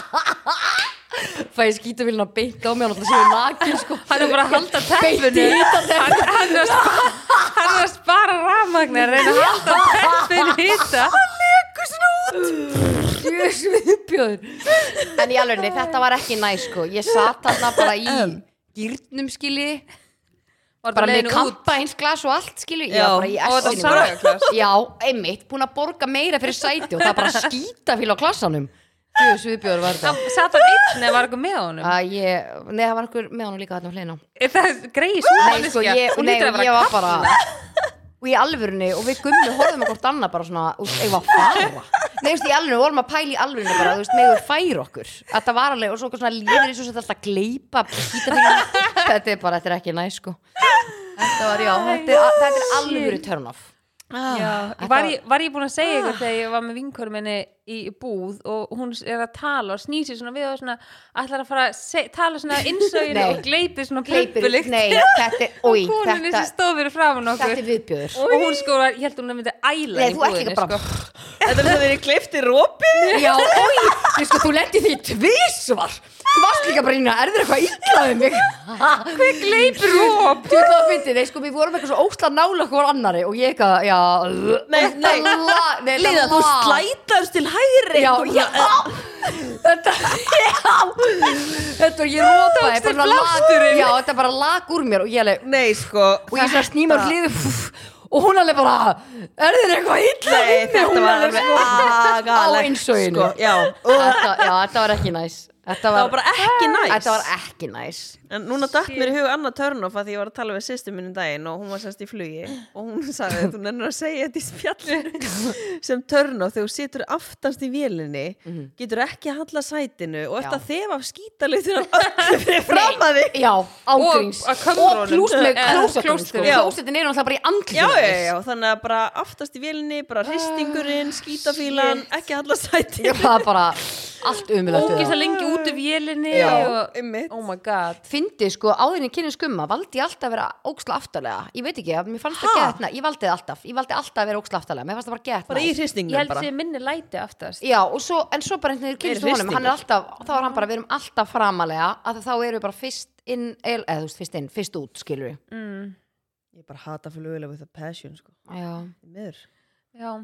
Speaker 2: fæ ég skítavélina að beita á mig hann alltaf séu nakin sko
Speaker 3: Hann er bara að halda teppinu hann, hann, er að spara, hann er að spara rafmagni að reyna að halda teppinu hýta
Speaker 2: Jössuðbjörn en í alveg, nei, þetta var ekki næ sko ég satt hann bara í gýrnum skilji, bara með kampa eins glas og allt skilji, ég
Speaker 1: Já,
Speaker 2: var bara í
Speaker 1: og þetta
Speaker 2: essinu
Speaker 1: var saga-klass.
Speaker 2: já, einmitt, búin að borga meira fyrir sæti og það bara skítafíl á klassanum Jössuðbjörn var þetta
Speaker 3: Satt hann einn eða var eitthvað með honum?
Speaker 2: að ég, nei, það var einhver með hann líka þarna á hliðina á
Speaker 3: Er það greið svo
Speaker 2: Nei, sko, ég,
Speaker 3: Hún
Speaker 2: nei,
Speaker 3: lítur að
Speaker 2: ég
Speaker 3: vera
Speaker 2: var bara og í alvörunni og við gummi horfum okkur annað bara svona, úst, ég var fara nei, þú veist, í alvörunni, við vorum að pæla í alvörunni bara, þú veist, meður færa okkur þetta var alveg, og svo okkur svona líður eins og þetta alltaf gleipa pítafílum, þetta er bara, þetta er ekki næ, sko þetta var, já, þetta er, þetta er alvöru turn off
Speaker 1: Ah.
Speaker 3: Já,
Speaker 2: þetta
Speaker 3: var,
Speaker 2: var-
Speaker 3: ég, var ég búin að segja eitthvað þegar ég var með vinkorum minni í búð og hún er að tala og snýsi svona við og svona ætlar að fara að se- tala svona innsöginu
Speaker 2: Nei.
Speaker 3: og gleipir svona
Speaker 2: Gleipir-
Speaker 3: plömpulikt
Speaker 2: nei, þetta er- oj,
Speaker 3: Konunni
Speaker 2: þetta-
Speaker 3: sem stóð fyrir framan
Speaker 2: þetta
Speaker 3: okkur
Speaker 2: er viðbjöður
Speaker 3: og hún sko, var- ég held hún að myndi æla
Speaker 2: nei,
Speaker 3: í
Speaker 2: þú ert
Speaker 3: búðinni
Speaker 2: líka bara,
Speaker 3: sko.
Speaker 1: Þetta er það þegar ég kleifti rópið
Speaker 2: já, oi þú sko, þú lendi því tvísvar þú varst líka bara inn að erður eitthvað illaði mig hver
Speaker 3: gleipir rop
Speaker 2: Þú veist það að fyndi, nei sko, við vorum eitthvað svo ósla nála okkur annari og ég eitthvað, já
Speaker 1: Nei, nei.
Speaker 2: nei,
Speaker 1: Líða, þú slætast til hægri
Speaker 2: Já,
Speaker 1: Þú-
Speaker 2: já, þetta, já, þetta, ég rópaði,
Speaker 3: tókst
Speaker 2: bara
Speaker 3: þér
Speaker 2: lag-
Speaker 3: blásturinn.
Speaker 2: já, þetta bara lag úr mér og ég alveg,
Speaker 1: Nei, sko
Speaker 2: og ég svona snýma
Speaker 1: þetta-
Speaker 2: hliðu, og hún alveg bara, er þér eitthvað illa
Speaker 1: Nei,
Speaker 2: inni,
Speaker 1: þetta
Speaker 2: hún
Speaker 1: var
Speaker 2: alveg,
Speaker 1: alveg agalegt
Speaker 2: á innsoginu.
Speaker 1: sko, Já,
Speaker 2: Þetta, já, þetta var ekki næs Þetta
Speaker 1: það var bara ekki næs
Speaker 2: Þetta var ekki næs
Speaker 1: en núna datt
Speaker 3: Shit.
Speaker 1: mér í hug annað törnof að því ég var að tala við sýstu minni daginn og hún var semst í flugi og hún sagði þú nennir að segja þetta í spjallinu sem törnof þegar þú situr aftast í vélinni getur ekki að handla sætinu og eftir
Speaker 2: Já.
Speaker 1: að þefa af skítalitur af öllu fyrir fram að þig
Speaker 2: Já, ángríns
Speaker 3: Og- að kömrunum.
Speaker 2: plús með
Speaker 3: Eh,
Speaker 2: klósetunum
Speaker 3: klósetunum.
Speaker 2: sko.
Speaker 1: Já.
Speaker 2: Klósetin eru alltaf bara í andlið
Speaker 1: Já,
Speaker 2: á
Speaker 1: já,
Speaker 2: þér.
Speaker 1: já, þannig að bara aftast í vélinni, bara hristingurinn, skítafílan, ekki handla sætinu.
Speaker 2: Já, það er bara allt umilagt
Speaker 3: Ógist að lengi út af vélinni
Speaker 2: Já.
Speaker 3: og,
Speaker 1: einmitt.
Speaker 3: Oh my god
Speaker 2: Fyndi sko áðurinn í kynni skumma valdi ég alltaf að vera óksla aftalega Ég veit ekki, mér fannst það
Speaker 1: Ha?
Speaker 2: gett næ Ég valdi það alltaf, ég valdi alltaf að vera óksla aftalega Mér fannst það bara gett
Speaker 1: Bara í
Speaker 2: næ
Speaker 3: Ég
Speaker 1: hristingnum
Speaker 3: held
Speaker 1: bara.
Speaker 3: sér minni læti aftast
Speaker 2: Já, og svo, en svo bara einhvern veginn
Speaker 1: Meiri
Speaker 2: kynst honum Hann
Speaker 1: hristingur.
Speaker 2: er alltaf, þá er hann bara, við erum alltaf framalega að þá eru við bara fyrst inn eða eða, þú veist, fyrst inn, fyrst út, skilur
Speaker 3: mm.
Speaker 1: Ég bara hata flugilega with a passion, sko.
Speaker 2: Já,
Speaker 1: Mér.
Speaker 3: Já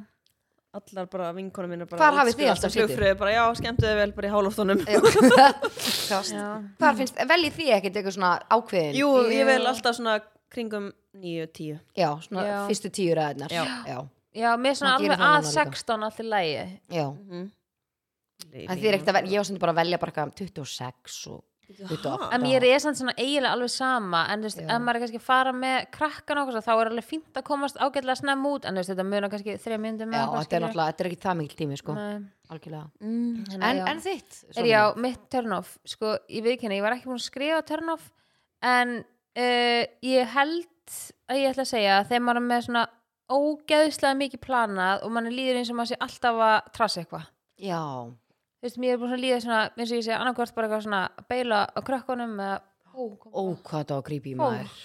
Speaker 1: Allar bara vinkonum minna bara.
Speaker 2: Hvar hafið þið alltaf sitið?
Speaker 1: Flugfröðu bara, já, skemmtu þið vel bara í hálóftunum.
Speaker 2: Kast.
Speaker 3: Já.
Speaker 2: Hvar finnst, veljið þið ekkert eitthvað svona ákveðin
Speaker 1: Jú, ég
Speaker 3: Jú.
Speaker 1: vel alltaf svona kringum 9-10.
Speaker 2: Já, svona
Speaker 3: Já.
Speaker 2: fyrstu tíu ræðinar
Speaker 1: Já.
Speaker 2: já,
Speaker 3: Já, mér er svona
Speaker 2: Hann gerir það
Speaker 3: alveg að
Speaker 2: núna líka.
Speaker 3: 16 allt í lægi
Speaker 2: já. En Mhm. þið er ekkert að velja, ég var sem bara að velja bara eitthvað 26 og 28
Speaker 3: En mér er samt svona eiginlega alveg sama En þú veist,
Speaker 2: Já.
Speaker 3: ef maður er kannski að fara með krakkan okkur Þá er alveg fínt að komast ágætlega snemm út En þú veist, þetta munar kannski þrjá myndum
Speaker 2: Já, þetta er náttúrulega, þetta er ekki það mikil tími sko,
Speaker 3: náttúrulega
Speaker 2: algjörlega En,
Speaker 3: En,
Speaker 2: en þitt?
Speaker 3: Er já, mitt turn-off, sko, ég viðkynna, ég var ekki búin að skrifa turn-off, en uh, ég held að ég ætla að segja að þegar maður er með svona ógeðslega mikið planað og mann líður eins og maður sé alltaf að trassa eitthvað.
Speaker 2: Já,
Speaker 3: Þú veist, mér er búin að líða svona, eins og ég sé annarkvort bara eitthvað svona að beila á krökkunum eða, ó,
Speaker 2: ó hvað það var að grípa í
Speaker 3: Ó.
Speaker 2: maður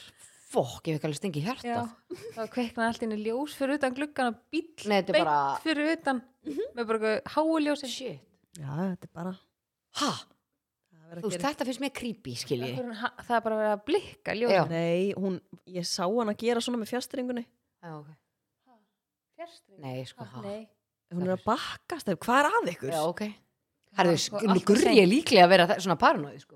Speaker 2: Fokk, ég hef ekki alveg stingið
Speaker 3: já,
Speaker 2: hjartað
Speaker 3: þá kveiknaði allt inn í ljós fyrir utan gluggan og bíll
Speaker 2: Nei, þetta er bara- Mhm.
Speaker 3: fyrir utan, með bara eitthvað háuljósi.
Speaker 2: Shit
Speaker 1: Já, þetta er bara.
Speaker 2: Ha,
Speaker 1: það verður
Speaker 2: þú
Speaker 1: að
Speaker 2: veist,
Speaker 1: gera-
Speaker 2: þetta finnst mér creepy, skilji
Speaker 3: Akkur, það er bara verið að blikka
Speaker 2: Já.
Speaker 3: ljósin.
Speaker 1: Nei, hún, ég sá hann að gera svona með fjastringunni.
Speaker 2: Já, ok.
Speaker 3: Fjárstring.
Speaker 2: Nei, sko,
Speaker 3: Ah,
Speaker 2: ha
Speaker 3: Nei.
Speaker 1: Hún er að bakkast, þeir- hvað er að ykkur?
Speaker 2: Já, ok Herðu,
Speaker 3: sko,
Speaker 2: sk-
Speaker 3: allt
Speaker 2: nú
Speaker 3: of
Speaker 2: gurri
Speaker 3: seint.
Speaker 2: ég líklega að vera þa- svona paranoið sko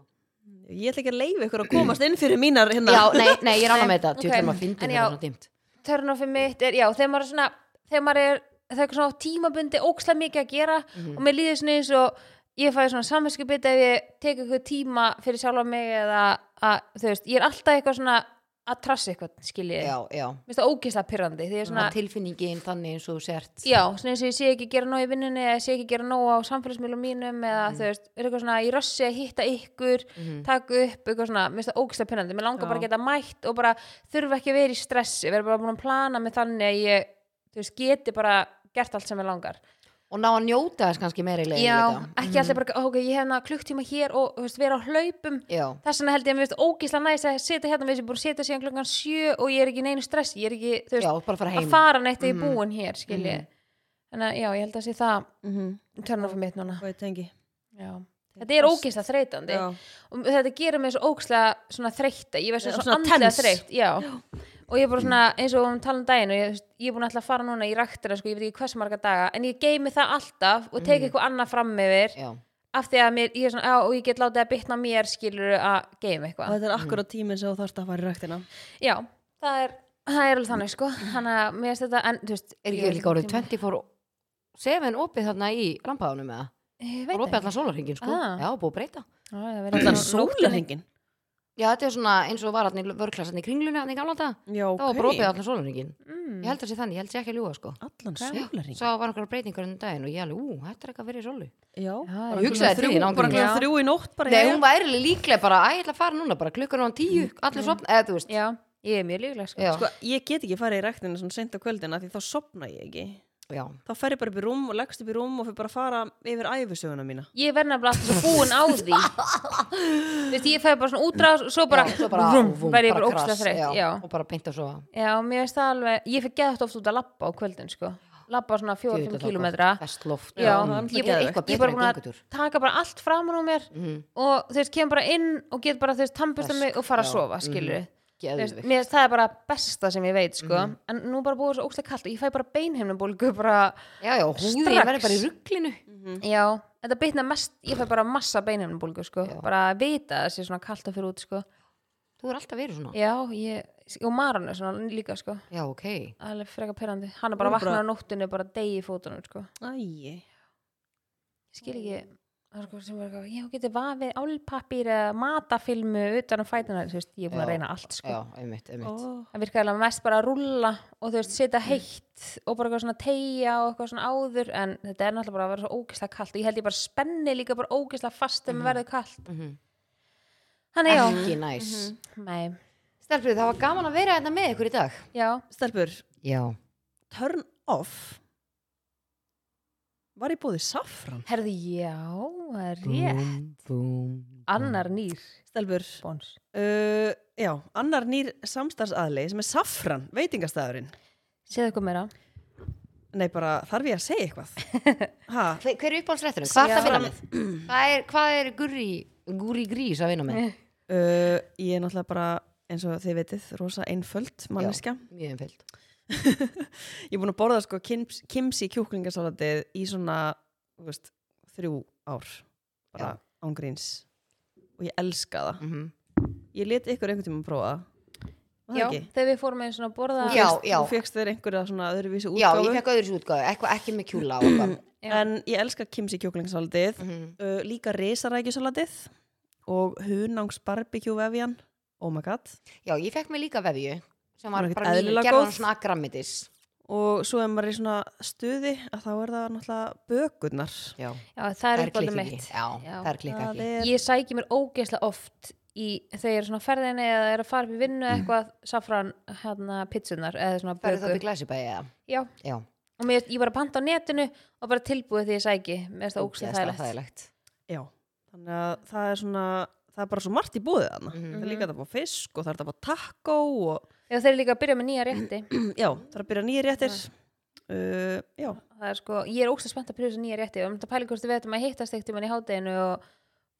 Speaker 1: Ég ætla ekki að leifa ykkur að komast inn fyrir mínar hérna.
Speaker 2: Já, nei, nei, ég rána
Speaker 3: Nei,
Speaker 2: með þetta,
Speaker 3: ok.
Speaker 2: tjóðum að
Speaker 3: En
Speaker 2: fyndi
Speaker 3: já.
Speaker 2: þetta svona dimt
Speaker 3: törnofið mitt er, já, þegar maður er svona þegar maður er, það er eitthvað svona á tímabundi ókslega mikið að gera
Speaker 2: Mhm.
Speaker 3: og mér líður svona eins og ég fæði svona samvinskupið ef ég tek eitthvað tíma fyrir sjálfa mig eða að, þú veist, ég er alltaf eitthvað svona að trassa eitthvað, skiljið
Speaker 2: Já, já
Speaker 3: mér finnst það ógeðslega pyrrandi, því ég er svona
Speaker 2: svona tilfinningin þannig eins og þú sért
Speaker 3: já, svona eins og ég sé ekki gera nóg í vinnunni eða sé ekki gera nóg á samfélagsmiðlum mínum eða
Speaker 2: Mhm.
Speaker 3: þú veist, er eitthvað svona í rössi að hitta ykkur, taka upp eitthvað svona, mér finnst það ógislega pinnandi, mér langar
Speaker 1: Já.
Speaker 3: bara að geta mætt og bara þurfa ekki að vera í stressi vera bara búin að plana með þannig að ég þú veist, geti bara gert allt sem mér langar
Speaker 2: og ná að njóta þess kannski meira í leiðin
Speaker 3: já, ekki alltaf bara, ok, ég hef hana klukktíma hér og þú veist, vera á hlaupum
Speaker 2: Mm. já,
Speaker 3: þess vegna held ég að mér finnst ógislega næs að setja hérna, við sem búin að setja síðan klukkan sjö og ég er ekki í neinu stress, ég er ekki,
Speaker 2: já,
Speaker 3: þú veist,
Speaker 2: bara fara
Speaker 3: að
Speaker 2: heim Mhm.
Speaker 3: fara neitt mm. í búin hér, skilji þannig að já, ég held að sé það
Speaker 1: Mhm.
Speaker 3: törna fyrir mitt núna
Speaker 1: Hvað ég tengi?
Speaker 3: já. þetta er ógislega þreytandi
Speaker 1: Já.
Speaker 3: og þetta gerir mig svo ókslega svona þreytta, ég veist
Speaker 1: Já,
Speaker 3: svo
Speaker 1: svona
Speaker 3: svona andlega
Speaker 1: tense.
Speaker 3: þreytt já. og ég er bara svona, eins og um talan daginn og ég, þú veist, ég er búin alltaf að fara núna í ræktina sko, ég veit ekki hversu marga daga, en ég geymi það alltaf og tek eitthvað annað fram yfir
Speaker 2: já,
Speaker 3: af því að mér, ég er svona, já, og ég get látið að bitna á mér skilur að geymi
Speaker 1: Og
Speaker 3: eitthvað
Speaker 1: þetta er akkurat tíminn sem þú þarfst að fara í ræktina.
Speaker 3: já, það er, það er alveg þannig sko þannig að mér finnst þetta, en þú veist
Speaker 2: er
Speaker 3: ég
Speaker 2: ekki líka orðið 24 7 opið þarna í lampaðunum eða,
Speaker 3: Ég
Speaker 2: það
Speaker 3: veit
Speaker 2: er opið
Speaker 3: ekki.
Speaker 2: allan sólarhingin sko,
Speaker 3: Ah.
Speaker 2: já, búið að breyta
Speaker 3: Já, það verður
Speaker 1: Allan
Speaker 3: nóttinni.
Speaker 1: sólarhengin.
Speaker 2: já, þetta er svona eins og var hann í vörklassan í kringlunni hann í gamla þetta,
Speaker 1: Já, ok.
Speaker 2: það var bara opið allan sólarhingin
Speaker 3: Mm.
Speaker 2: ég held að sé þannig, ég held sé ekki að ljúga sko
Speaker 1: Allan
Speaker 2: Já,
Speaker 1: sólarhengin.
Speaker 2: svo var einhverja breytingar um daginn og ég alveg, ú, þetta er eitthvað verið í sólu
Speaker 1: Já,
Speaker 3: Já,
Speaker 1: bara
Speaker 2: ég
Speaker 1: klukkan
Speaker 2: hugsaði þrír,
Speaker 1: þrjú-
Speaker 2: án
Speaker 1: bara
Speaker 2: gríns.
Speaker 1: klukkan
Speaker 3: Já. Mm.
Speaker 1: þrjú í nótt bara
Speaker 2: Nei,
Speaker 1: já.
Speaker 2: hún væri líklega bara, að ég ætla að fara núna bara klukkan á tíu, allir sopna, eða þú veist
Speaker 3: já, ég er mjög líklega sko
Speaker 2: já,
Speaker 1: Sko, ég get ekki farið í ræktina svona sent á kvöldina því þá sopna ég ekki.
Speaker 2: já,
Speaker 1: Þá fer ég bara upp í rúm og leggst upp í rúm og fyrir bara að fara yfir æfisöguna mína.
Speaker 3: ég verð nefnilega alltaf svo búin á því Vist, ég fæði bara svona útrás og svo bara,
Speaker 2: Já, svo bara,
Speaker 3: vrum,
Speaker 2: vúm,
Speaker 3: verð ég bara
Speaker 2: bara krass,
Speaker 3: ókslega þreytt já.
Speaker 2: já,
Speaker 3: Já.
Speaker 2: og bara beint að sofa
Speaker 3: mér finnst það alveg ég fyrir geðast oft út að labba á kvöldin sko. labba svona
Speaker 2: Djöfull er
Speaker 3: 4-5
Speaker 2: það
Speaker 3: kilometra
Speaker 2: gott. best loft
Speaker 1: það
Speaker 3: já,
Speaker 1: er náttúrulega
Speaker 2: Mm.
Speaker 3: ég, ég,
Speaker 1: geðveikt.
Speaker 2: Eitthvað
Speaker 3: ég er
Speaker 2: betra
Speaker 3: bara
Speaker 2: en
Speaker 3: búin að
Speaker 2: göngutur.
Speaker 3: taka bara allt framan á mér
Speaker 2: Mhm.
Speaker 3: og þeir kem bara inn og get bara þeir tampist um mig og fara að
Speaker 2: já, Mhm.
Speaker 3: sofa skilur
Speaker 2: Geðveikt. Mhm.
Speaker 3: mér finnst það er bara besta sem ég veit sko. en nú bara búið svo ókslega kallt og ég fæ bara beinheimnubólgu bara,
Speaker 2: já, já, húðin
Speaker 3: Strax.
Speaker 2: verður bara í rugglinu
Speaker 3: já, þetta bitna mest ég fæ bara massa beinheimnubólgu sko.
Speaker 2: Já.
Speaker 3: bara að vita að það sé svona kallt að fyrir út sko.
Speaker 2: þú er alltaf verið svona já,
Speaker 3: Já, ég, og Maran er svona líka sko
Speaker 2: ok,
Speaker 3: alveg frekar perrandi, hann er bara
Speaker 1: Hún er
Speaker 3: vaknað
Speaker 1: bara-
Speaker 3: á nóttinu bara degi í fótunum sko,
Speaker 1: Æi.
Speaker 3: ég skil ekki það var eitthvað sem var eitthvað, ég geti vafið álpappir eða matafilmu utan á fætina þú veist, ég er búin að
Speaker 2: Já,
Speaker 3: reyna allt sko.
Speaker 2: já, einmitt, einmitt
Speaker 1: Ó,
Speaker 3: það virkaði alveg mest bara að rulla og þú veist,
Speaker 2: Mm.
Speaker 3: setja heitt og bara eitthvað svona teigja og eitthvað svona áður en þetta er náttúrulega bara að vera svo ógislega kallt og ég held ég bara spenni líka bara ógislega fast þegar mm verður kallt
Speaker 2: mm -hmm.
Speaker 3: þannig já, Mhm.
Speaker 2: ekki næs
Speaker 3: nei,
Speaker 2: Stelfrið, það var gaman að vera þetta með ykkur í dag
Speaker 3: já
Speaker 1: stelpur,
Speaker 2: já,
Speaker 1: turn off var ég búið safran
Speaker 3: herði, já, það er rétt annar nýr
Speaker 1: stelpur,
Speaker 3: bóns
Speaker 1: uh, já, annar nýr samstarfsaðli sem er safran, veitingastæðurinn
Speaker 3: séðu eitthvað meira
Speaker 1: nei bara, þarf ég að segja eitthvað ha,
Speaker 2: hver, hver er uppáhaldsrætturinn? hvað er það að vinna
Speaker 1: Saffran-
Speaker 2: með? hvað er, hvað er gurri, gurri grís að vinna með?
Speaker 3: Eh.
Speaker 1: uh, ég er náttúrulega bara eins og þið vitið, rosa einföld manneskja,
Speaker 2: mjög einföld
Speaker 1: ég er búin að borða sko kims, kimsi kjúklingasalatið í svona þú veist, þrjú ár bara
Speaker 2: Já.
Speaker 1: ángríns og ég elska það
Speaker 2: mm
Speaker 3: Mhm.
Speaker 2: -hmm.
Speaker 1: ég let ykkur einhvern tímann prófa það. var það
Speaker 3: já,
Speaker 1: ekki?
Speaker 3: þegar við fórum einu svona að borða
Speaker 2: Já,
Speaker 1: Fékkst-
Speaker 2: já.
Speaker 1: þú fegst þér einhverja svona öðruvísi
Speaker 2: já,
Speaker 1: útgáfu
Speaker 2: ég fekk öðru svo útgáðu, eitthvað ekki með kjúla og eitthvað
Speaker 3: Já.
Speaker 1: en ég elska kimsi kjúklingsalatið
Speaker 2: mm -hmm.
Speaker 1: uh, líka risarækjusalatið og hunangs barbecue vefjan oh my god
Speaker 2: já, ég fekk mig líka vefju sem var
Speaker 1: Hún er ekkert
Speaker 2: bara mín,
Speaker 1: eðlilega
Speaker 2: gerði
Speaker 1: góð.
Speaker 2: hann svona agrammitis
Speaker 1: og svo ef maður er í svona stuði að þá er það náttúrulega bökurnar
Speaker 2: já,
Speaker 3: já, það er eitthvað
Speaker 2: klikkið í.
Speaker 3: mitt
Speaker 2: já, það er klikkað
Speaker 1: það
Speaker 2: ekki
Speaker 1: er
Speaker 3: ég sæki mér ógeðslega oft í þegar ég er svona á ferðinni eða er að fara upp í vinnu eitthvað safran hérna pizzunar eða svona
Speaker 2: færðu það
Speaker 3: böku
Speaker 2: upp í glæsibæði eða
Speaker 3: já,
Speaker 2: já,
Speaker 3: og mér, ég var að panta á netinu og bara tilbúið því ég sæki mér er það ógeðslega
Speaker 2: ógeðslega
Speaker 3: þægilegt
Speaker 1: já, þannig að það er svona það er bara svo margt í búið þarna
Speaker 2: Mhm.
Speaker 1: það er líka það búið fisk og það er það búið taco og
Speaker 3: já, þeir eru líka að byrja með nýja rétti
Speaker 1: já, það er að byrja nýjir réttir uh, já,
Speaker 3: það er sko, ég er ógeðslega spennt að pröfa þessu nýja rétti og um þetta pæli hvort við ættum að hittast eitt um í hádeginu og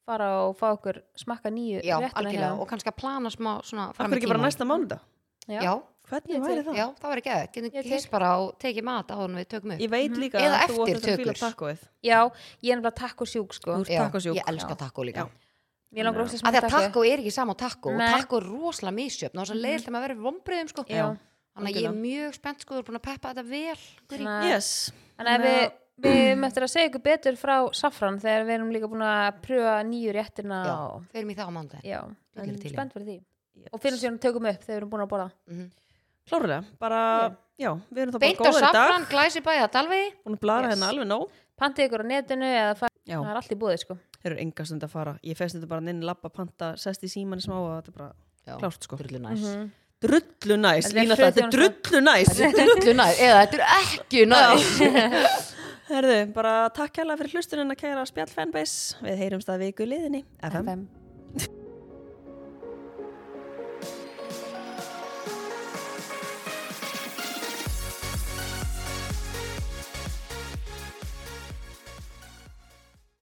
Speaker 3: fara og fá okkur smakka nýju
Speaker 2: já,
Speaker 3: réttina
Speaker 2: algjörlega,
Speaker 3: hérna.
Speaker 2: og kannski að plana smá svona fram
Speaker 1: akkur
Speaker 2: í
Speaker 1: ekki bara
Speaker 2: tímann.
Speaker 1: næsta mánudag
Speaker 3: Já.
Speaker 2: já,
Speaker 1: hvernig
Speaker 3: Ég
Speaker 1: væri
Speaker 3: tek-
Speaker 1: það?
Speaker 2: já, það var ekki eða,
Speaker 3: Ég
Speaker 2: getum
Speaker 3: tek-
Speaker 2: kiss bara og tekið mat á honum við tökum upp
Speaker 1: ég veit líka
Speaker 2: Eða
Speaker 1: að þú
Speaker 2: eftir
Speaker 1: átt þetta að fíla
Speaker 2: tökur.
Speaker 1: tacoið
Speaker 3: já, ég er nefnilega takk og sjúk sko
Speaker 1: Úr-
Speaker 2: Já,
Speaker 1: Tacosjúk.
Speaker 2: ég elska taco líka
Speaker 1: Já.
Speaker 3: ég langar ógeðslega
Speaker 2: að því
Speaker 3: spennt
Speaker 2: að taco er ekki sama og taco og
Speaker 3: Nei.
Speaker 2: taco er rosalega misjöfn og það er leiðilt að maður verið vombriðum sko
Speaker 3: Já.
Speaker 1: Mhm.
Speaker 2: þannig að ég er
Speaker 1: Algjörlega.
Speaker 2: mjög spennt sko, þú er búin að peppa þetta vel Guri.
Speaker 3: Þannig að-
Speaker 1: yes,
Speaker 3: Þannig að
Speaker 1: Þannig
Speaker 3: við, við möttum eftir að segja ykkur betur frá Safran þegar við erum líka búin að pröfa nýju réttina
Speaker 2: já,
Speaker 3: og,
Speaker 2: fyrir mig það á mándaginn
Speaker 3: já,
Speaker 2: Ég
Speaker 3: en
Speaker 2: er til í.
Speaker 3: spennt fyrir því
Speaker 1: yes.
Speaker 3: og finnum sér að tökum upp þegar við erum búin að bóla
Speaker 2: Mhm.
Speaker 1: klárlega, bara, já, við erum það bara
Speaker 2: beint á
Speaker 1: góður í dag
Speaker 2: safran, glæsibæða, dalvegi
Speaker 1: búin að blara
Speaker 3: Yes.
Speaker 1: hérna alveg nóg
Speaker 3: pantið ykkur á netinu eða fara,
Speaker 1: já,
Speaker 3: það er allt í búið sko
Speaker 1: þeir eru enga stund að fara ég fest þetta bara inn, lappa, panta, sest í símanni smá og þetta er bara klárt sko
Speaker 2: drullu næs
Speaker 1: drullu næs,
Speaker 3: Þetta er
Speaker 1: lína það, þetta er
Speaker 3: friðþjónusta.
Speaker 1: drullu næs
Speaker 2: drullu næs, eða þetta er ekki næs
Speaker 1: herðu, bara takk kærlega fyrir hlustunina kæra spjall fanbase, við heyrumst að viku liðinni FM.
Speaker 3: FM.